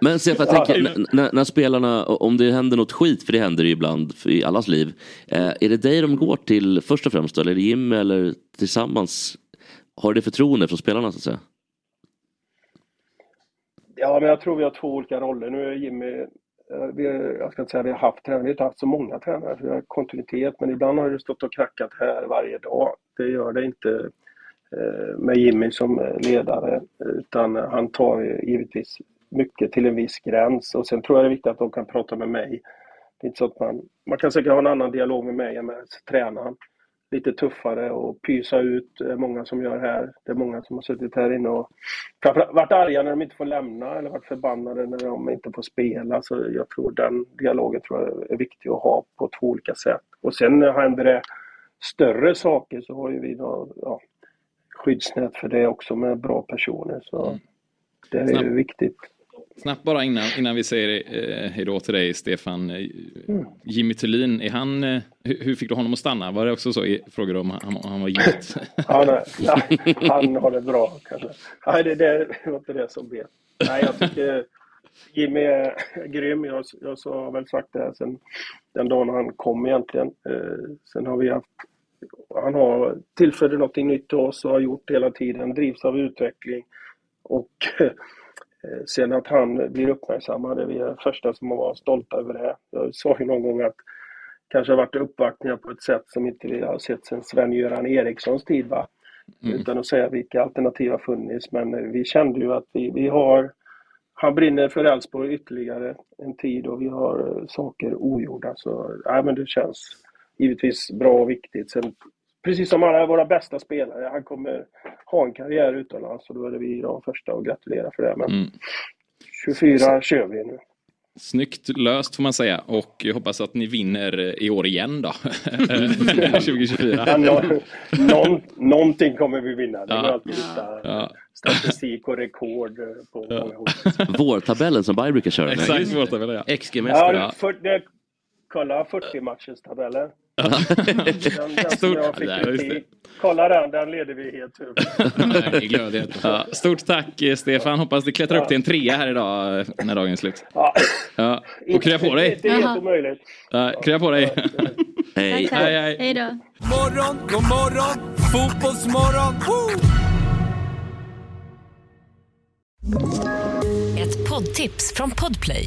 K: Men Stefan, jag tänker, n- när, när spelarna, om det händer något skit, för det händer ju ibland i allas liv. Eh, är det dig de går till först och främst då, eller är det Jimmy eller tillsammans? Har du det förtroende från spelarna så att säga?
L: Ja, men jag tror vi har två olika roller. Nu är Jimmy, eh, vi, jag ska inte säga vi har haft tränare, vi har inte haft så många tränare, för vi har kontinuitet, men ibland har det stått och krackat här varje dag. Det gör det inte eh, med Jimmy som eh, ledare, utan han tar ju givetvis mycket till en viss gräns och sen tror jag det är viktigt att de kan prata med mig. Det är inte så att man, man kan säkert ha en annan dialog med mig än med tränaren. Lite tuffare och pysa ut, Det är många som gör här. Det är många som har suttit här inne och framförallt varit arga när de inte får lämna eller varit förbannade när de inte får spela. Så jag tror den dialogen tror jag är viktig att ha på två olika sätt. Och sen när händer det större saker så har ju vi då, ja, skyddsnät för det också med bra personer. Så det är ju
A: Snabbt.
L: viktigt.
A: Snabbt bara innan, innan vi säger eh, hej då till dig Stefan. Eh, Jimmy Thulin, är han, eh, hur, hur fick du honom att stanna? Var det också så? i- Frågade du om han, om han var gift?
L: Han, är, nej, han har det bra kanske. Nej, det, det var inte det som blev. Nej, jag tycker Jimmy är grym. Jag, jag så har väl sagt det här sen den dagen han kom egentligen. Eh, sen har vi haft han har tillförde någonting nytt till oss och har gjort hela tiden, drivs av utveckling. Och eh, sen att han blir uppmärksammad, det är vi den första som var stolta över det. Jag sa ju någon gång att kanske har varit uppvaktningar på ett sätt som inte vi har sett sedan Sven-Göran Erikssons tid. Va? Utan att säga vilka alternativ har funnits. Men eh, vi kände ju att vi, vi har... Han brinner för Elfsborg ytterligare en tid och vi har eh, saker ogjorda. Så nej, men det känns givetvis bra och viktigt. Sen, precis som alla våra bästa spelare, han kommer ha en karriär utomlands och då är det vi de första att gratulera för det. Men
A: Mm.
L: 24 kör vi nu.
A: Snyggt löst får man säga och jag hoppas att ni vinner eh, i år igen då.
L: Ja,
A: 2024.
L: nå- någon, någonting kommer vi vinna. Det går
A: Ja.
L: alltid lite
A: Ja.
L: statistik och rekord eh, på många olika
K: Vårtabellen som Bayern brukar köra.
A: Exakt, vårtabellen ja.
E: XG
L: Ja, det är för, det, kolla 40 matchers tabellen. Den, den som jag fick
A: Ja, just det.
L: i. Kolla den, den leder vi helt ur.
A: Nej, i glödhet. Ja, stort tack eh, Stefan. Hoppas du klättrar upp till en trea här idag eh, när dagen är slut.
L: Ja.
A: Ja. Och krya på dig.
L: Det är helt omöjligt.
A: Ja, krya på dig.
K: Hej.
A: Hej, hej.
D: Hej då.
C: Morgon, god morgon, fotbollsmorgon. Woo!
J: Ett poddtips från Podplay.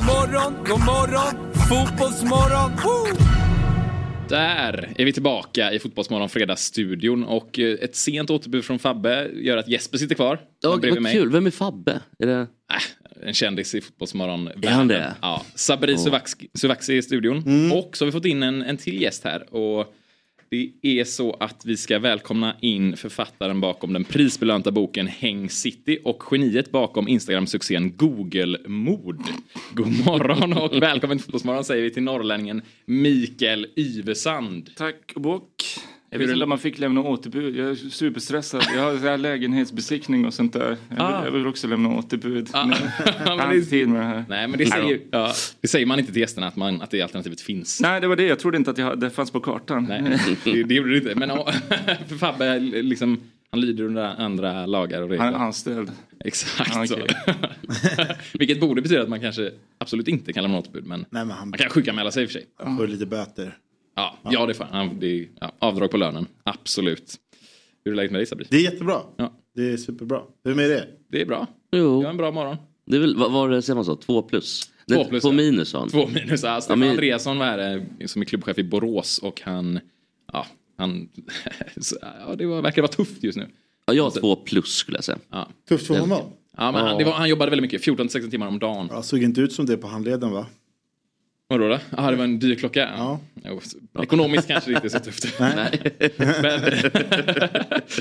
C: Morgon, god morgon, fotbollsmorgon. Woo!
A: Där är vi tillbaka i Fotbollsmorgon Fredagsstudion och eh, ett sent återbud från Fabbe gör att Jesper sitter kvar.
K: Ja,
A: bredvid
K: vad kul, vem är Fabbe? Är det...
A: En kändis i Fotbollsmorgon.
K: Är han det?
A: Ja, Sabri
K: Åh. Mm.
A: Suvakski- Suvakshi i studion. Och så har vi fått in en, en till gäst här. Och det är så att vi ska välkomna in författaren bakom den prisbelönta boken Häng City och geniet bakom Instagram-succén Google-mord. God morgon och välkommen till Fotbollsmorgon säger vi till norrlänningen Mikael Yvesand.
M: Tack och bock. Jag
A: Hur
M: vet
A: är
M: inte
A: det-
M: om man fick lämna återbud. Jag är superstressad. Jag har så här lägenhetsbesiktning och sånt där. Jag vill,
A: Ah.
M: jag vill också lämna återbud. Ah.
A: men
M: Jag har
A: det-
M: inte tid med det här.
A: Nej, men det säger, ja, det säger man inte till gästerna att, man, att det alternativet finns.
M: Nej, det var det. Jag trodde inte att jag, det fanns på kartan.
A: Nej, det, det gjorde du inte. Men ja, för Fabbe, liksom, han lyder under andra lagar och regler.
M: Han är anställd.
A: Exakt så. Vilket borde betyda att man kanske absolut inte kan lämna återbud. Men,
N: men
A: han... man kan sjukanmäla sig i och för sig.
N: Han får lite böter.
A: Ja, ja det får han. Det är, ja, avdrag på lönen. Absolut. Hur är läget med dig Sabri?
N: Det är jättebra.
A: Ja.
N: Det är superbra. Hur är det?
A: Det är bra.
K: Jo.
A: Det var en bra morgon.
K: Det är väl, vad var det, säger man så? Två plus? Nej,
A: Två plus,
K: Två
A: ja.
K: minus sa han.
A: Två minus. Ja, Stefan
K: men-
A: Andreasson var här, eh, som är klubbchef i Borås och han... Ja, han så, ja, det var, verkar vara tufft just nu.
K: Ja, jag har två plus skulle jag säga.
A: Ja.
N: Tufft för honom.
A: Ja, men Han, det var, han jobbade väldigt mycket, 14-16 timmar om dagen.
N: Ja, såg inte ut som det på handleden va?
A: Vadå då? Ah, det var en dyr klocka? Ja. Jo, så- ekonomiskt kanske det inte är så tufft. Nej. Men,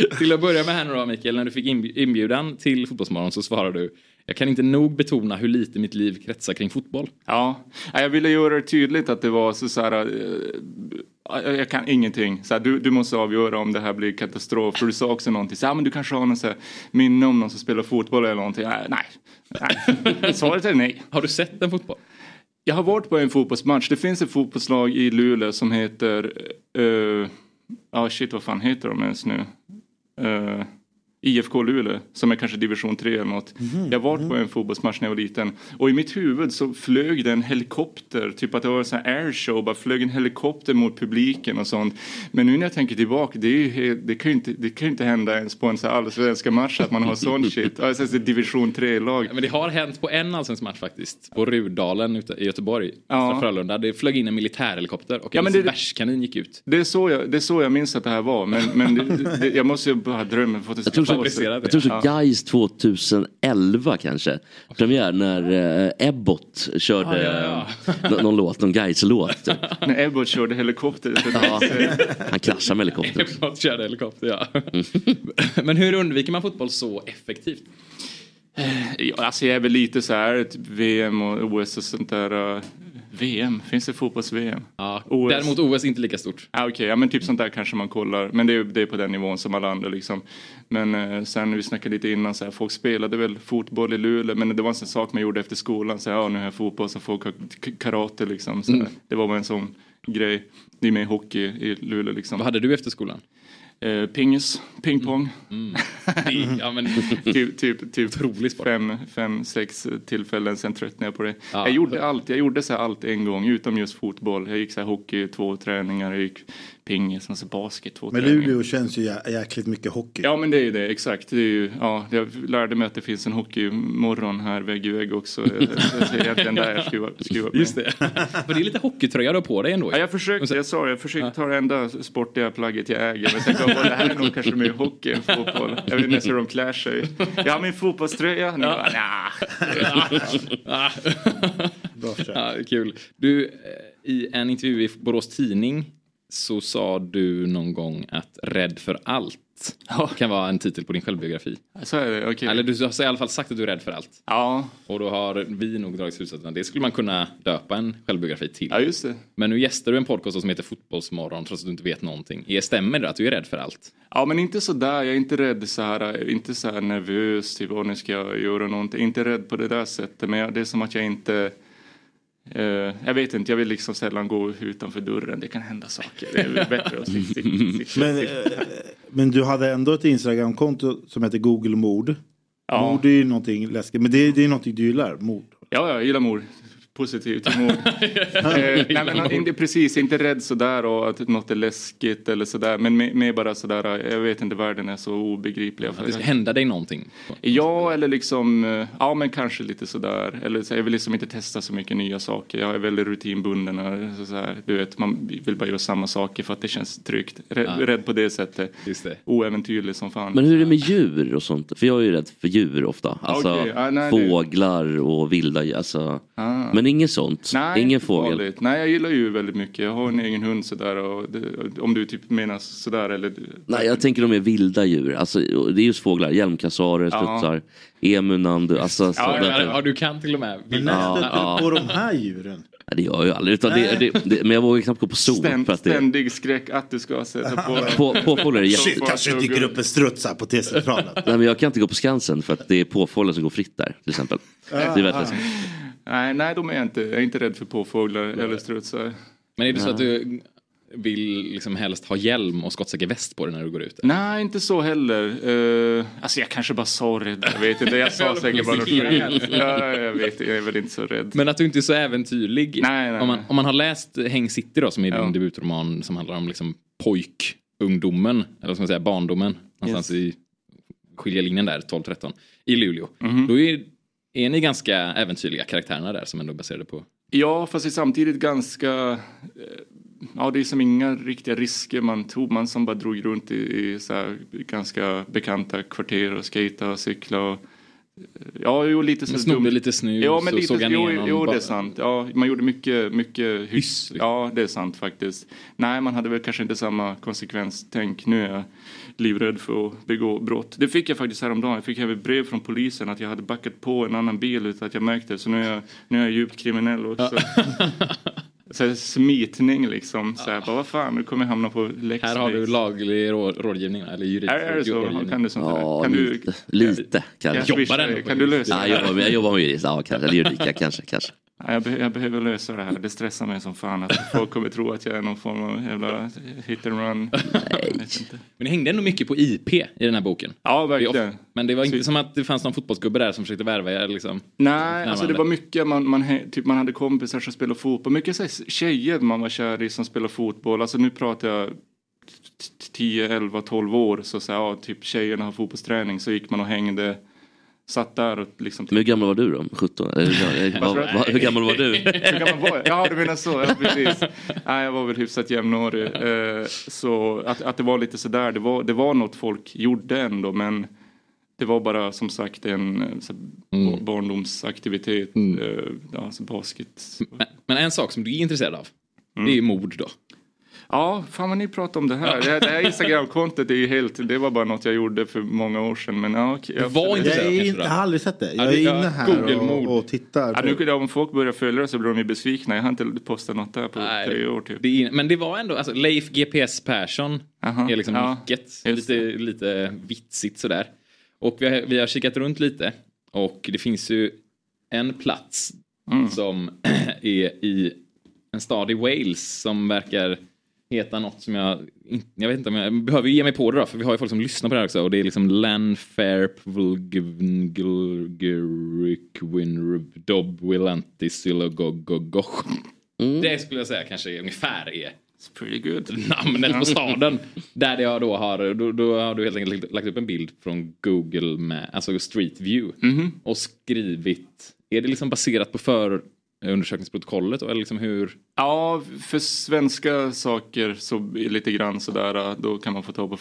A: till att börja med här nu då Mikael, när du fick inbj- inbjudan till Fotbollsmorgon så svarade du Jag kan inte nog betona hur lite mitt liv kretsar kring fotboll.
M: Ja, Ja, jag ville göra det tydligt att det var så, så här. eh, jag- Jag kan ingenting. Så här, du, du måste avgöra om det här blir katastrof. För du sa också någonting. Så här, "Ah, men du kanske har någon så här, minne om någon som spelar fotboll eller någonting. Nej, nej. nej. Svaret är nej.
A: Har du sett en fotboll?
M: Jag har varit på en fotbollsmatch. Det finns ett fotbollslag i Luleå som heter... eh, Ja, shit, vad fan heter de ens nu? Eh, IFK Luleå, som är kanske division 3 eller något. Jag var på en fotbollsmatch när jag var liten och i mitt huvud så flög det en helikopter, typ att det var en sån här airshow, bara flög en helikopter mot publiken och sånt. Men nu när jag tänker tillbaka, det, är ju helt, det, kan, ju inte, det kan ju inte hända ens på en så här allsvenska match att man har sån shit. Alltså alltså, division 3-lag.
A: Ja, Men det har hänt på en allsvensk match faktiskt. På Rudalen ute i Göteborg.
M: Ja.
A: Östra Frölunda. Det flög in en militärhelikopter och
M: Ja,
A: en
M: men det-
A: bärskanin gick ut.
M: Det är, så jag, det är så jag minns att det här var. Men, men det, det, jag måste ju bara ha drömmen. Fått en
K: Jag tror, så, jag tror så Guys 2011 kanske. Premiär när eh, Ebbot körde
M: Ja,
K: eh, nå- någon låt, någon Guys-låt. typ.
M: När Ebbot körde helikopter.
K: Ja. Han kraschade med helikoptern. Mm.
A: Förlåt, körde helikopter, ja. Men hur undviker man fotboll så effektivt?
M: Ja, Alltså jag är väl lite så här typ VM och OS och sånt där. eh, VM? Finns det fotbolls-VM?
A: Ja, däremot OS inte lika stort.
M: Ah, Okej, ja, men typ sånt där kanske man kollar. Men det är, det är på den nivån som alla andra liksom. Men eh, sen vi snackade lite innan så här, folk spelade väl fotboll i Luleå men det var en sån sak man gjorde efter skolan. Så här, ja nu har jag fotboll så folk har k- karate liksom. Så här.
A: Mm.
M: Det var bara en sån grej. Det är mer hockey i Luleå liksom.
A: Vad hade du efter skolan? Mm.
M: Eh, pingis, pingpong.
A: Det- ja, men...
M: typ typ, typ fem, fem, sex tillfällen, sen tröttnade jag på det. Jag gjorde allt, jag gjorde så här allt en gång, utom just fotboll. Jag gick så här hockey två träningar, jag gick pingis och så basket två
N: Men
M: träningar.
N: Luleå känns ju jä- jäkligt mycket hockey.
M: Ja men det är ju det, exakt. Det är ju, ja, jag lärde mig att det finns en hockeymorgon här vägg i vägg också. Jag- jag- jag ser egentligen där jag skruvar, skruvar på
A: Just det. För det är lite hockeytröja du har på dig ändå.
M: Ja, jag försökte, jag sa jag försökte ta det enda sportiga plagget jag äger. Men sen kom jag på, det här är nog kanske mer hockey än fotboll. Jag vet inte ens hur de klär sig. Jag har min fotbollströja. Ni bara, nah.
A: Ah. ja, kul. Du, eh, i en intervju i Borås Tidning så sa du någon gång att rädd för allt kan vara en titel på din självbiografi.
M: Så är det, okej.
A: Eller du har i alla fall sagt att du är rädd för allt.
M: Ja.
A: Och då har vi nog dragit slutsatsen att det skulle man kunna döpa en självbiografi till.
M: Ja, just det.
A: Men nu gästar du en podcast som heter Fotbollsmorgon trots att du inte vet någonting. Är- Stämmer det att du är rädd för allt?
M: Ja, men inte så där. Jag är inte rädd så här, inte så här nervös, typ, åh, nu ska jag göra någonting. Inte rädd på det där sättet, men jag, det är som att jag inte... eh, jag vet inte, jag vill liksom sällan gå utanför dörren. Det kan hända saker. Det är väl bättre att sitta
N: Men, eh, men du hade ändå ett Instagramkonto som heter Google Mord.
M: Ja.
N: Mord är ju någonting läskigt. Men det, är- det är någonting du gillar, mord.
M: Ja, jag gillar mord. Positivt mord. eh, nej, men inte, precis, inte rädd sådär och att något är läskigt eller sådär. Men mer mer bara sådär, eh, jag vet inte, världen är så obegriplig.
A: Att det ska hända dig någonting?
M: Ja, eller liksom, eh, ja men kanske lite sådär. Eller så, jag vill liksom inte testa så mycket nya saker. Jag är väldigt rutinbunden. och Så, så här, du vet, man vill bara göra samma saker för att det känns tryggt. Rädd,
K: Ja.
M: rädd på det sättet.
A: Just det.
M: Oäventyrlig som fan.
K: Men hur är det med djur och sånt? För jag är ju rädd för djur ofta. Alltså
M: Okej, ja, nej, det-
K: fåglar och vilda djur. Alltså.
M: Ah.
K: Men inget sånt?
M: Nej,
K: Ingen
M: inte
K: fågel?
M: farligt. Nej, jag gillar ju väldigt mycket. Jag har en egen hund sådär. Och det, om du typ menar sådär eller...
K: Nej, jag tänker de är vilda djuur. Alltså, det är just fåglar. Hjälmkassarer,
A: Ja.
K: strutsar, emunan. Du, alltså,
A: Ja,
K: sådana-
A: ja, ja, du kan till och med.
K: när stötte Ja, du ja. på
N: de här djuren?
K: Nej, det gör jag ju aldrig. Utan det, det, det, men jag vågar knappt gå på zoo.
M: Ständ,
K: för att det,
M: Ständig skräck att du ska sätta på
K: På- påfåglar är jätte-
N: Shit, kanske dyker upp en struts här på T-centralen.
K: nej, men jag kan inte gå på Skansen för att det är påfåglar som går fritt där. Till exempel. Det
N: Ah,
K: är väldigt läskigt.
M: Nej, nej, de är jag inte. Jag är inte rädd för påfåglar eller strutsar.
A: Men är det så att du vill liksom helst ha hjälm och skottsäker väst på dig när du går ut?
M: Nej, inte så heller. Uh, alltså jag kanske bara sa rädd. Jag vet inte, jag sa säkert bara något fel. ja, Jag vet jag är väl inte så rädd.
A: Men att du inte är så äventyrlig.
M: Nej, nej,
A: om, man,
M: nej.
A: om man har läst Häng City då, som är din
M: Ja.
A: debutroman som handlar om liksom pojkungdomen, eller vad ska man säga, barndomen, någonstans i skiljelinjen där, 12-13, i Luleå.
M: Mhm.
A: Då är, är ni ganska äventyrliga karaktärerna där som ändå är baserade på...
M: Ja, fast det är samtidigt ganska... eh, Ja, det är som inga riktiga risker man tog. Man som bara drog runt i, i så här ganska bekanta kvarter och skejta och cykla och... eh, Ja, jo, lite så
A: Men snodde
M: dumt.
A: lite snus
M: ja, men
A: och
M: lite,
A: såg han
M: jo,
A: igenom
M: Jo, det
A: bara-
M: är sant. Ja, man gjorde mycket, mycket hyss. Ja, det är sant faktiskt. Nej, man hade väl kanske inte samma konsekvenstänk. Nu är jag livrädd för att begå brott. Det fick jag faktiskt häromdagen. Jag fick även brev från polisen att jag hade backat på en annan bil utan att jag märkte det. Så nu är jag, nu är jag djupt kriminell också. Så här smitning liksom. Så här, bara, vad fan, nu kommer jag hamna på Lexbase.
A: Här har du laglig rå, rådgivning, eller juridisk
M: Är- är det så?
A: rådgivning.
M: Kan du sånt där?
K: Ja,
M: Kan du-
K: lite. lite kanske.
M: Jobbar swisha den dig? på Kan du jurist? lösa
K: ja,
M: det här?
K: jag, jobbar, jag jobbar med jurist. Ja, kanske. Eller juridik, ja, kanske. kanske.
M: Ja, Jag, be- jag behöver lösa det här. Det stressar mig som fan att folk kommer tro att jag är någon form av jävla hit and run.
A: Men det hängde ändå mycket på IP i den här boken.
M: Ja,
A: Det är of- Men det var inte som att det fanns någon fotbollsgubbe där som försökte värva er liksom.
M: Nej, alltså det
A: närvarande.
M: var mycket, man, man, he- typ, man hade kompisar som spelade fotboll. Mycket så här, tjejer man var kär i som spelade fotboll. Alltså nu pratar jag t- t- 10, 11, 12 år. Så, så här, ja, typ tjejerna har fotbollsträning så gick man och hängde. Satt där och liksom...
K: Men hur gammal var du då? 17? Eller, hur,
M: Vad
K: vad-
M: tror du?
K: vad- hur gammal var du?
M: Alltså, Hur gammal var jag? Ja, du menar så. Ja, precis. Nej, jag var väl hyfsat jämnårig. Eh, så att, att det var lite sådär, det var, det var något folk gjorde ändå, men det var bara som sagt en eh, så, mm. barndomsaktivitet.
A: Mm.
M: Eh, ja, alltså basket.
A: Men en sak som du är intresserad av, det är ju mord då.
M: Ja, fan vad ni pratar om det här. Det här, det här Instagram-kontot är ju helt, det var bara något jag gjorde för många år sedan. Men ja, okej. Jag-
N: jag, är inte, jag har aldrig sett det.
M: Ja,
N: Jag är
M: det- ja,
N: inne här
M: Google-mord.
N: och, och tittar.
M: Ja,
N: på-
M: nu, om folk börjar följa det så blir de ju besvikna. Jag har inte postat något där på tre år typ.
A: Det är, men det var ändå, alltså Leif GPS Persson är liksom
M: ja,
A: nicket. Lite, lite vitsigt sådär. Och vi har, vi har kikat runt lite och det finns ju en plats som är i en stad i Wales som verkar heta något som jag, in- jag vet inte om jag behöver ju ge mig på det då för vi har ju folk som lyssnar på det här också och det är liksom Lanfair Dob Willanti Sylogogogoch.
E: Mm.
A: Det skulle jag säga kanske ungefär är
M: pretty good.
A: namnet på staden. Där jag då har, då, då har du helt enkelt lagt upp en bild från
M: Mhm.
A: Google med, alltså Street View. Och skrivit, är det liksom baserat på för, eh, undersökningsprotokollet? Och, eller liksom hur...
M: Ja, för svenska saker så är lite grann sådär, eh, då kan man få ta på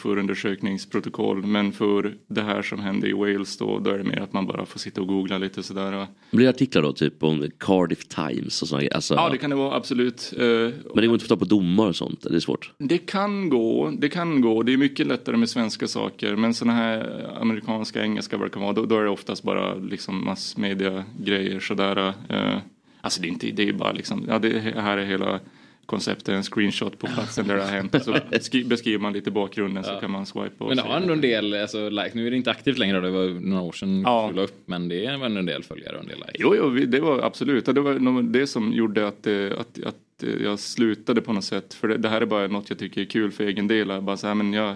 M: förundersökningsprotokoll. Men för det här som hände i Wales då, då är det mer att man bara får sitta och googla lite sådär. eh.
K: Blir det artiklar då typ om Cardiff Times och sådana grejer? Alltså,
M: Ja, det kan det vara, absolut. Eh,
K: Men det går inte att få ta på domar och sånt, det är svårt.
M: Det kan gå, det kan gå. Det är mycket lättare med svenska saker. Men sådana här amerikanska, engelska vad det kan vara, då, då är det oftast bara liksom massmedia-grejer sådär. Eh, alltså det är inte, det är bara liksom, ja det här är hela konceptet, en screenshot på platsen där det har hänt. Så skri- beskriver man lite bakgrunden så kan man swipa och
A: Men det
M: se.
A: har ändå en del alltså, likes. Nu är det inte aktivt längre, det var några år sedan
M: Ja.
A: du la upp. Men det var ändå en del följare och en del likes.
M: Jo, jo, vi- det var absolut. Ja, Det var nog det som gjorde att, eh, att, att eh, jag slutade på något sätt. För det, det här är bara något jag tycker är kul för egen del. Jag Bara så här, men jag,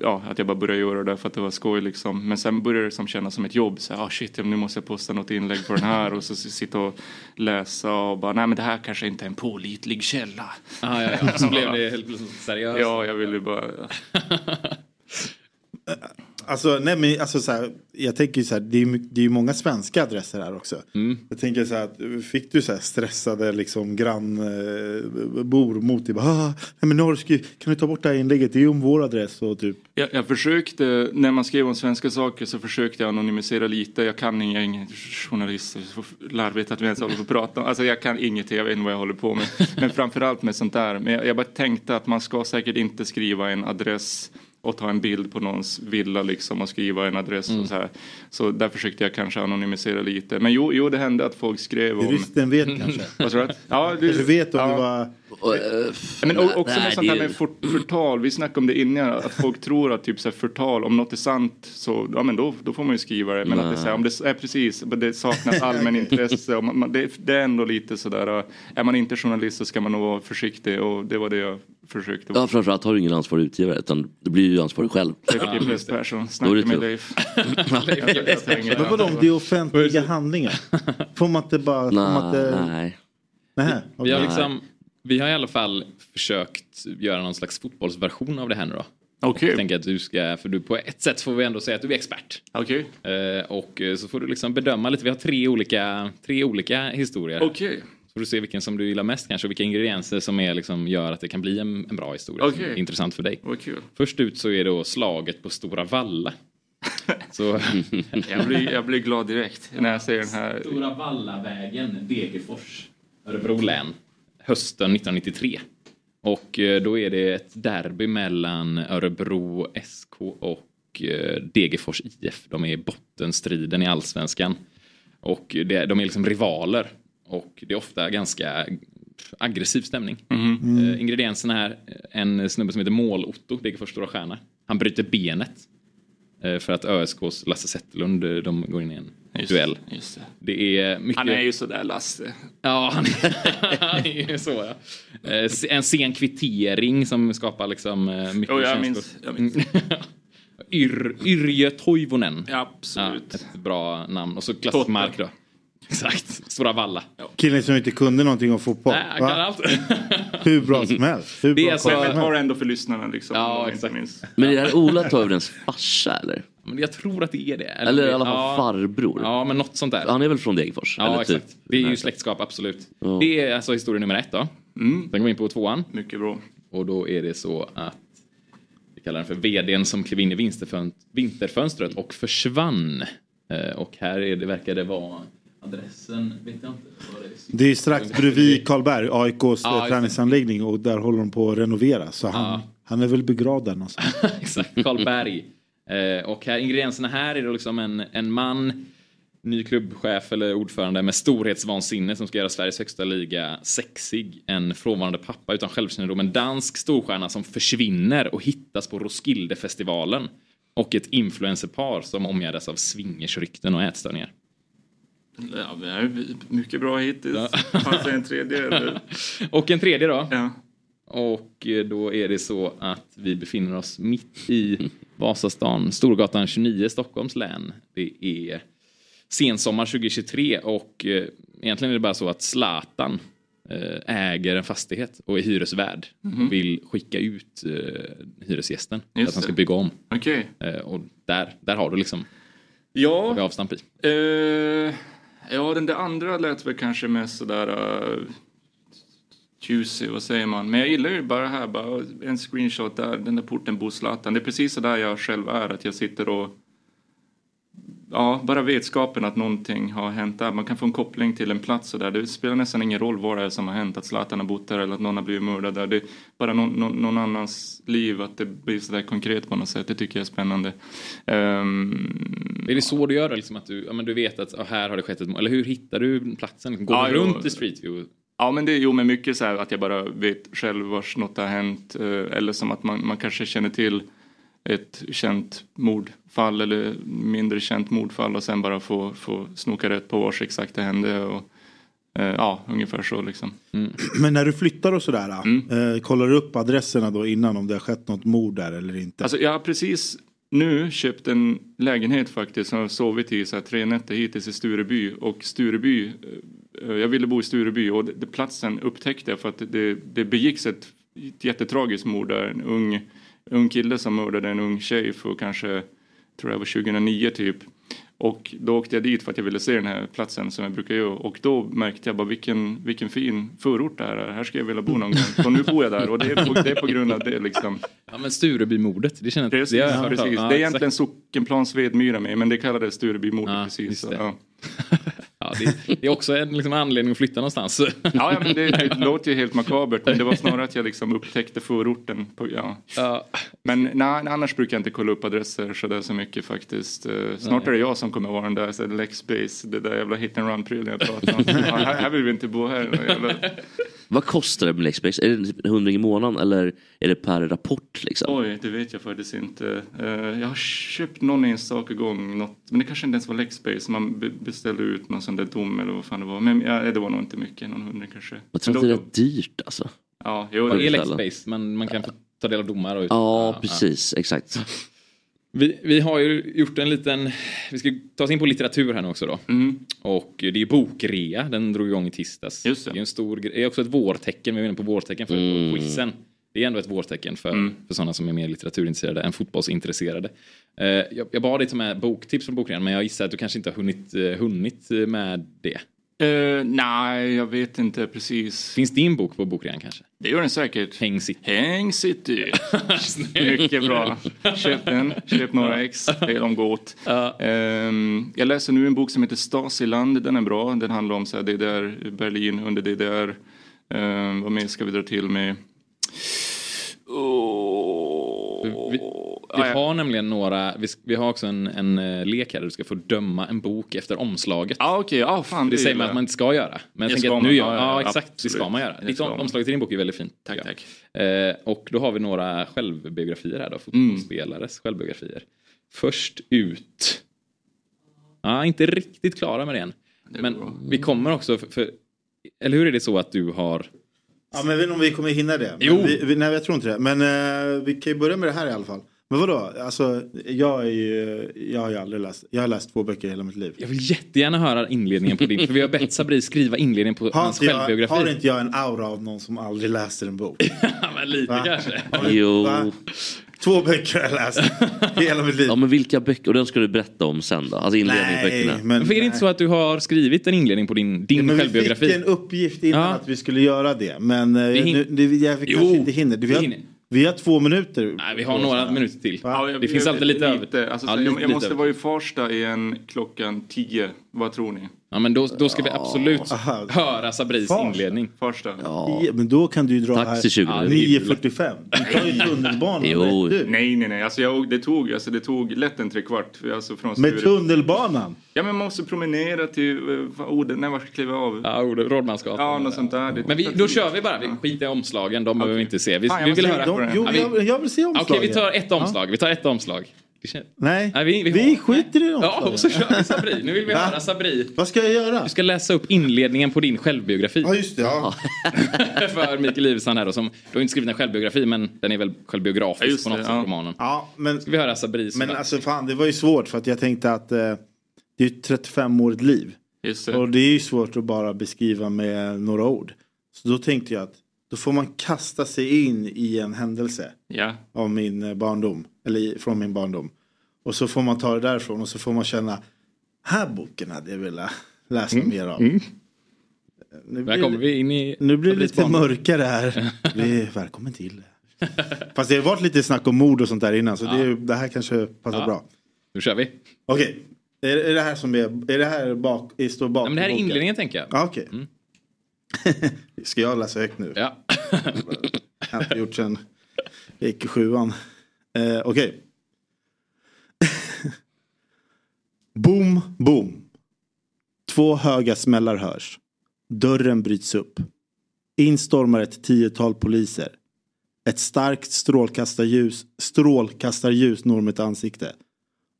M: ja, att jag bara började göra det för att det var skoj liksom. Men sen började det som kännas som ett jobb. Så här, ah, shit, ja, nu måste jag posta något inlägg på den här och så s- sitta och läsa och bara, nej men det här kanske inte är en pålitlig källa.
A: Ah, ja, ja. Så blev det helt plötsligt seriöst.
M: Ja, jag ville ju bara...
N: Alltså, nej, men, alltså så här, jag tänker ju så här, det är, ju- det är ju många svenska adresser här också.
A: Mm.
N: Jag tänker så här, att, fick du så här stressade liksom grannbor eh, mot dig? Bara, ah, nej men Norsky, kan du ta bort det här inlägget? Det är ju om vår adress och typ.
M: Jag, jag försökte, när man skrev om svenska saker så försökte jag anonymisera lite. Jag kan inga, jag är ingen journalist, det är så larvigt att vi ens håller på att prata om. Alltså jag kan inget, jag vet inte vad jag håller på med. Men framförallt med sånt där. Men jag, jag bara tänkte att man ska säkert inte skriva en adress och ta en bild på någons villa liksom och skriva en adress och så här. Så där försökte jag kanske anonymisera lite. Men jo, jo det hände att folk skrev om...
N: Juristen vet
A: Mm.
N: kanske.
M: Vad tror du? att- Ja, du
N: Kanske vet om det var...
M: men o- också
N: Nej,
M: med sånt här
N: det är-
M: med fort, förtal, vi snackade om det innan, att folk tror att typ så här förtal, om något är sant så, ja men då, då får man ju skriva det. Men att det är så här, om det är precis, men det saknas allmänintresse, och man, man, det, det är ändå lite sådär, äh, är man inte journalist så ska man nog vara försiktig och det var det jag försökte vara.
K: Ja, framförallt har du ingen ansvarig utgivare utan du blir ju ansvarig själv.
M: Leif GPs Persson,
K: Då är
M: snacka
K: det
N: typ-
M: med Leif.
K: tufft.
M: Jag- jag- jag slänger
N: Men vadå, om
M: den.
N: det är offentliga handlingar? Får man inte bara... Får man inte...
K: Nej.
N: Nej.
A: Vi har, liksom, vi har i alla fall försökt göra någon slags fotbollsversion av det här nu då.
M: Okej.
A: Jag tänker att du ska, för du på ett sätt får vi ändå säga att du är expert.
M: Okej.
A: och eh, så får du liksom bedöma lite, vi har tre olika, tre olika historier.
M: Okej.
A: Så får du se vilken som du gillar mest kanske och vilka ingredienser som är, liksom, gör att det kan bli en, en bra historia. som
M: Okej.
A: är Intressant för dig.
M: Vad kul.
A: Först ut så är då slaget på Stora Valla. Så...
M: Jag blir, jag blir glad direkt när jag ser den här.
A: Stora Vallavägen, Degerfors, Örebro län, hösten 1993. Och eh, då är det ett derby mellan Örebro SK och eh, Degerfors IF. De är i bottenstriden i allsvenskan. Och det, de är liksom rivaler. Och det är ofta ganska aggressiv stämning.
M: Mhm.
A: Mm.
I: Eh,
A: ingredienserna här, eh, en snubbe som heter Mål-Otto, Degerfors stora stjärna. Han bryter benet. eh, för att ÖSKs Lasse Zetterlund, eh, de går in i en duell.
M: Just det.
A: Det är mycket...
M: Han är ju sådär Lasse.
A: Ja, han är, han är ju så ja. Eh, En sen kvittering som skapar liksom eh, mycket
M: Jo, jag
A: känslor.
M: minns, jag minns.
A: Yr, Yrjö Toivonen.
M: absolut.
A: Ja, ett bra namn. Och så klassmark då. Exakt. Stora Valla.
N: Killen som inte kunde någonting om fotboll.
A: Nej, han
N: va?
A: kan allt.
N: Hur bra som helst. Hur bra koll som
M: Men
N: helst.
M: tar ändå för lyssnarna liksom. alltså- Ja, exakt.
K: Men är det här Ola Toivonens farsa eller?
A: Men jag tror att det är det.
K: Eller i alla fall
A: ja.
K: farbror?
A: Ja, men något sånt där.
K: Han är väl från Degerfors?
A: Ja,
K: eller typ?
A: exakt. Det är ju släktskap, absolut.
K: Ja.
A: Det är alltså historia nummer ett då.
M: Mm.
A: Sen går vi in på tvåan.
M: Mycket bra.
A: Och då är det så att vi kallar den för vdn som klev in i vinsterfön- vinterfönstret och försvann. Eh, Och här är det, verkar det vara adressen, vet jag inte. vad det är.
N: Det är strax bredvid Karlberg, AIKs
A: Ja,
N: ah,
A: exakt.
N: träningsanläggning och där håller de på att renovera. Så han,
A: Ja.
N: han är väl begravd där någonstans.
A: Exakt, Karlberg. Eh, och här, ingredienserna här är då liksom en, en man, ny klubbchef eller ordförande med storhetsvansinne som ska göra Sveriges högsta liga sexig. En frånvarande pappa utan självkännedom. En dansk storstjärna som försvinner och hittas på Roskildefestivalen. Och ett influencerpar som omgärdas av swingersrykten och ätstörningar.
M: Ja, men det här är mycket bra hittills. Fanns det en tredje eller?
A: Och en tredje då. Och eh, då är det så att vi befinner oss mitt i Vasastan, Storgatan 29, Stockholms län. Det är sensommar 2023 och eh, egentligen är det bara så att Zlatan eh, äger en fastighet och är hyresvärd
M: Mhm.
A: och vill skicka ut eh, hyresgästen för
M: Just
A: att han ska
M: det.
A: bygga om.
M: Okej.
A: Eh, och där, där har du liksom
M: Ja.
A: har vi avstamp i.
M: Eh, Ja, den där andra lät väl kanske mest sådär uh, juicy, vad säger man? Men jag gillar ju bara här, bara en screenshot där, den där porten bor Zlatan. Det är precis så där jag själv är, att jag sitter och Ja, bara vetskapen att någonting har hänt där. Man kan få en koppling till en plats och där. Det spelar nästan ingen roll vad det är som har hänt. Att Zlatan har bott där eller att någon har blivit mördad där. Det är bara någon, någon, någon annans liv, att det blir sådär konkret på något sätt. Det tycker jag är spännande. Ehm,
A: Är det så du gör det, liksom att du, ja, men du vet att ja, här har det skett ett mål? Eller hur hittar du platsen? Går
M: Ja,
A: du
M: jo.
A: runt i Street View?
M: Ja men det är ju med mycket så här att jag bara vet själv vars något har hänt eh, eller som att man, man kanske känner till ett känt mordfall eller mindre känt mordfall och sen bara få, få snoka rätt på vars exakt det hände och eh, ja ungefär så liksom.
A: Mm.
N: Men när du flyttar och sådär, eh, kollar du upp adresserna då innan om det har skett något mord där eller inte?
M: Alltså jag har precis nu köpt en lägenhet faktiskt som jag har sovit i så här, tre nätter hittills i Stureby och Stureby, eh, jag ville bo i Stureby och det, det platsen upptäckte jag för att det, det begicks ett, ett jättetragiskt mord där en ung, ung kille som mördade en ung tjej för kanske, tror jag var 2009 typ. Och då åkte jag dit för att jag ville se den här platsen som jag brukar göra och då märkte jag bara vilken, vilken fin förort det här är. Här ska jag vilja bo någon gång. Så nu bor jag där och det är på, det är på grund av det liksom.
A: Ja men Sturebymordet, det känner
M: Precis,
A: det har jag
M: ja,
A: hört
M: precis.
A: om.
M: det
A: Ja,
M: är egentligen Sockenplan Svedmyra med men det kallades Sturebymordet precis. så, Ja.
A: Ja, det, det är också en liksom, anledning att flytta någonstans. ja,
M: Ja, ja, men det, det låter ju helt makabert men det var snarare att jag liksom upptäckte förorten. På, ja. Men nej, annars brukar jag inte kolla upp adresser sådär så mycket faktiskt. Eh, Snart
A: Nej.
M: är det jag som kommer vara den där så här, Lexbase, det där jävla hit and run-prylen jag pratade om. Ja, här, här vill vi inte bo här. Jävla...
K: Vad kostar det med Lexbase? Är det typ en hundring i månaden eller är det per rapport liksom?
M: Oj, det vet jag faktiskt inte. Eh, jag har köpt någon enstaka gång, något, men det kanske inte ens var Lexbase. Man be- beställde ut någon sån där dom eller vad fan det var. Men ja, det var nog inte mycket, någon hundring kanske.
K: Jag tror
M: Men
K: att det
M: då-
K: är rätt dyrt alltså.
M: Ja, jo,
A: det är
K: Ställa.
A: Lexbase, men man kan få ta del av domar. Och
K: Ja, precis. Exakt.
A: Vi, vi har ju gjort en liten, vi ska ta oss in på litteratur här nu också då.
M: Mm.
A: Och det är ju bokrea, den drog igång i tisdags. Just det. är ju en stor gre- det är också ett vårtecken, vi var inne på vårtecken för
K: Mm.
A: quizen. Det är ändå ett vårtecken för,
K: Mm.
A: för sådana som är mer litteraturintresserade än fotbollsintresserade. Eh, jag, jag bad dig ta med boktips från bokrean men jag gissar att du kanske inte har hunnit, eh, hunnit med det.
M: Eh, nej, jag vet inte precis.
A: Finns din bok på bokrean kanske?
M: Det gör den säkert.
A: Häng City.
M: Häng City. Mycket bra. Köp den. Köp några ex. Det är de gott. Ehm, jag läser nu en bok som heter Stasiland. Den är bra. Den handlar om så här DDR, Berlin under DDR. Um, vad mer ska vi dra till med?
A: Vi, vi har nämligen några, vi, vi har också en, en eh, lek här där du ska få döma en bok efter omslaget.
M: Ja ah, okej, ja fan.
A: Det, säger
M: gillar
A: man att
M: jag.
A: man inte ska göra. Men
M: Det
A: jag tänker
M: ska
A: att
M: man,
A: nu gör
M: ja,
A: ja,
M: ja,
A: exakt, det ska
M: absolut.
A: man göra.
M: Det
A: Ditt
M: ska man.
A: omslaget till din bok är väldigt fint. Tack, tack. Eh, och då har vi några självbiografier här då,
M: Mm.
A: fotbollsspelares självbiografier. Först ut. Ja, inte riktigt klara med det än. Men vi kommer också, för, för, eller hur är det så att du har
N: Ja, men jag vet inte om vi kommer hinna det. Men
A: Jo.
N: Vi, vi, nej, jag tror inte det. Men eh, vi kan ju börja med det här i alla fall. Men vadå? Alltså, jag, är ju, jag har ju aldrig läst. Jag har läst två böcker i hela mitt liv.
A: Jag vill jättegärna höra inledningen på din, för vi har bett Sabri skriva inledningen på
N: Har,
A: hans
N: inte jag,
A: självbiografi.
N: har inte jag en aura av någon som aldrig läser en bok?
A: Ja, men lite kanske.
K: Jo.
N: Två böcker har jag läst. Hela mitt liv.
K: Ja, men vilka böcker? Och den ska du berätta om sen då? Alltså inledningsböckerna.
A: men, för är det inte så att du har skrivit en inledning på din, din
N: Men vi
A: självbiografi?
N: fick en uppgift innan
A: Ja.
N: att vi skulle göra det. Men eh,
A: Vi hin-
N: nu, det, jag
A: Jo,
N: kanske inte hinner.
A: vi
N: Vi har,
A: hinner.
N: vi har två minuter.
A: Nej, vi har några minuter till.
M: Ja, jag-
A: det finns
M: jag-
A: alltid lite, över.
M: Alltså,
A: Ja,
M: så här,
A: lite-
M: jag, jag
A: lite
M: måste
A: över.
M: vara i Farsta igen klockan 10. Vad tror ni?
A: Ja, men då, då ska vi absolut
M: Aha.
A: höra Sabris
M: Farsta.
A: inledning.
M: Första.
N: Ja, Men då kan du ju dra
M: Taxi 20
N: här
M: minuter.
N: 9.45. Du tar ju tunnelbanan. vet du.
M: Nej, nej, nej. Alltså, jag, det, tog, alltså, det tog lätt en trekvart. för- Alltså, från
N: Med
M: Sture.
N: tunnelbanan?
M: Ja, men man måste promenera till... eh, vad- Orden, när man ska kliva av.
A: Ja, Orden, Rådmansgatan.
M: Ja, något sånt där. Det,
A: Men vi, då kör vi bara, vi skiter i omslagen, de behöver vi inte se. Vi,
M: Fan, jag
A: vi vill
M: måste tänka
A: höra.
M: på det.
A: Ja,
N: Jo,
A: vi-
N: jag, jag vill se
A: Okej,
N: omslaget.
A: vi tar ett omslag. Vi tar ett omslag. Det kän-
N: Nej,
A: vi, vi,
N: skiter i
A: Ja, och så kör vi Sabri. Nu vill vi höra Sabri.
N: Vad ska jag göra?
A: Du ska läsa upp inledningen på din självbiografi. Ja,
N: just det. Ja.
A: För Mikael Iversson här då, som, du har inte skrivit en självbiografi, men den är väl självbiografisk på något sätt, romanen.
N: Ja, men,
A: ska vi höra Sabri?
N: Men alltså fan, det var ju svårt för att jag tänkte att eh, det är ju 35 årigt liv.
M: Just
A: det.
N: Och det är ju svårt att bara beskriva med några ord. Så då tänkte jag att då får man kasta sig in i en händelse
M: Ja.
N: av min eh, barndom. Eller i- från min barndom. Och så får man ta det därifrån och så får man känna här boken hade jag velat läsa mer av.
A: Mm.
N: Nu
A: Där kommer vi in i...
N: Nu blir det lite
A: fabriksbanan.
N: mörkare här. Vi är välkommen till. Fast det har varit lite snack om mord och sånt där innan så
A: Ja.
N: det, är- det här kanske passar
A: Ja.
N: bra.
A: Nu kör vi.
N: Okej, är, är det här som är, är det här bak, i- står bakom
A: men det här är
N: boken?
A: inledningen, tänker jag.
N: Ja, okej. Ska jag läsa högt nu?
A: Ja.
N: har inte gjort sen jag gick i sjuan. Eh, okej. boom, boom. Två höga smällar hörs. Dörren bryts upp. In stormar ett tiotal poliser. Ett starkt strålkastarljus, strålkastarljus når mitt ansikte.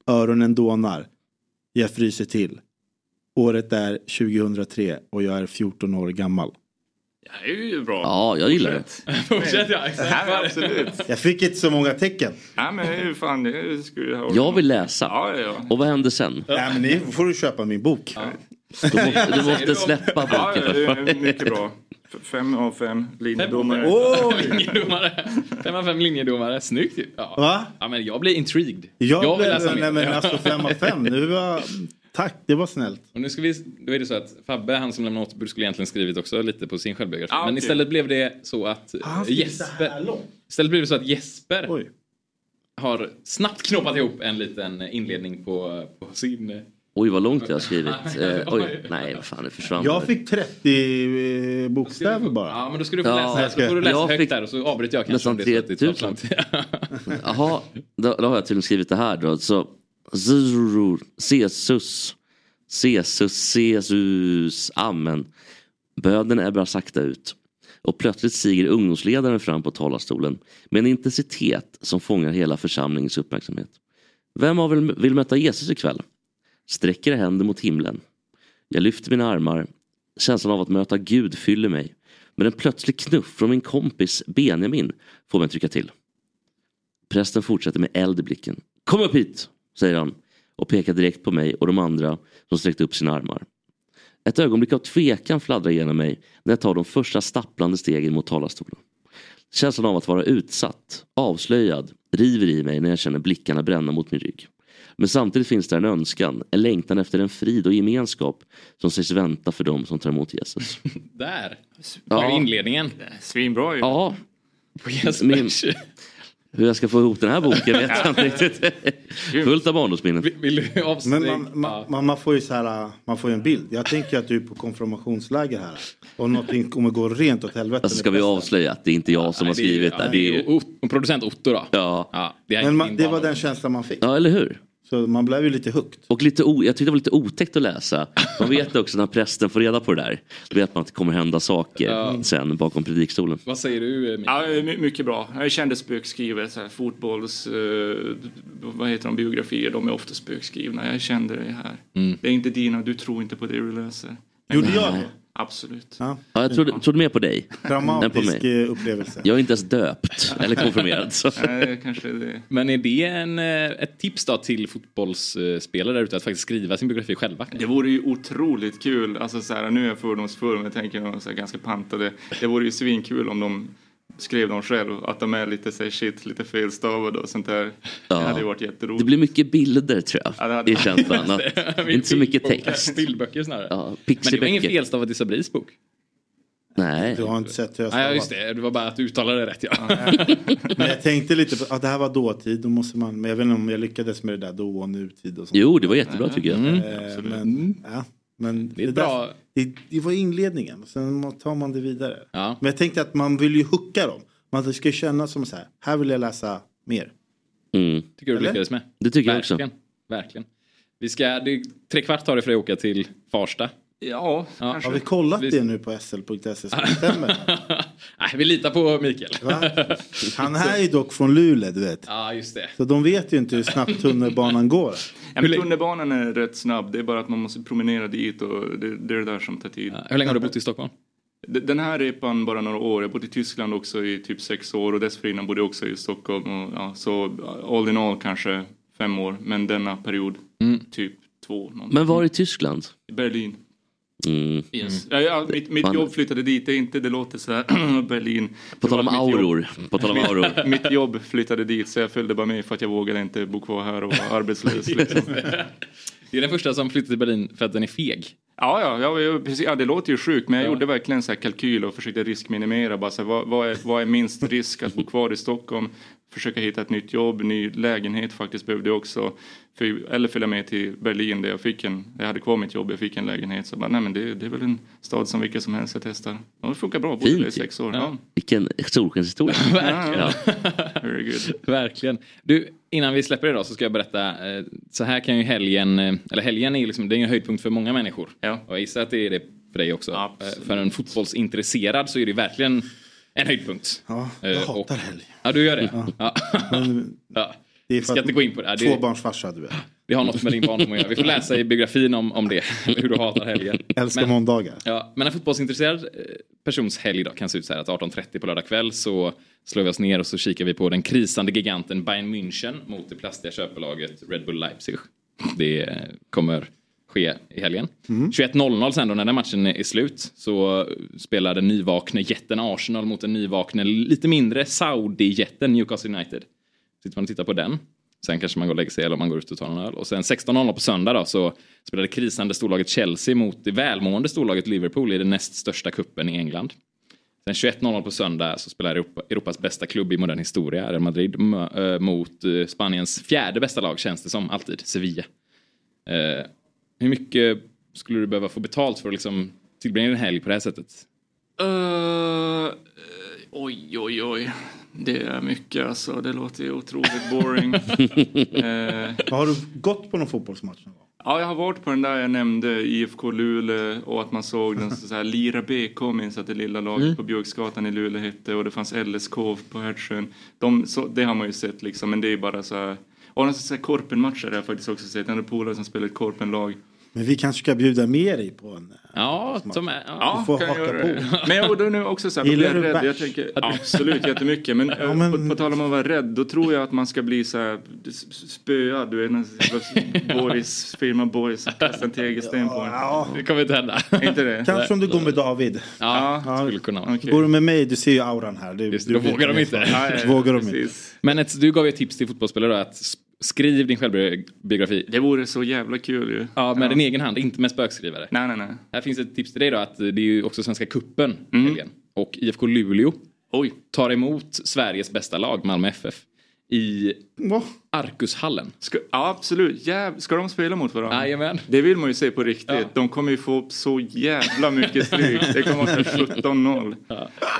N: Öronen dånar. Jag fryser till. Året är 2003 och jag är 14 år gammal.
M: Det är ju bra.
K: Ja, jag gillar det.
M: Fortsätt ja,
N: exakt.
M: absolut.
N: Jag fick inte så många tecken.
M: Nej men det är ju fan, det skulle jag ha.
K: Jag vill läsa.
M: Ja, ja, ja.
K: Och vad händer sen?
N: Nej, men nu får du köpa min bok.
K: Du måste, du måste släppa
M: Ja, ja, det
K: boken.
M: är mycket bra. Mm, F- Fem av fem linjedomare.
A: linjedomare. Fem av fem linjedomare. Snyggt ju. Ja.
N: Va?
A: Ja, men jag blir intrigued. vill
N: Jag, blev,
A: läsa mer.
N: nej, men
A: Ja.
N: alltså fem av fem. Nu var, tack, det var snällt.
A: Och nu ska vi, då är det så att Fabbe, han som lämnade återbud, skulle egentligen skrivit också lite på sin självbiografi.
N: Ah,
A: Men
N: okej.
A: istället blev det så att eh,
N: Han skrev så här
A: Jesper...
N: långt.
A: Istället blev det så att Jesper har snabbt knoppat ihop en liten inledning på, på sin... eh,
K: Oj, vad långt jag har skrivit. Eh, oj, nej, vad fan, det försvann.
N: Jag fick 30 eh, bokstäver bara.
A: Ja, men då ska du få läsa, då får du läsa högt där och så avbryter jag kanske.
K: Nästan
A: om det är så att det tar
K: 3000.
A: för lång tid.
K: Jaha, då, då har jag tydligen skrivit det här då. Så, Jesus, Jesus, Jesus, amen. Böden ebbar sakta ut. Och plötsligt stiger ungdomsledaren fram på talarstolen med en intensitet som fångar hela församlingens uppmärksamhet. Vem av er vill möta Jesus ikväll? Sträcker händer mot himlen. Jag lyfter mina armar. Känslan av att möta Gud fyller mig. Men en plötslig knuff från min kompis Benjamin får mig att trycka till. Prästen fortsätter med eld i blicken. Kom upp hit, säger han och pekar direkt på mig och de andra som sträckte upp sina armar. Ett ögonblick av tvekan fladdrar genom mig när jag tar de första stapplande stegen mot talarstolen. Känslan av att vara utsatt, avslöjad, river i mig när jag känner blickarna bränna mot min rygg. Men samtidigt finns där en önskan, en längtan efter en frid och gemenskap som sägs vänta för dem som tar emot Jesus.
A: Där!
K: Ja.
A: Var det inledningen?
M: Svinbra ju.
K: Ja.
A: På Jespers.
K: Hur jag ska få ihop den här boken vet jag inte riktigt. Fullt av barndomsminnen.
A: Vill du
N: Men man, man, man, man får ju så här, äh, man får ju en bild. Jag tänker att du är på konfirmationsläger här. Och någonting kommer gå rent åt helvete.
K: Alltså ska vi avslöja att det är inte jag som har
A: det är-
K: skrivit
A: ja,
K: det. Det är
A: ju... Producent Otto då?
K: Ja.
A: det,
N: Men man, det var den känslan man fick.
K: Ja, eller hur?
N: Så man blev ju lite hooked.
K: Och lite o... jag tyckte det var lite otäckt att läsa. Man vet också när prästen får reda på det där. Då vet man att det kommer hända saker
M: Ja.
K: sen bakom predikstolen.
A: Vad säger du?
M: Ja, my- mycket bra. Jag kände spökskrivet. så här, Fotbolls... eh, vad heter de? Biografier. De är ofta spökskrivna. Jag kände det här.
K: Mm.
M: Det är inte dina. Du tror inte på det du läser.
N: Gjorde jag det?
M: Absolut.
K: Ja, jag trodde, trodde mer på dig. än på
N: Dramatisk
K: mig.
N: eh, upplevelse.
K: Jag är inte ens döpt eller konfirmerad. Så.
M: kanske det.
A: Men är det en, eh, ett tips då till fotbollsspelare där ute att faktiskt skriva sin biografi själva?
M: Det vore ju otroligt kul, alltså så här, nu är jag fördomsfull men jag tänker någon så här ganska pantade. Det vore ju svinkul om de skrev dem själv, att de är lite så här, shit, lite felstavade och sånt där. Det hade ju varit jätteroligt.
K: Det blir mycket bilder tror
M: Ja, det
K: jag.
M: hade-
K: I känslan. Att, inte så mycket text.
A: Bildböcker snarare.
K: Ja,
A: Men det var ingen
K: pixiböcker.
A: felstavat i Sabris bok.
K: Nej.
N: Du har inte sett hur jag
A: Nej,
N: stavar.
A: just det. Det var bara att du uttalade det rätt ja.
N: Men jag tänkte lite på att det här var dåtid. Då måste man, men jag vet inte om jag lyckades med det där då och nutid och sånt.
K: Jo, det var jättebra, tycker jag. Mm.
N: Eh,
K: Absolut. Mm.
N: Men, ja, men det,
K: är bra.
N: där- det, det var inledningen. Sen tar man det vidare. Men jag tänkte att man vill ju hooka dem. Man ska ju känna som så här. Här vill jag läsa mer.
K: Mm.
A: Tycker du du
N: Eller?
A: lyckades med.
K: Det tycker jag också.
A: Verkligen. Verkligen. Vi ska, det är tre kvart tar det för dig att åka till Farsta.
M: Ja,
N: Har vi kollat det nu på sl.se? som stämmer?
A: Nej, vi litar på Mikael.
N: Han är ju dock från Luleå, du vet.
A: Ja, just det.
N: Så de vet ju inte hur snabbt tunnelbanan går.
M: Ja, men tunnelbanan är rätt snabb, det är bara att man måste promenera dit och det, det är det där som tar tid.
A: Hur länge har du bott i Stockholm?
M: D- Den här repan bara några år. Jag bodde i Tyskland också i typ sex år och dessförinnan bodde jag också i Stockholm. Och, ja, så all in all kanske fem år, men denna period typ två. någonting.
K: Mm. Men var i Tyskland?
M: Berlin.
K: Mm.
M: Yes. Ja, ja, mitt mitt
K: Man-
M: jobb flyttade dit, det, är inte, det låter så här, Berlin.
K: På
M: Det var
K: tal om
M: mitt jobb-
K: auror, på tal om auror.
M: mitt jobb flyttade dit så jag följde bara med för att jag vågade inte bo kvar här och vara arbetslös. Liksom.
A: Det är den första som flyttar till Berlin för att den är feg.
M: Ja, ja, ja, ja, precis, ja, det låter ju sjukt men jag gjorde verkligen så här kalkyl och försökte riskminimera. Bara så här, vad, vad, är, vad är minst risk att bo kvar i Stockholm? Försöka hitta ett nytt jobb, ny lägenhet faktiskt behövde jag också. Fy- eller följa med till Berlin där jag fick en, jag hade kvar mitt jobb, jag fick en lägenhet. Så bara, nej men det, det är väl en stad som vilken som helst jag testar. Ja, det funkar bra, bodde där i
K: ju.
M: sex år. Ja.
K: Vilken solskenshistoria.
A: Verkligen.
K: Ja.
A: Verkligen. Du, innan vi släpper det då så ska jag berätta. eh, Så här kan ju helgen, eh, eller helgen är ju liksom, det är ju en höjdpunkt för många människor. Och jag gissar att det är det för dig också. Eh, För en fotbollsintresserad så är det verkligen en höjdpunkt.
N: Ja,
A: jag hatar helg. Ja, du gör det? Ja. Ja. Vi ska inte gå in på det. Ja, det
N: Tvåbarnsfarsa du är.
A: det har något med din barndom att göra. Vi får läsa i biografin om, om det. Hur du hatar helgen.
N: Älskar
A: Men-
N: måndagar.
A: Ja, men en fotbollsintresserad eh, persons helg då kan se ut så här att 18.30 på lördag kväll så slår vi oss ner och så kikar vi på den krisande giganten Bayern München mot det plastiga köpelaget Red Bull Leipzig. Det eh, kommer ske i helgen. 21.00 sen då när den matchen är slut så spelar den nyvakne jätten Arsenal mot den nyvakne lite mindre Saudi-jätten Newcastle United. Sitter man och tittar på den. Sen kanske man går och lägger sig eller om man går ut och tar en öl. Och sen 16.00 på söndag då så spelar det krisande storlaget Chelsea mot det välmående storlaget Liverpool i den näst största kuppen i England. Sen 21.00 på söndag så spelar Europa, Europas bästa klubb i modern historia, Real Madrid, mö- eh, mot eh, Spaniens fjärde bästa lag känns det som, alltid, Sevilla. Eh, hur mycket skulle du behöva få betalt för att liksom tillbringa din helg på det här sättet?
M: Eh, oj, oj, oj. Det är mycket alltså. Det låter ju otroligt boring. Eh,
N: Har du gått på någon fotbollsmatch? någon gång?
M: Ja, jag har varit på den där jag nämnde, IFK Luleå och att man såg den så här, Lira BK minns att det lilla laget
N: Mm.
M: på Björksgatan i Luleå hette och det fanns LSK på Hertsön. De, så, det har man ju sett liksom, men det är ju bara så här. Och den så här korpenmatcher har jag faktiskt också sett. Jag hade polare som spelade ett korpenlag.
N: Men vi kanske ska bjuda med dig på en.
A: Ja, de är, ja.
N: Du får haka på.
M: Men jag, och då är nu också så här, då blir
N: Gillar
M: jag
N: du
M: rädd. Jag
N: bärs?
M: tänker absolut jättemycket. Men, eh, På, på tal om att vara rädd, då tror jag att man ska bli så här s- s- spöad. Du är någon jävla Boris, firma Boris, som kastar en tegelsten på en.
A: Det kommer inte hända.
M: Inte det?
N: Kanske om du går med David.
A: Ja, skulle kunna vara.
N: Går du med mig, du ser ju auran här. Du,
A: Just det,
N: du
A: då
N: vet
A: vågar de
N: mer.
A: inte.
N: vågar de inte.
A: Men ett, du gav ju ett tips till fotbollsspelare då, att s- skriv din självbiografi.
M: Det vore så jävla kul ju.
A: Ja, med
M: Ja.
A: din egen hand, inte med spökskrivare.
M: Nej, nej, Mm. nej.
A: Här finns ett tips till dig då, att det är ju också Svenska Kuppen helgen. Och IFK Luleå tar emot Sveriges bästa lag, Malmö FF, i Arkushallen.
M: Ska, ja, absolut. Jäv, ska de spela mot varandra?
A: Jajamän.
M: Det vill man ju se på riktigt. De kommer ju få så jävla mycket stryk. Det kommer vara så här 17-0.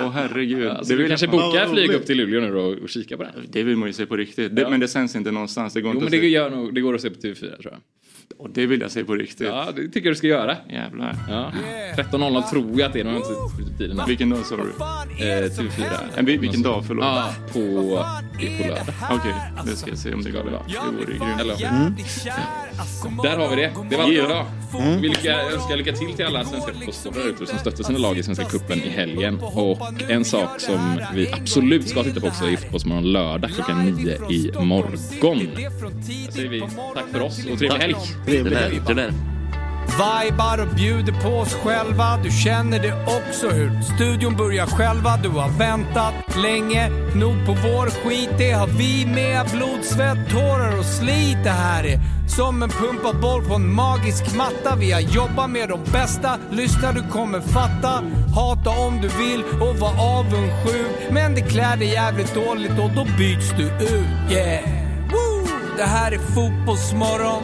M: Åh herregud.
A: Ja, så du kanske bokar flyg upp till Luleå nu då och och kika på den.
M: Det vill man ju se på riktigt. Det,
A: Ja.
M: Men det sänds inte någonstans. Det går inte
A: Jo, men
M: att
A: det,
M: se.
A: gör nog, det går att se på TV4 tror jag.
M: Och det vill jag se på riktigt.
A: Ja, det tycker jag du ska göra.
M: Jävlar.
A: Ja. 13.00 tror jag att det är. De har inte skjutit tiden än.
M: Vilken dag sa du?
A: Eh, TV4.
M: Men vil- vilken dag? Förlåt.
A: Ja, på, det är på lördag.
M: Okej, det ska jag se om det går. Det vore grymt.
A: Mm.
M: Mm.
A: Där har vi det. Det var allt för
M: Ja.
A: idag.
M: Mm.
A: Vi lycka, önskar lycka till till alla svenska fotbollsspelare där ute som stöttar sina lag i Svenska Cupen i helgen. Och en sak som vi absolut ska titta på också är Fotbollsmorgon lördag klockan nio i morgon. Där säger vi tack för oss och trevlig helg.
N: Trevlig helg.
C: Vibar och bjuder på oss själva, du känner det också hur studion börjar själva. Du har väntat länge nog på vår skit, det har vi med. Blod, svett, tårar och slit. Det här är som en pumpad boll på en magisk matta. Vi har jobbat med de bästa, lyssna du kommer fatta. Hata om du vill och var avundsjuk. Men det klär dig jävligt dåligt och då byts du ut. Yeah! Woo! Det här är fotbollsmorgon.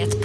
J: Ett